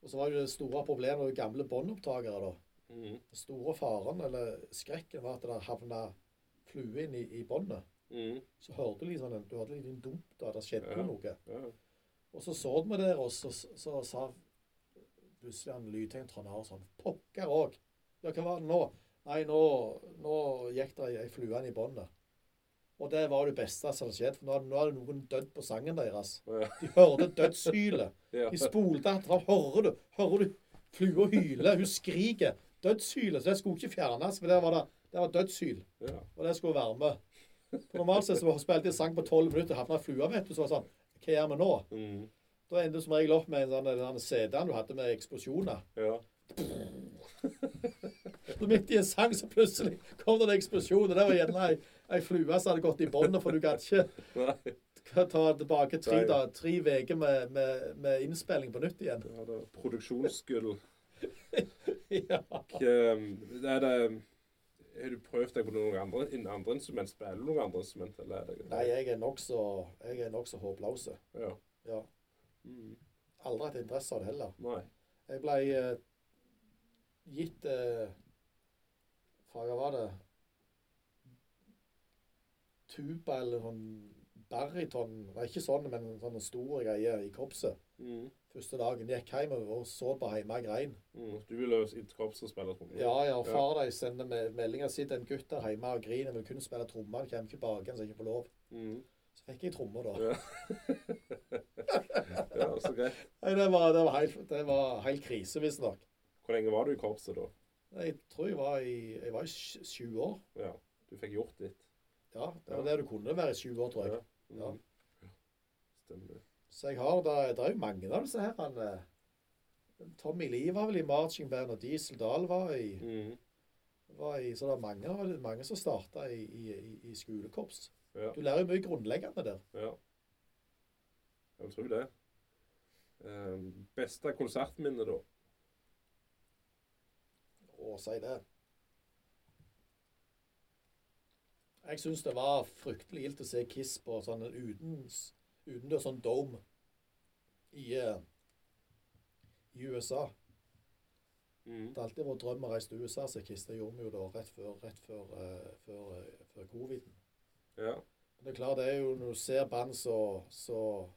[SPEAKER 2] Og så var det jo det store problemet med gamle båndopptakere, da.
[SPEAKER 1] Mm.
[SPEAKER 2] Den store faren, eller skrekken, var at det havna flue inn i, i båndet.
[SPEAKER 1] Mm.
[SPEAKER 2] Så hørte du liksom den, du hadde litt en dump da, det skjedde
[SPEAKER 1] Ja.
[SPEAKER 2] noe.
[SPEAKER 1] Ja.
[SPEAKER 2] Og så så vi der, og så, så, så sa plutselig han lydtegn Tranager sånn Pokker òg! Ja, hva var det nå? Nei, nå, nå gikk det ei flue i båndet. Og det var det beste som hadde skjedd. For nå hadde, nå hadde noen dødd på sangen deres.
[SPEAKER 1] Ja.
[SPEAKER 2] De hørte dødshylet.
[SPEAKER 1] Ja.
[SPEAKER 2] De spolte at fram. Hører du? Hører du flua hyle? Hun skriker. Dødshylet. Så det skulle ikke fjernes, for det var, det, det var dødshyl.
[SPEAKER 1] Ja.
[SPEAKER 2] Og det skulle være med. For normalt sett så spilte de sang på tolv minutter, havna flua, vet du. Så var det sånn Hva gjør vi nå?
[SPEAKER 1] Mm.
[SPEAKER 2] Da endte du som regel opp med en sånn den der CD-en du hadde med eksplosjoner.
[SPEAKER 1] ja.
[SPEAKER 2] Så midt i en sang så plutselig kom det en eksplosjon, og det var gjerne ei, ei flue som hadde gått i båndet, for du kan ikke
[SPEAKER 1] Nei.
[SPEAKER 2] kan ta tilbake tre
[SPEAKER 1] Nei.
[SPEAKER 2] dager, tre uker med, med, med innspilling på nytt igjen.
[SPEAKER 1] Det var det produksjonsgull.
[SPEAKER 2] Ja.
[SPEAKER 1] Hva- Er um, det Har du prøvd deg på noen andre, innen andre instrument? Spiller du noen andre instrument? Eller er det
[SPEAKER 2] Nei, jeg er nokså jeg er nokså håpløs.
[SPEAKER 1] Ja.
[SPEAKER 2] Ja.
[SPEAKER 1] Mm.
[SPEAKER 2] Aldri hatt interesse av det heller.
[SPEAKER 1] Nei.
[SPEAKER 2] Jeg ble eh, gitt eh, Fra hva var det? Tuba eller sånn bariton. Nei, ikke sånn, men en sånn stor greie i korpset.
[SPEAKER 1] Mm.
[SPEAKER 2] Første dagen gikk hjem og så på hjemme og grein.
[SPEAKER 1] Mm. Du ville jo i et korps og spille tromme?
[SPEAKER 2] Ja, ja, far de sender me- meldinger. Sitter en gutt der hjemme og griner, vil kun spille trommer. Han kommer ikke tilbake, han sier ikke på lov.
[SPEAKER 1] Mm.
[SPEAKER 2] Så fikk jeg trommer, da.
[SPEAKER 1] Ja. ja, så greit.
[SPEAKER 2] Nei, det var, det var, helt, det var helt krise, visstnok.
[SPEAKER 1] Hvor lenge var du i korpset da?
[SPEAKER 2] Jeg tror jeg var i, jeg var i sj- sju år.
[SPEAKER 1] Ja. Du fikk gjort ditt?
[SPEAKER 2] Ja, det var
[SPEAKER 1] Ja.
[SPEAKER 2] det du kunne være i sju år, tror jeg.
[SPEAKER 1] Mm.
[SPEAKER 2] Ja.
[SPEAKER 1] Stemmer.
[SPEAKER 2] Så jeg har, det, det er jo mange av disse her. Han, eh, Tommy Lee var vel i Marching Band, og Diesel Dahl var i,
[SPEAKER 1] Mm.
[SPEAKER 2] var i Så det er mange, av- det er mange som starta i, i, i- i skolekorps.
[SPEAKER 1] Ja.
[SPEAKER 2] Du lærer jo mye grunnleggende der.
[SPEAKER 1] Ja. Jeg tror det. Ehm, beste konsertminne, da?
[SPEAKER 2] Å si det. Jeg syns det var fryktelig gildt å se Kiss på sånn en utendørs utendørs sånn dome i, eh, i USA.
[SPEAKER 1] Mm.
[SPEAKER 2] Det har alltid vår drøm å reise til USA, så Kiss det gjorde vi jo da rett før, rett før, eh, før, eh, før covid.
[SPEAKER 1] Ja.
[SPEAKER 2] Men det er klart, det er jo når du ser band så, så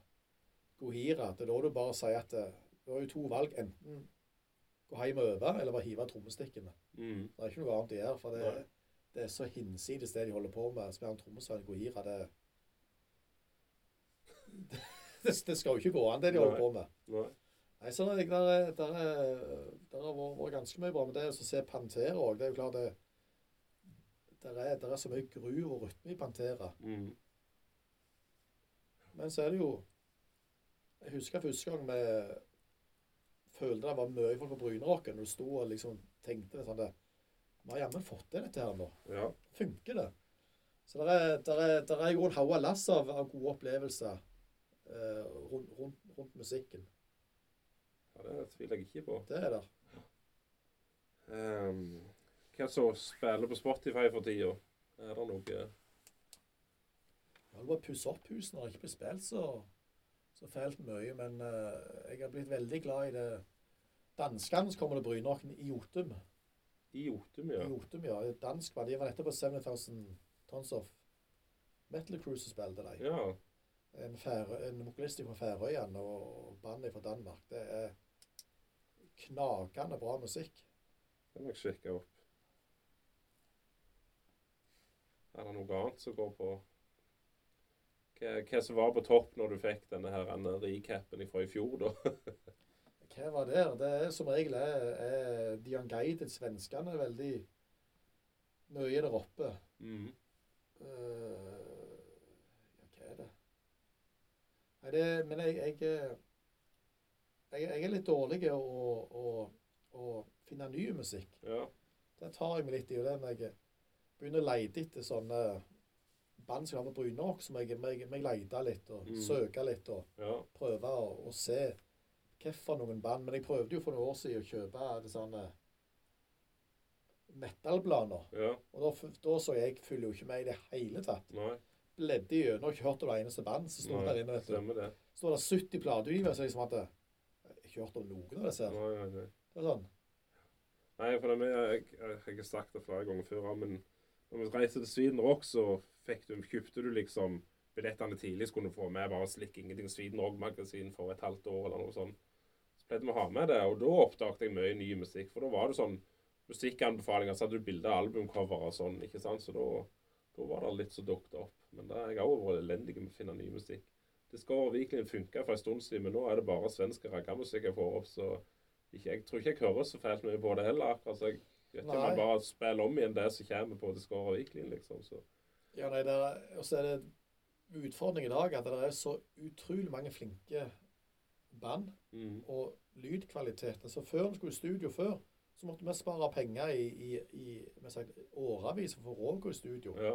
[SPEAKER 2] Gohira, det er da du bare sier at eh, du har jo to valg. Enten gå hjem og øve, eller bare hive trommestikkene.
[SPEAKER 1] Mm.
[SPEAKER 2] Det er ikke noe annet å gjøre, for det,
[SPEAKER 1] Nei.
[SPEAKER 2] det er så hinsides det de holder på med. Spiller en trommesvenn Gohira, det, det Det skal jo ikke gå an, det de
[SPEAKER 1] Nei.
[SPEAKER 2] holder på med.
[SPEAKER 1] Nei.
[SPEAKER 2] Nei, sånn så der, der, der, der har vært, vært ganske mye bra. Men det er jo å se Pantera òg. Det er jo klart det der er, der er så mye gru og rytme i Pantera.
[SPEAKER 1] Mm.
[SPEAKER 2] Men så er det jo Jeg husker første gang vi følte det var mye folk på Brynerocken. Når du sto og liksom tenkte det sånn det, Vi har jammen fått til dette her nå.
[SPEAKER 1] Ja.
[SPEAKER 2] Funker det? Så der er, der er, der er jo en haug av lass av, av gode opplevelser eh, rundt, rundt, rundt musikken.
[SPEAKER 1] ja, det tviler jeg ikke på.
[SPEAKER 2] Det er der.
[SPEAKER 1] Ehm, hva som spiller på Spotify for tida? Er det noe
[SPEAKER 2] Jeg holder på å pusse opp huset. Når det ikke blir spilt så, så fælt mye. Men eh, jeg har blitt veldig glad i det Danskene som kommer til Brynåken i Jotum.
[SPEAKER 1] i Jotum, ja?
[SPEAKER 2] I Jotum, ja. Et Dansk var de var nettopp på 7000 Tons of Metal Cruise og spilte de.
[SPEAKER 1] Ja.
[SPEAKER 2] En, færø, en vokalist fra Færøyene og bandet fra Danmark. Det er knakende bra musikk.
[SPEAKER 1] Det må jeg sjekke opp. Er det noe annet som går på Hva, hva som var på topp når du fikk denne her denne recapen fra i fjor, da?
[SPEAKER 2] Hva var det? Det er som regel er, er Dian Guided, svenskene, er veldig mye der oppe.
[SPEAKER 1] Mm.
[SPEAKER 2] Eh, ja, hva er det? Nei, det Men jeg, jeg, eh, jeg, jeg er litt dårlig i å, å, å finne ny musikk.
[SPEAKER 1] Ja.
[SPEAKER 2] Det tar jeg meg litt i. og det når jeg begynner å lete etter sånne band som jeg har på Brynåk, som jeg, må jeg, må jeg lete litt og
[SPEAKER 1] Mm.
[SPEAKER 2] søke litt og
[SPEAKER 1] Ja.
[SPEAKER 2] prøve å, å se hvorfor noen band. Men jeg prøvde jo for noen år siden å kjøpe det sånne metal-planer.
[SPEAKER 1] Ja.
[SPEAKER 2] Og da, f- da så jeg følger jo ikke med i det hele tatt
[SPEAKER 1] Nei.
[SPEAKER 2] bledde gjennom og ikke hørt om det eneste band som sto
[SPEAKER 1] Nei,
[SPEAKER 2] der inne. vet du.
[SPEAKER 1] Stemmer det.
[SPEAKER 2] Så var det 70 plateutgivere, så jeg liksom at jeg har ikke hørt om noen av disse. her.
[SPEAKER 1] Nei, nei, nei.
[SPEAKER 2] Det var sånn.
[SPEAKER 1] Nei, for det med, jeg, jeg, jeg har sagt det flere ganger før, men Når vi reiste til Sweden Rock, så fikk du, kjøpte du liksom billettene tidlig, så kunne du få med bare slikk ingenting Sweden Rock-magasin for et halvt år eller noe sånt. Så pleide vi å ha med det, og da oppdaget jeg mye ny musikk. For da var det sånn musikkanbefalinger, så hadde du bilde av albumcover og sånn, ikke sant. Så da, da var det litt som dukket opp. Men da, jeg har også vært elendig med å finne ny musikk. Discover Weekly funka for en stund siden, men nå er det bare svensk raggamusikk jeg får opp, så ikke, jeg tror ikke jeg hører så fælt mye på det heller. Altså, jeg vet ikke om jeg
[SPEAKER 2] Nei.
[SPEAKER 1] bare spiller om igjen det som kommer på Discover Weekly, liksom. Så.
[SPEAKER 2] Ja, nei, det er, og så er det utfordringen i dag at det er så utrolig mange flinke band,
[SPEAKER 1] Mm.
[SPEAKER 2] og lydkvaliteten. Så før vi skulle i studio før, så måtte vi spare penger i, i, i vi har sagt, årevis for å få råd til å gå i studio.
[SPEAKER 1] Ja.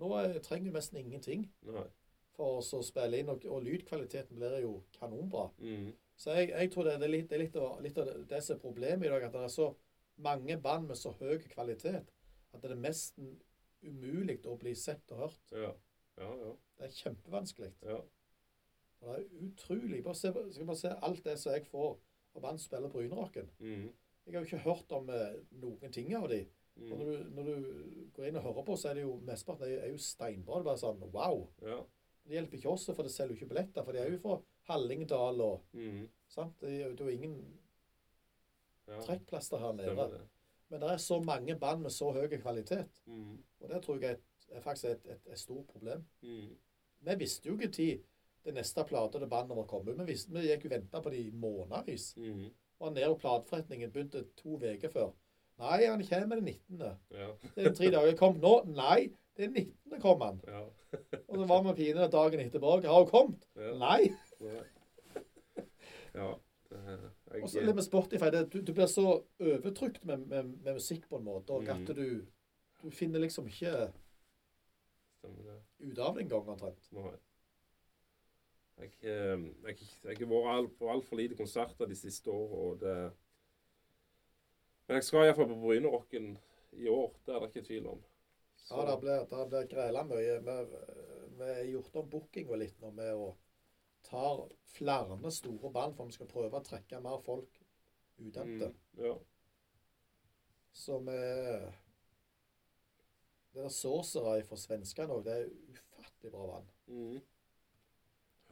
[SPEAKER 2] Nå eh, trenger vi nesten ingenting
[SPEAKER 1] Nei.
[SPEAKER 2] for oss å spille inn, og, og lydkvaliteten blir jo kanonbra.
[SPEAKER 1] Mm.
[SPEAKER 2] Så jeg, jeg tror det er litt, det er litt, av, litt av det som er problemet i dag, at det er så mange band med så høy kvalitet at det er nesten umulig å bli sett og hørt.
[SPEAKER 1] Ja. Ja, ja.
[SPEAKER 2] Det er kjempevanskelig.
[SPEAKER 1] ja.
[SPEAKER 2] Og Det er utrolig. Bare se, skal bare se alt det som jeg får når band spiller Brynerocken.
[SPEAKER 1] Mm.
[SPEAKER 2] Jeg har jo ikke hørt om eh, noen ting av de. Og
[SPEAKER 1] Mm.
[SPEAKER 2] når du, når du går inn og hører på, så er det jo mesteparten er, er jo steinbra. Det er bare sånn wow.
[SPEAKER 1] Ja.
[SPEAKER 2] Det hjelper ikke oss, for det selger jo ikke billetter. For de er jo fra Hallingdal og
[SPEAKER 1] Mm.
[SPEAKER 2] sant? Det er jo det er jo ingen
[SPEAKER 1] ja.
[SPEAKER 2] trekkplaster her nede.
[SPEAKER 1] Stemmer det.
[SPEAKER 2] Men det er så mange band med så høy kvalitet.
[SPEAKER 1] Mm.
[SPEAKER 2] Og det tror jeg er, et, er faktisk et, et, et stort problem.
[SPEAKER 1] Mm.
[SPEAKER 2] Vi visste jo ikke tid det neste plate og det bandet var kommet. Vi, visste, vi gikk jo venta på det i månedsvis.
[SPEAKER 1] Mm.
[SPEAKER 2] Var nede på plateforretningen, begynte to uker før. Nei, han kommer den 19.
[SPEAKER 1] Ja.
[SPEAKER 2] Det er tre dager. Kom nå. Nei, det er 19. kom han.
[SPEAKER 1] Ja.
[SPEAKER 2] Og så var vi pinlige dagen etterpå. Har hun kommet?
[SPEAKER 1] Ja.
[SPEAKER 2] Nei.
[SPEAKER 1] Nei. Ja. det-
[SPEAKER 2] Og så
[SPEAKER 1] Jeg,
[SPEAKER 2] litt med Spotify. Det, du, du blir så overtrykt med, med, med musikk på en måte, og at
[SPEAKER 1] Mhm.
[SPEAKER 2] du, du finner liksom ikke
[SPEAKER 1] stemmer det.
[SPEAKER 2] ut av det engang, omtrent.
[SPEAKER 1] Nei. Jeg, eh, jeg, jeg har vært all, på altfor lite konserter de siste årene, og det Men jeg skal iallfall på Brynerocken i år, det er det ikke tvil om. Så,
[SPEAKER 2] Ja, det blir, det blir grela mye. Vi eh, vi har gjort om bookinga litt nå med å ta flere store band for vi skal prøve å trekke mer folk ut av det.
[SPEAKER 1] mm, ja.
[SPEAKER 2] som er Det der Sorcerer fra svenskene òg, det er ufattelig bra vann.
[SPEAKER 1] Mm,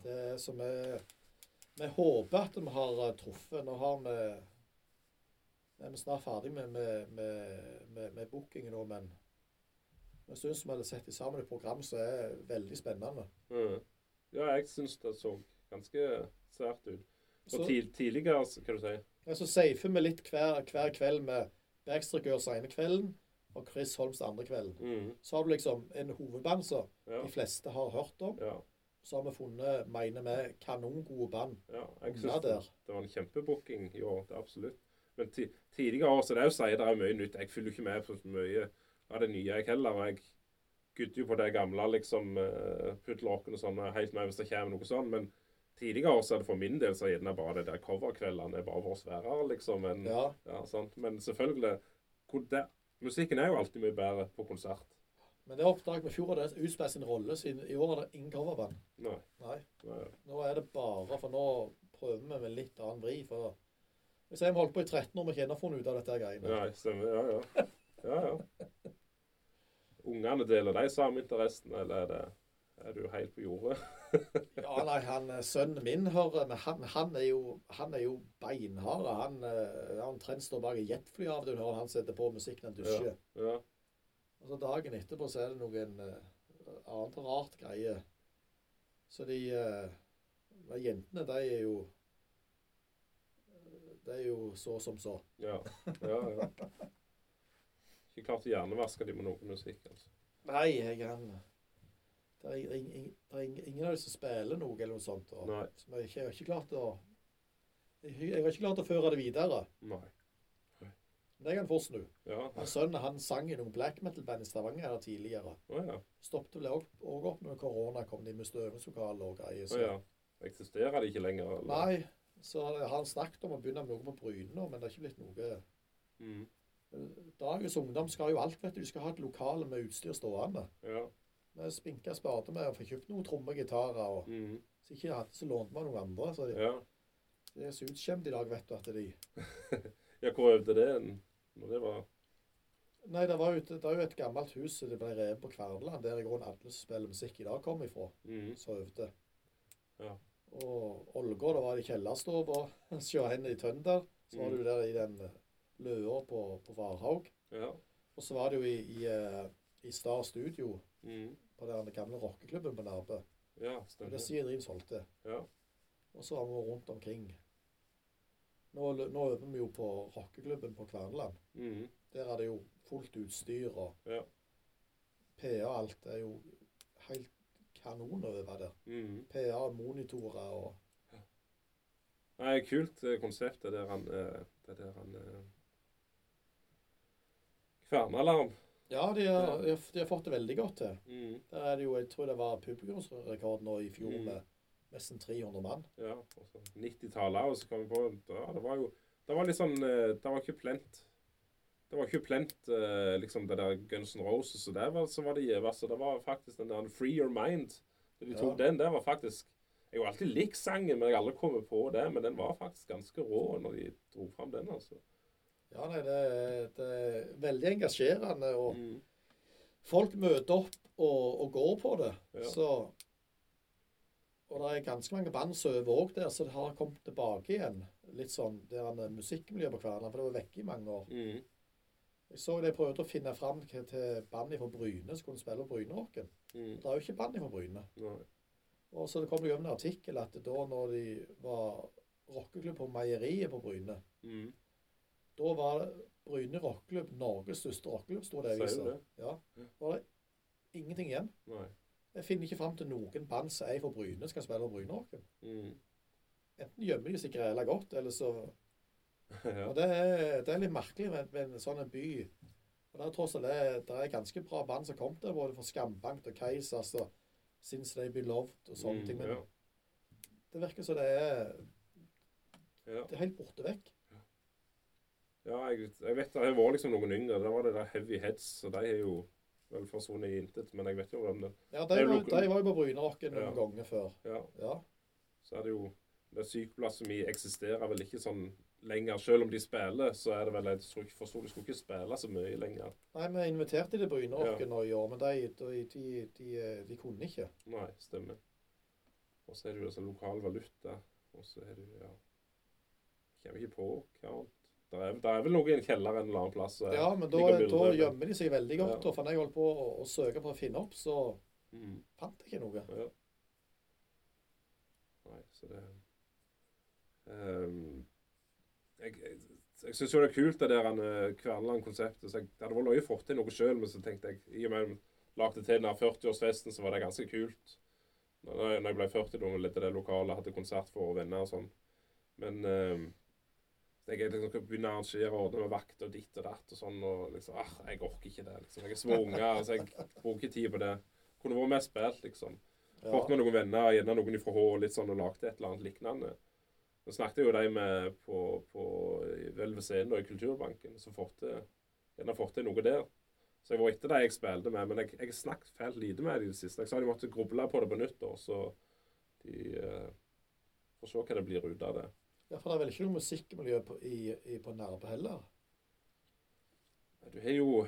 [SPEAKER 2] Det er som er Vi håper at vi har eh, truffet. Nå har vi nå er vi snart ferdig med, med, med, med, med bookingen nå, men jeg syns vi hadde sett i sammen et program som er veldig spennende.
[SPEAKER 1] mm. ja, jeg syns det så ganske sært ut.
[SPEAKER 2] Så-
[SPEAKER 1] Og ti- tidligere, så- hva du sier
[SPEAKER 2] Ja, så safer vi litt hver, hver kveld med Backstreet Girls ene kvelden og Chris Holms andre kvelden.
[SPEAKER 1] mm,
[SPEAKER 2] Så har du liksom en hovedband som
[SPEAKER 1] ja,
[SPEAKER 2] de fleste har hørt om.
[SPEAKER 1] ja,
[SPEAKER 2] så har vi funnet, mener vi, kanongode band.
[SPEAKER 1] ja. Jeg
[SPEAKER 2] Ja,
[SPEAKER 1] syns det,
[SPEAKER 2] der.
[SPEAKER 1] det var en kjempebooking i år, det er absolutt. Men ti, tidligere år, så det er jo sier det er mye nytt. Jeg følger ikke med på så mye av det nye, jeg heller. Jeg gudder jo på det gamle, liksom eh, puddelrocken og sånn, jeg er helt med hvis det kommer noe sånn. Men tidligere år så er det for min del så er gjerne bare det der coverkveldene er bare vår sværere, liksom. enn-
[SPEAKER 2] Ja,
[SPEAKER 1] ja, sant? Men selvfølgelig, hvor det, musikken er jo alltid mye bedre på konsert.
[SPEAKER 2] men det oppdaget vi i fjor, og det utspiller sin rolle, siden i år er det ingen coverband.
[SPEAKER 1] Nei.
[SPEAKER 2] Nei,
[SPEAKER 1] Nei.
[SPEAKER 2] nå er det bare, for nå prøver vi med litt annen vri, for hvis jeg har holdt på i 13 år, vi ikke ennå funnet ut av dette her greiene.
[SPEAKER 1] Nei, stemmer. Ja, ja. ja, ja. Ungene deler de samme interessene, eller er, det, er du helt på jordet?
[SPEAKER 2] Ja, nei, han, eh, sønnen min hører, men han, han er jo, han er jo beinhard, og han, eh, han omtrent står bak i jetfly av det, du hører han setter på musikken han dusjer.
[SPEAKER 1] Ja.
[SPEAKER 2] Og så dagen etterpå så er det noen uh, annet rart greie. Så de eh, de jentene, de er jo eh, De er jo så som så.
[SPEAKER 1] ja. ja, ja. Ikke klart å hjernevaske de med noe musikk, altså.
[SPEAKER 2] Nei, jeg han Det er, ing- ing- det er ing- ingen av dem som spiller noe eller noe sånt. Og,
[SPEAKER 1] Nei.
[SPEAKER 2] som jeg, ikke- jeg har ikke klart å jeg, jeg har ikke klart å føre det videre.
[SPEAKER 1] Nei.
[SPEAKER 2] Men det kan fort snu.
[SPEAKER 1] Ja.
[SPEAKER 2] Han Sønnen han sang i noen black metal-band i Stavanger her tidligere.
[SPEAKER 1] Å ja.
[SPEAKER 2] Stoppet vel òg opp når korona kom, de mistet øvingslokalet og greier.
[SPEAKER 1] Å ja. Eksisterer de ikke lenger? Eller?
[SPEAKER 2] Nei, så har han snakket om å begynne med noe på Bryne nå, men det er ikke blitt noe.
[SPEAKER 1] Mm.
[SPEAKER 2] Dagens ungdom skal jo alt, vet du. De skal ha et lokale med utstyr stående.
[SPEAKER 1] Ja.
[SPEAKER 2] Vi spinka spade med å få kjøpt noen trommer og gitarer. og
[SPEAKER 1] Mm.
[SPEAKER 2] Hvis ikke jeg hadde, så lånte vi av noen andre. Så de,
[SPEAKER 1] ja.
[SPEAKER 2] de er så utskjemt i dag, vet du, at de
[SPEAKER 1] Ja, hvor øvde det en? Når det var
[SPEAKER 2] Nei, det, var jo, et- det er jo et gammelt hus som det ble revet på Kvervland, der i grunnen alle som spiller musikk i dag, kom ifra.
[SPEAKER 1] Mm.
[SPEAKER 2] Så øvde.
[SPEAKER 1] Ja.
[SPEAKER 2] Og Ålgård, da var det i kjellerstova på Sjøhen i Tønder. Så var det
[SPEAKER 1] Mm.
[SPEAKER 2] jo der i den løa på, på Varhaug.
[SPEAKER 1] Ja.
[SPEAKER 2] Og så var det jo i, i, eh, i Star Studio,
[SPEAKER 1] Mm.
[SPEAKER 2] på den gamle rockeklubben på Nærbø.
[SPEAKER 1] ja,
[SPEAKER 2] Og det
[SPEAKER 1] stemmer.
[SPEAKER 2] sier Dream solgte.
[SPEAKER 1] Mhm. Ja.
[SPEAKER 2] Og så var vi rundt omkring. Nå, lø- nå øver vi jo på rockeklubben på Kverneland.
[SPEAKER 1] Mm.
[SPEAKER 2] Der er det jo fullt utstyr og
[SPEAKER 1] Ja.
[SPEAKER 2] PA og alt. Det er jo helt kanon å øve der.
[SPEAKER 1] Mm.
[SPEAKER 2] PA og monitorer og
[SPEAKER 1] Nei, kult eh, konsept, det der han eh, Det der han eh, Kvernalarm.
[SPEAKER 2] Ja, de har, de har- de har fått det veldig godt til.
[SPEAKER 1] Mm.
[SPEAKER 2] Der er det jo, jeg tror det var publikumsrekord nå i fjor
[SPEAKER 1] Mm.
[SPEAKER 2] med nesten 300 mann.
[SPEAKER 1] Ja, og så 90-tallet, og så kom vi på ja, Det var jo det var litt sånn eh, Det var ikke plent. Det var ikke plent, eh, liksom det der Guns N' Roses og der var, så var det gjeveste. Det var faktisk den der Free Your Mind. Da De tok
[SPEAKER 2] Ja.
[SPEAKER 1] den der var faktisk Jeg har jo alltid likt sangen, men jeg har aldri kommet på det. Men den var faktisk ganske rå når de dro fram den, altså.
[SPEAKER 2] Ja, nei, det, er- det er veldig engasjerende, og
[SPEAKER 1] Mm.
[SPEAKER 2] folk møter opp og, og går på det.
[SPEAKER 1] Ja.
[SPEAKER 2] Så, og det er ganske mange band som øver òg der, så det har kommet tilbake igjen. Litt sånn det er en musikkmiljø på Kvernaland, for det var vekke i mange år.
[SPEAKER 1] Mm.
[SPEAKER 2] Jeg så de prøvde å finne fram til til band fra Bryne som kunne spille Brynerocken.
[SPEAKER 1] Mm.
[SPEAKER 2] Det er jo ikke band fra Bryne.
[SPEAKER 1] Nei.
[SPEAKER 2] Og så kom det jo en artikkel at da når de var rockeklubb på Meieriet på Bryne,
[SPEAKER 1] Mm.
[SPEAKER 2] da var det Bryne rockeklubb Norges største rockeklubb, sto det i
[SPEAKER 1] Sier du
[SPEAKER 2] avisa.
[SPEAKER 1] det?
[SPEAKER 2] Ja. Da var det ingenting igjen.
[SPEAKER 1] Nei.
[SPEAKER 2] Jeg finner ikke fram til noen band som er fra Bryne, skal spille Brynerocken.
[SPEAKER 1] Mm.
[SPEAKER 2] Enten gjemmer de seg grela godt, eller så
[SPEAKER 1] ja.
[SPEAKER 2] Og det er, det er litt merkelig med, med en sånn en by. Og der tross alt det, er- det er ganske bra band som kom der, både fra Skambankt og Keisers og Since They Beloved og sånne
[SPEAKER 1] Mm,
[SPEAKER 2] ting. Men
[SPEAKER 1] ja.
[SPEAKER 2] det virker som det er,
[SPEAKER 1] Ja.
[SPEAKER 2] det er helt borte vekk.
[SPEAKER 1] Ja, jeg, jeg vet det var liksom noen yngre. Da var det der Heavy Heads, og de er jo vel forsvunnet i intet. Men jeg vet jo om det.
[SPEAKER 2] Ja,
[SPEAKER 1] Det
[SPEAKER 2] De
[SPEAKER 1] er
[SPEAKER 2] var,
[SPEAKER 1] lok-
[SPEAKER 2] de var jo på Brynerocken noen
[SPEAKER 1] Ja.
[SPEAKER 2] ganger før.
[SPEAKER 1] Ja,
[SPEAKER 2] Ja.
[SPEAKER 1] så er det jo det Sykeplasmi eksisterer vel ikke sånn lenger. Selv om de spiller, så er det vel Jeg tror ikke forsto de skulle ikke spille så mye lenger.
[SPEAKER 2] Nei, vi inviterte de til Brynerocken nå i år, men de, de, de, de, de kunne ikke.
[SPEAKER 1] Nei, stemmer. Og så er det jo altså lokal valuta, og så er det jo ja Kommer ikke på hva annet. Det er, der er vel noe i en kjeller en eller annen plass. så
[SPEAKER 2] Ja, men da,
[SPEAKER 1] ligger bilder,
[SPEAKER 2] da
[SPEAKER 1] men-
[SPEAKER 2] gjemmer de seg veldig godt.
[SPEAKER 1] Ja.
[SPEAKER 2] Og for når jeg holdt på å, å søke på å finne opp, så
[SPEAKER 1] Mm.
[SPEAKER 2] fant jeg ikke noe.
[SPEAKER 1] Ja. Nei, så det Ehm, Jeg, jeg, jeg syns jo det er kult det der han, eh, Kverneland-konseptet. så jeg det hadde vært løye å få til noe sjøl, men så tenkte jeg i og med jeg lagde til den her 40-årsfesten, så var det ganske kult. Når når jeg ble 40, da lette det lokale, hadde konsert for venner og sånn. Men ehm, jeg er liksom skal begynne å arrangere og ordne med vakt og ditt og datt og sånn. og liksom, ah, Jeg orker ikke det. liksom. Jeg er små unger, så jeg bruker ikke tid på det. Kunne vært mer spilt, liksom. Ja.
[SPEAKER 2] Ja.
[SPEAKER 1] med noen venner, gjerne noen fra Hå, litt sånn, og lagde et eller annet lignende. Så snakket jo de med på, på i- vel ved scenen og i Kulturbanken, så fått til- gjerne fått til noe der. Så jeg var etter de jeg spilte med, men jeg, jeg snakket fælt lite med de i det siste. Jeg sa de måtte gruble på det på nytt, da, så de eh, får se hva det blir ut av det.
[SPEAKER 2] ja, for det er vel ikke noe musikkmiljø på, i, i, på Nærbø heller.
[SPEAKER 1] Du har jo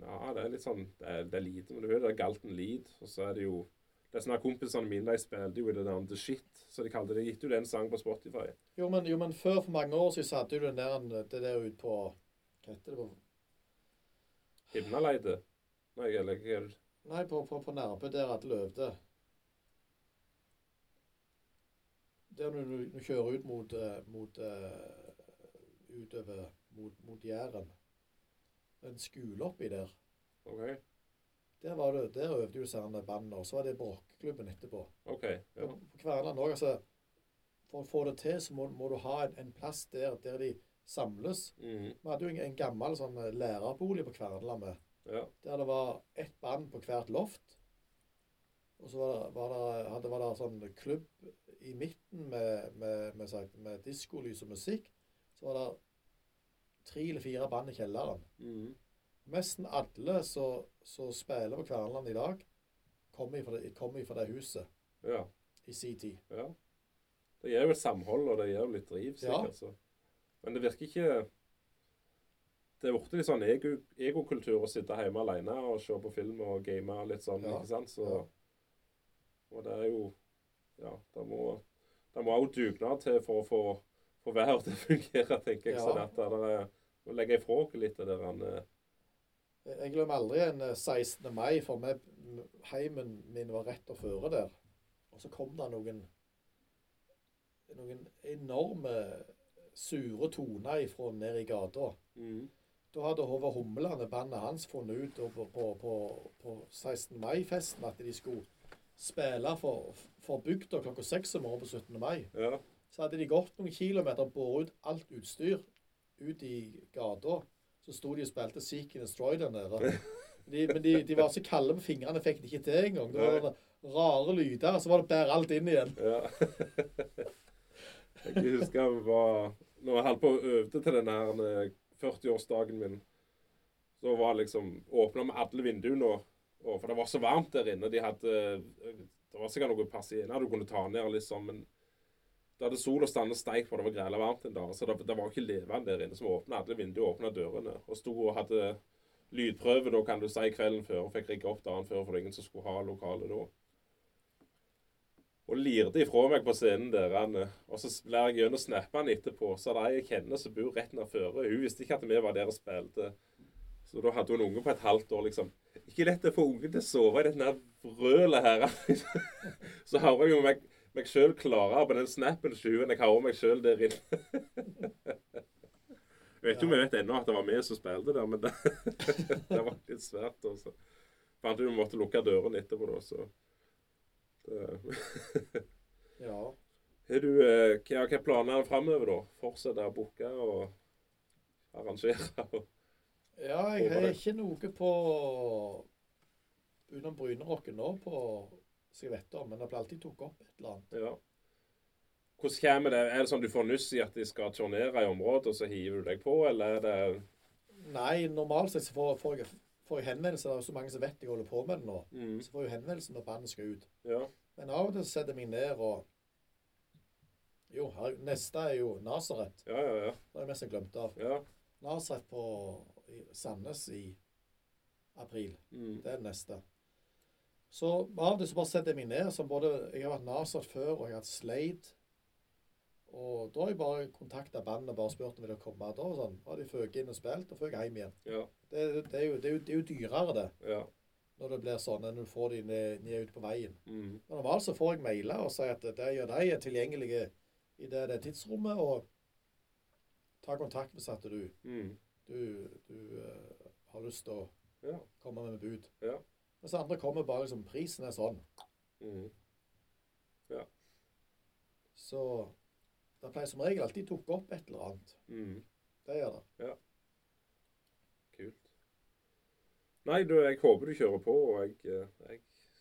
[SPEAKER 1] Ja, det er litt sånn Det er, det er lite, men du har jo det der Galten Lead, og så er det jo det er sånne her Kompisene mine de spilte jo i det der The Shit, så de kalte det. Gitt jo det en sang på Spotify.
[SPEAKER 2] Jo, men, jo, men før, for mange år siden, så hadde du den der, det der ute på Hva heter det på
[SPEAKER 1] Himnaleide? Nei, eller hva er det?
[SPEAKER 2] Nei, på, på, på Nærbø, der at Løvde Der når du, du kjører ut mot, eh, mot eh, Utover mot, mot Jæren. En skole oppi der.
[SPEAKER 1] OK.
[SPEAKER 2] Der, var det, der øvde jo sånne band, og så var det på rockeklubben etterpå.
[SPEAKER 1] ok, ja.
[SPEAKER 2] På, på Kverneland òg, altså. For å få det til, så må, må du ha en, en plass der, der de samles.
[SPEAKER 1] Mm,
[SPEAKER 2] Vi hadde jo en, en gammel sånn eh, lærerbolig på Kverneland med,
[SPEAKER 1] ja.
[SPEAKER 2] der det var ett band på hvert loft. Og så var det, var det, hadde, var det sånn klubb i midten med, med, med, sagt- med diskolys og musikk. Så var det tre eller fire band i kjelleren.
[SPEAKER 1] Mm,
[SPEAKER 2] Nesten alle som som spiller på Kverneland i dag, kommer fra det, kommer fra det huset
[SPEAKER 1] ja.
[SPEAKER 2] i sin tid.
[SPEAKER 1] Ja. Det gir jo et samhold, og det gir jo litt driv,
[SPEAKER 2] Ja.
[SPEAKER 1] sikkert. Så. Men det virker ikke det er blitt litt sånn ego- egokultur å sitte hjemme alene og se på film og game og litt sånn,
[SPEAKER 2] Ja,
[SPEAKER 1] ikke sant? Så,
[SPEAKER 2] ja.
[SPEAKER 1] Og det er jo Ja, det må, det må også dugnad til for å få få været til å fungere, tenker jeg.
[SPEAKER 2] Ja.
[SPEAKER 1] Sånn at det er Å legge ifra oss litt det der han eh,
[SPEAKER 2] Jeg jeg glemmer aldri en eh, 16. mai, for meg, m- heimen min var rett og føre der. Og så kom det noen, noen enorme sure toner ifra ned i gata.
[SPEAKER 1] mm.
[SPEAKER 2] Da hadde Håvard Humland og bandet hans funnet ut da på, på, på, på 16. mai-festen at de skulle spille for, for bygda klokka seks om morgenen på 17. mai.
[SPEAKER 1] Ja.
[SPEAKER 2] Så hadde de gått noen kilometer og båret ut alt utstyr ut i gata. Så sto de og spilte Seek and Destroy der nede. De, men de, de var så kalde med fingrene, fikk det ikke til engang. Det var rare lyder, og så var det bære alt inn igjen.
[SPEAKER 1] Ja. jeg husker vi var Når jeg holdt på å øvde til den her eh, 40-årsdagen min, så var liksom Åpna vi alle vinduene, og, og, for det var så varmt der inne. De hadde eh, Det var sikkert noe persiener du kunne ta ned, liksom, men det hadde sol og stande steik, for det var grela varmt en dag. Så det, det var ikke levende der inne. Så vi åpna alle vinduene, åpna dørene, og sto og hadde lydprøve, da kan du si, kvelden før. Og fikk rigga opp dagen før, for det var ingen som skulle ha lokalet da og lirte ifra meg på scenen der. Han, eh, og så blir jeg gjennom snappene etterpå. Så er det ei jeg kjenner som bor rett nedfor. Hun visste ikke at vi var der og spilte. Så da hadde hun en unge på et halvt år, liksom. Ikke lett å få ungen til å sove i dette her vrølet her. så hører jeg jo meg, meg sjøl klarere på den snappen sju enn jeg hører meg sjøl der inne. jeg vet ikke om jeg vet ennå at det var vi som spilte der, men det, det var litt svært. altså. Og så fant ut vi måtte lukke dørene etterpå, da, så det.
[SPEAKER 2] Ja.
[SPEAKER 1] Har du eh, hva, hva er planene framover, da? Fortsette å booke og arrangere? og-
[SPEAKER 2] Ja, jeg har ikke noe på Utenom Brynerocken nå, på, som jeg vet om, men det blir alltid tatt opp et eller annet.
[SPEAKER 1] ja. Hvordan kommer det? Er det sånn du får nuss i at de skal turnere i området, og så hiver du deg på, eller er det
[SPEAKER 2] Nei, normalt sett så får, får, jeg, får jeg henvendelser. Det er jo så mange som vet jeg holder på med det nå.
[SPEAKER 1] mm,
[SPEAKER 2] Så får jeg jo henvendelser når bandet skal ut.
[SPEAKER 1] Ja.
[SPEAKER 2] Men av og til setter jeg meg ned og Jo, her, neste er jo Nasaret.
[SPEAKER 1] Ja, ja, ja.
[SPEAKER 2] Det er det mest jeg glemte av.
[SPEAKER 1] ja.
[SPEAKER 2] Nasaret på i Sandnes i april.
[SPEAKER 1] Mm.
[SPEAKER 2] Det er det neste. Så av og til så bare setter jeg meg ned. Som både, jeg har vært Nasaret før, og jeg har hatt Slade. Og da har jeg bare kontakta bandet og bare spurt om de ville komme. Da og sånn. Da har de føket inn og spilt, og føket hjem igjen.
[SPEAKER 1] ja,
[SPEAKER 2] Det, det, er jo, det, er jo, det er jo dyrere, det,
[SPEAKER 1] ja.
[SPEAKER 2] når det blir sånn, enn når du får de ned, ned ute på veien.
[SPEAKER 1] Mm.
[SPEAKER 2] Men normalt så får jeg mailer og sier at det gjør de er tilgjengelige i det, det tidsrommet, og ta kontakt hvis at du,
[SPEAKER 1] Mm.
[SPEAKER 2] du, du eh, har lyst til å
[SPEAKER 1] Ja.
[SPEAKER 2] komme med bud.
[SPEAKER 1] Ja.
[SPEAKER 2] Mens andre kommer bare liksom Prisen er sånn.
[SPEAKER 1] Mm.
[SPEAKER 2] Så det pleier som regel alltid dukke opp et eller annet.
[SPEAKER 1] Mm.
[SPEAKER 2] Det gjør det.
[SPEAKER 1] Kult. Nei, du, jeg håper du kjører på, og jeg, eh, jeg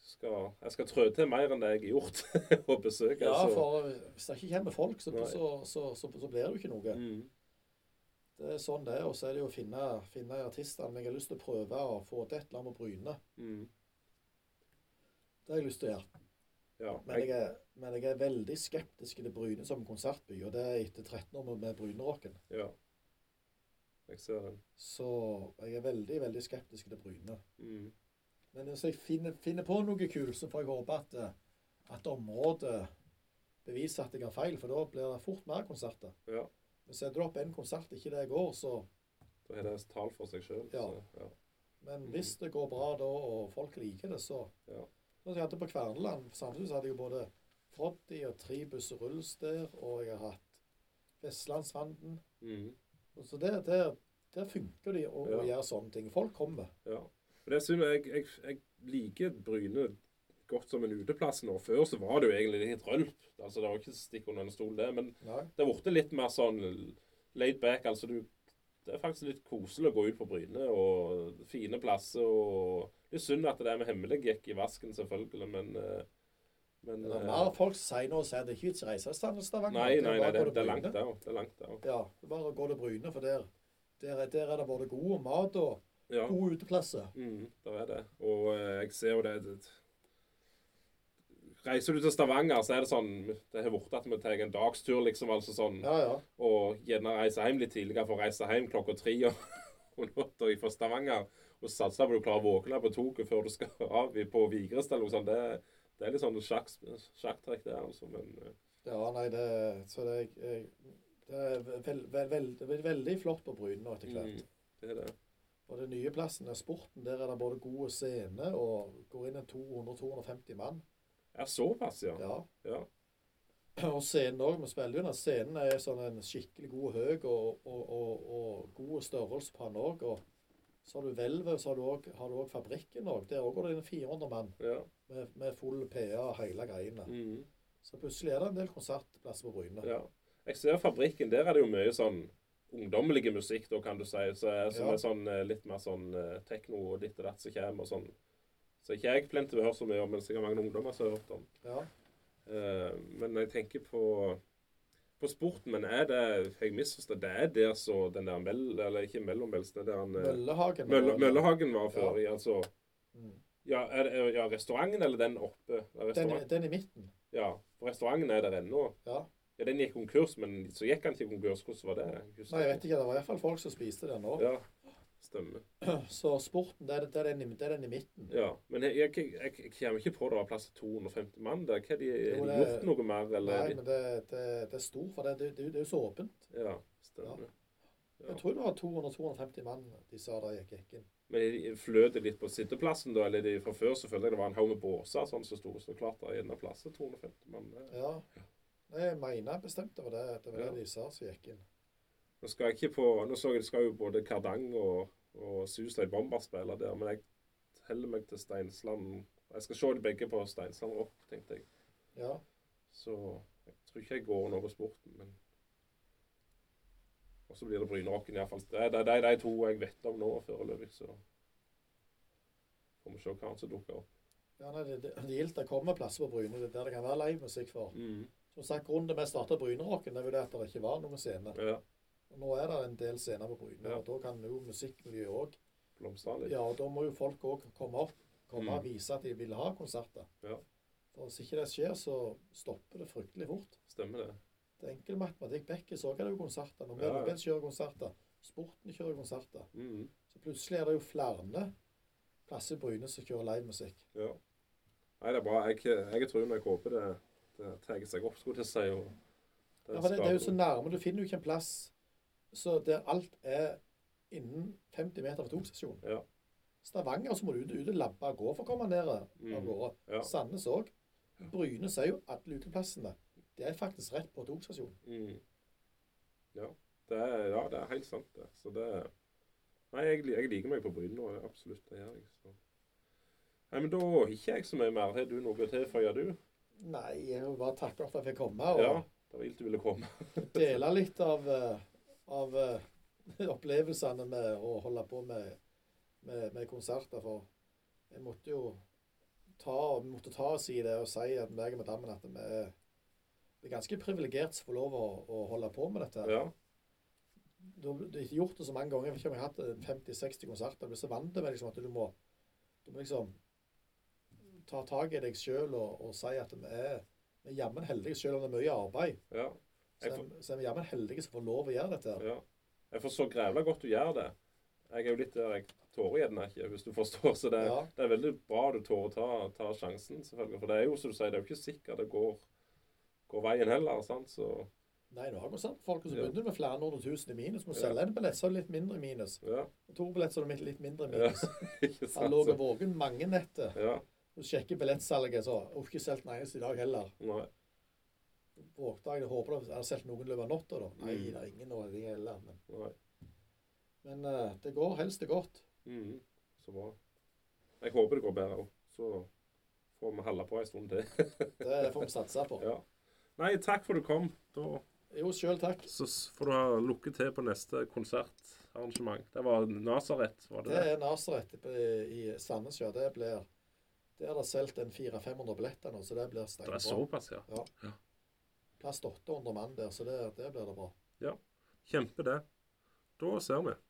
[SPEAKER 1] skal, jeg skal trå til mer enn det jeg har gjort, og besøke.
[SPEAKER 2] Ja,
[SPEAKER 1] altså.
[SPEAKER 2] for eh, hvis det ikke kommer folk, så,
[SPEAKER 1] Nei.
[SPEAKER 2] så, så, så, så blir det jo ikke noe.
[SPEAKER 1] mm.
[SPEAKER 2] Det er sånn det er. Og så er det jo å finne, finne artistene. Men jeg har lyst til å prøve å få til et eller annet med Bryne.
[SPEAKER 1] Mm.
[SPEAKER 2] Det har jeg lyst til å gjøre.
[SPEAKER 1] Ja,
[SPEAKER 2] Men jeg er, men jeg er veldig skeptisk til Bryne som konsertby. Og det er etter 13 år med- med Brynerocken.
[SPEAKER 1] Ja. Jeg ser den.
[SPEAKER 2] Så jeg er veldig, veldig skeptisk til Bryne.
[SPEAKER 1] Mm.
[SPEAKER 2] Men hvis jeg finner, finner på noe kult, så får jeg håpe at, eh, at området beviser at jeg har feil. For da blir det fort mer konserter.
[SPEAKER 1] Ja.
[SPEAKER 2] Men setter du opp en konsert ikke det går, så
[SPEAKER 1] Da har det tall for seg sjøl.
[SPEAKER 2] Ja.
[SPEAKER 1] Ja.
[SPEAKER 2] Men
[SPEAKER 1] Mhm.
[SPEAKER 2] hvis det går bra da, og folk liker det, så
[SPEAKER 1] Ja.
[SPEAKER 2] Sånn som jeg hadde på Kverneland, på Sandnes hadde jeg jo både Froddy og Tribus og Rulls der, og jeg har hatt Vestlandsvanden.
[SPEAKER 1] Mm.
[SPEAKER 2] Og Så der, der, der funker de å, å
[SPEAKER 1] Ja.
[SPEAKER 2] gjøre sånne ting. Folk kommer.
[SPEAKER 1] ja. Men det synes jeg, jeg, jeg liker Bryne godt som en uteplass nå. Før så var det jo egentlig litt rølp. Altså, det var ikke stikk under en stol, det. Men
[SPEAKER 2] Nei.
[SPEAKER 1] det har blitt litt mer sånn laid back. Altså, du Det er faktisk litt koselig å gå ut på Bryne, og fine plasser og Litt synd at det der med hemmelig gikk i vasken, selvfølgelig, men eh, Men
[SPEAKER 2] Det er
[SPEAKER 1] eh,
[SPEAKER 2] mer folk som sier nå og sier at det er ikke vits å reise til Sandnes Stavanger.
[SPEAKER 1] Nei,
[SPEAKER 2] er
[SPEAKER 1] nei, nei,
[SPEAKER 2] bare å
[SPEAKER 1] det,
[SPEAKER 2] gå til
[SPEAKER 1] det er langt
[SPEAKER 2] Bryne.
[SPEAKER 1] der. Det er langt der.
[SPEAKER 2] Ja, det er bare å gå til Bryne, for der, der, er- der er det både god mat og
[SPEAKER 1] Ja.
[SPEAKER 2] gode uteplasser.
[SPEAKER 1] Mm, det er det. Og eh, jeg ser jo det, det Reiser du til Stavanger, så er det sånn Det har blitt at vi tar en dagstur, liksom. altså sånn,
[SPEAKER 2] Ja, ja.
[SPEAKER 1] Og gjerne reiser hjem litt tidligere for å reise hjem klokka tre og, og låta fra Stavanger og satse på at du klarer å våkne på toget før du skal av i- på Vigrest eller noe sånt. Det, det er litt sånn sjakks- sjakktrekk, det, altså. Men eh,
[SPEAKER 2] Ja, nei, det Så det, er- jeg, det er vel- vel- vel- det blir veldig flott på Bryne nå etter hvert.
[SPEAKER 1] mm, det er det.
[SPEAKER 2] Og den nye plassen er sporten. Der er det både gode scene og går inn en 200-250 mann.
[SPEAKER 1] Ja, såpass, ja.
[SPEAKER 2] Ja.
[SPEAKER 1] Ja.
[SPEAKER 2] Og scenen òg. Vi spiller jo den. Scenen er sånn en skikkelig god høy og, og, og, og god størrelse på den òg. Og så har du hvelvet, så har du også- har du òg fabrikken òg. Der òg går det inn 400 mann
[SPEAKER 1] ja.
[SPEAKER 2] med, med full PA og hele greiene.
[SPEAKER 1] Mm,
[SPEAKER 2] Så plutselig er det en del konsertplasser på Bryne.
[SPEAKER 1] ja. Jeg ser fabrikken, der er det jo mye sånn ungdommelig musikk, da, kan du si. Så, som
[SPEAKER 2] Ja.
[SPEAKER 1] er sånn eh, litt mer sånn eh, tekno og ditt og datt som kommer og sånn. Så ikke jeg plente å høre så mye om, men sikkert mange ungdommer som har hørt om.
[SPEAKER 2] Ja.
[SPEAKER 1] Eh, men jeg tenker på, på sporten, men er det Jeg misforstår. Det er der så den der mell... Eller ikke mellombelsen, det der han, eh,
[SPEAKER 2] Møllehagen.
[SPEAKER 1] Mølle, Møllehagen var før.
[SPEAKER 2] Ja.
[SPEAKER 1] i, Altså,
[SPEAKER 2] Mm.
[SPEAKER 1] ja, er det, er- ja, restauranten eller den oppe? Ja,
[SPEAKER 2] Den,
[SPEAKER 1] Restaurant,
[SPEAKER 2] den i midten.
[SPEAKER 1] ja, for restauranten er der ennå.
[SPEAKER 2] Ja.
[SPEAKER 1] Ja, den gikk konkurs, men så gikk han ikke konkurs. Hvordan var det?
[SPEAKER 2] Nei, jeg vet ikke. Det var iallfall folk som spiste den nå.
[SPEAKER 1] Ja, stemmer.
[SPEAKER 2] Så sporten, det er, det er, den, i- det er den i midten.
[SPEAKER 1] Ja, men jeg, jeg, jeg, jeg kommer ikke på det var plass til 250 mann der. Hva, har de, har
[SPEAKER 2] Jo,
[SPEAKER 1] de
[SPEAKER 2] det-
[SPEAKER 1] gjort noe mer, eller?
[SPEAKER 2] Nei, men det, det, det er stort, for det, det, det, er jo så åpent.
[SPEAKER 1] Ja, stemmer. Ja.
[SPEAKER 2] Jeg tror det var 200-250 mann de sa da jeg gikk inn.
[SPEAKER 1] Men er de- fløt det litt på sitteplassen da, eller er de fra før så følte jeg det var en haug med båser sånn som sto så klart der i en av plassene, 250 mann. det-
[SPEAKER 2] Ja. Nei, jeg mener bestemt det var det, det, var
[SPEAKER 1] Ja.
[SPEAKER 2] det de sa som gikk inn.
[SPEAKER 1] Nå skal jeg ikke på, nå så jeg det skal jo både Kardang og, og Suicide Bomber spille der, men jeg teller meg til Steinsland. Jeg skal se de begge på Steinsland Rock, tenkte jeg.
[SPEAKER 2] Ja.
[SPEAKER 1] Så jeg tror ikke jeg går nå på sporten, men Og så blir det Brynerocken iallfall. Det er det er de to jeg vet om nå foreløpig, så får vi se hva annet som dukker opp.
[SPEAKER 2] ja nei, det, det, det gildt det kommer plasser på Bryne. Det er der det kan være livemusikk for. Som sagt, grunnen til at vi starta Brynerocken, det var jo det at det ikke var noen scene.
[SPEAKER 1] Ja,
[SPEAKER 2] Og nå er det en del scener på Bryne,
[SPEAKER 1] Ja.
[SPEAKER 2] og da kan jo musikkmiljøet òg
[SPEAKER 1] blomstrer litt.
[SPEAKER 2] Ja, og da må jo folk òg komme opp komme
[SPEAKER 1] Mm.
[SPEAKER 2] og vise at de vil ha konserter.
[SPEAKER 1] Ja.
[SPEAKER 2] For hvis ikke det skjer, så stopper det fryktelig fort.
[SPEAKER 1] Stemmer det.
[SPEAKER 2] Det er enkel matematikk. Bekkes òg hadde jo konserter. Når
[SPEAKER 1] Ja, ja.
[SPEAKER 2] Møllebens kjører konserter, Sporten kjører konserter.
[SPEAKER 1] Mhm,
[SPEAKER 2] Så plutselig er det jo flere plasser i Bryne som kjører livemusikk.
[SPEAKER 1] ja. Nei, det er bra. Jeg, jeg tror når jeg håper det, det tar seg opp, skulle jeg si. Og det,
[SPEAKER 2] Ja, for det, det er jo så
[SPEAKER 1] skaper-
[SPEAKER 2] nærme. Du finner jo ikke en plass så der alt er innen 50 meter fra togstasjonen.
[SPEAKER 1] Ja.
[SPEAKER 2] Stavanger så må du ut, ut og labbe av gårde for å komme ned eh, av
[SPEAKER 1] Mm,
[SPEAKER 2] gårde.
[SPEAKER 1] ja.
[SPEAKER 2] Sandnes òg. Bryne sier jo alle uteplassene. Det er faktisk rett på togstasjonen.
[SPEAKER 1] Mhm. Ja. Det er, ja, det er helt sant, det. Så det Nei, jeg, li- jeg liker meg på Bryne nå. Absolutt. Det gjør jeg. Så. Nei, men da har ikke jeg så mye mer. Har du noe å tilføye, du?
[SPEAKER 2] Nei, jeg vil bare takke for at jeg fikk komme og
[SPEAKER 1] Ja. Det var ilt du ville komme.
[SPEAKER 2] dele litt av, eh, av eh, opplevelsene med å holde på med, med, med konserter. For jeg måtte jo ta, vi måtte ta oss i det og si at meg og madammen at vi er, vi er ganske privilegert som får lov å, å holde på med dette.
[SPEAKER 1] Ja.
[SPEAKER 2] Du har du har ikke gjort det så mange ganger. Jeg vet ikke om jeg har hatt eh, 50-60 konserter. Du blir så vant til det, liksom, at du må, du må liksom ta tak i deg sjøl og, og si at vi er, vi er jammen heldige, selv om det er mye arbeid.
[SPEAKER 1] ja.
[SPEAKER 2] Så
[SPEAKER 1] Jeg
[SPEAKER 2] er- så er vi jammen heldige som får lov å gjøre dette. her.
[SPEAKER 1] Ja. Jeg forstår grævla godt du gjør det. Jeg er jo litt der jeg tårer gjerne ikke, hvis du forstår. Så det,
[SPEAKER 2] Ja.
[SPEAKER 1] det er veldig bra du tårer å ta, ta sjansen, selvfølgelig. For det er jo som du sier, det er jo ikke sikkert det går, går veien heller. sant? Så
[SPEAKER 2] Nei, nå har konsertfolket så
[SPEAKER 1] Ja.
[SPEAKER 2] begynner du med flere hundre tusen i minus. Må
[SPEAKER 1] Ja.
[SPEAKER 2] selge en billett, så er det litt mindre i minus.
[SPEAKER 1] ja,
[SPEAKER 2] Og to billetter, så er det litt mindre i
[SPEAKER 1] Ja,
[SPEAKER 2] minus.
[SPEAKER 1] ikke
[SPEAKER 2] Han
[SPEAKER 1] sant?
[SPEAKER 2] lå
[SPEAKER 1] Så,
[SPEAKER 2] og vågen mange netter.
[SPEAKER 1] ja,
[SPEAKER 2] Og sjekker billettsalget, så har ikke solgt den eneste i dag heller.
[SPEAKER 1] nei,
[SPEAKER 2] Vågte jeg, jeg håper det er solgt noen i løpet av natta, da. Nei,
[SPEAKER 1] Mm.
[SPEAKER 2] det er ingen nå i det heller. Men,
[SPEAKER 1] nei.
[SPEAKER 2] men eh, det går helst det godt.
[SPEAKER 1] Mhm. Så bra. Jeg håper det går bedre òg. Så får vi holde på en stund til.
[SPEAKER 2] Det får vi satse på.
[SPEAKER 1] Ja. Nei, takk for du kom. Da
[SPEAKER 2] Jo, sjøl takk.
[SPEAKER 1] så s- får du ha lukke til på neste konsertarrangement. Det var Nasaret, var det
[SPEAKER 2] Det
[SPEAKER 1] det?
[SPEAKER 2] er Nasaret i Sandnes, ja. Det blir Der er det solgt en 400-500 billetter nå, så det blir
[SPEAKER 1] Det er
[SPEAKER 2] steinbra.
[SPEAKER 1] såpass, ja.
[SPEAKER 2] plass til 800 mann der, så det, det blir det bra.
[SPEAKER 1] Kjempe det. Da ser vi.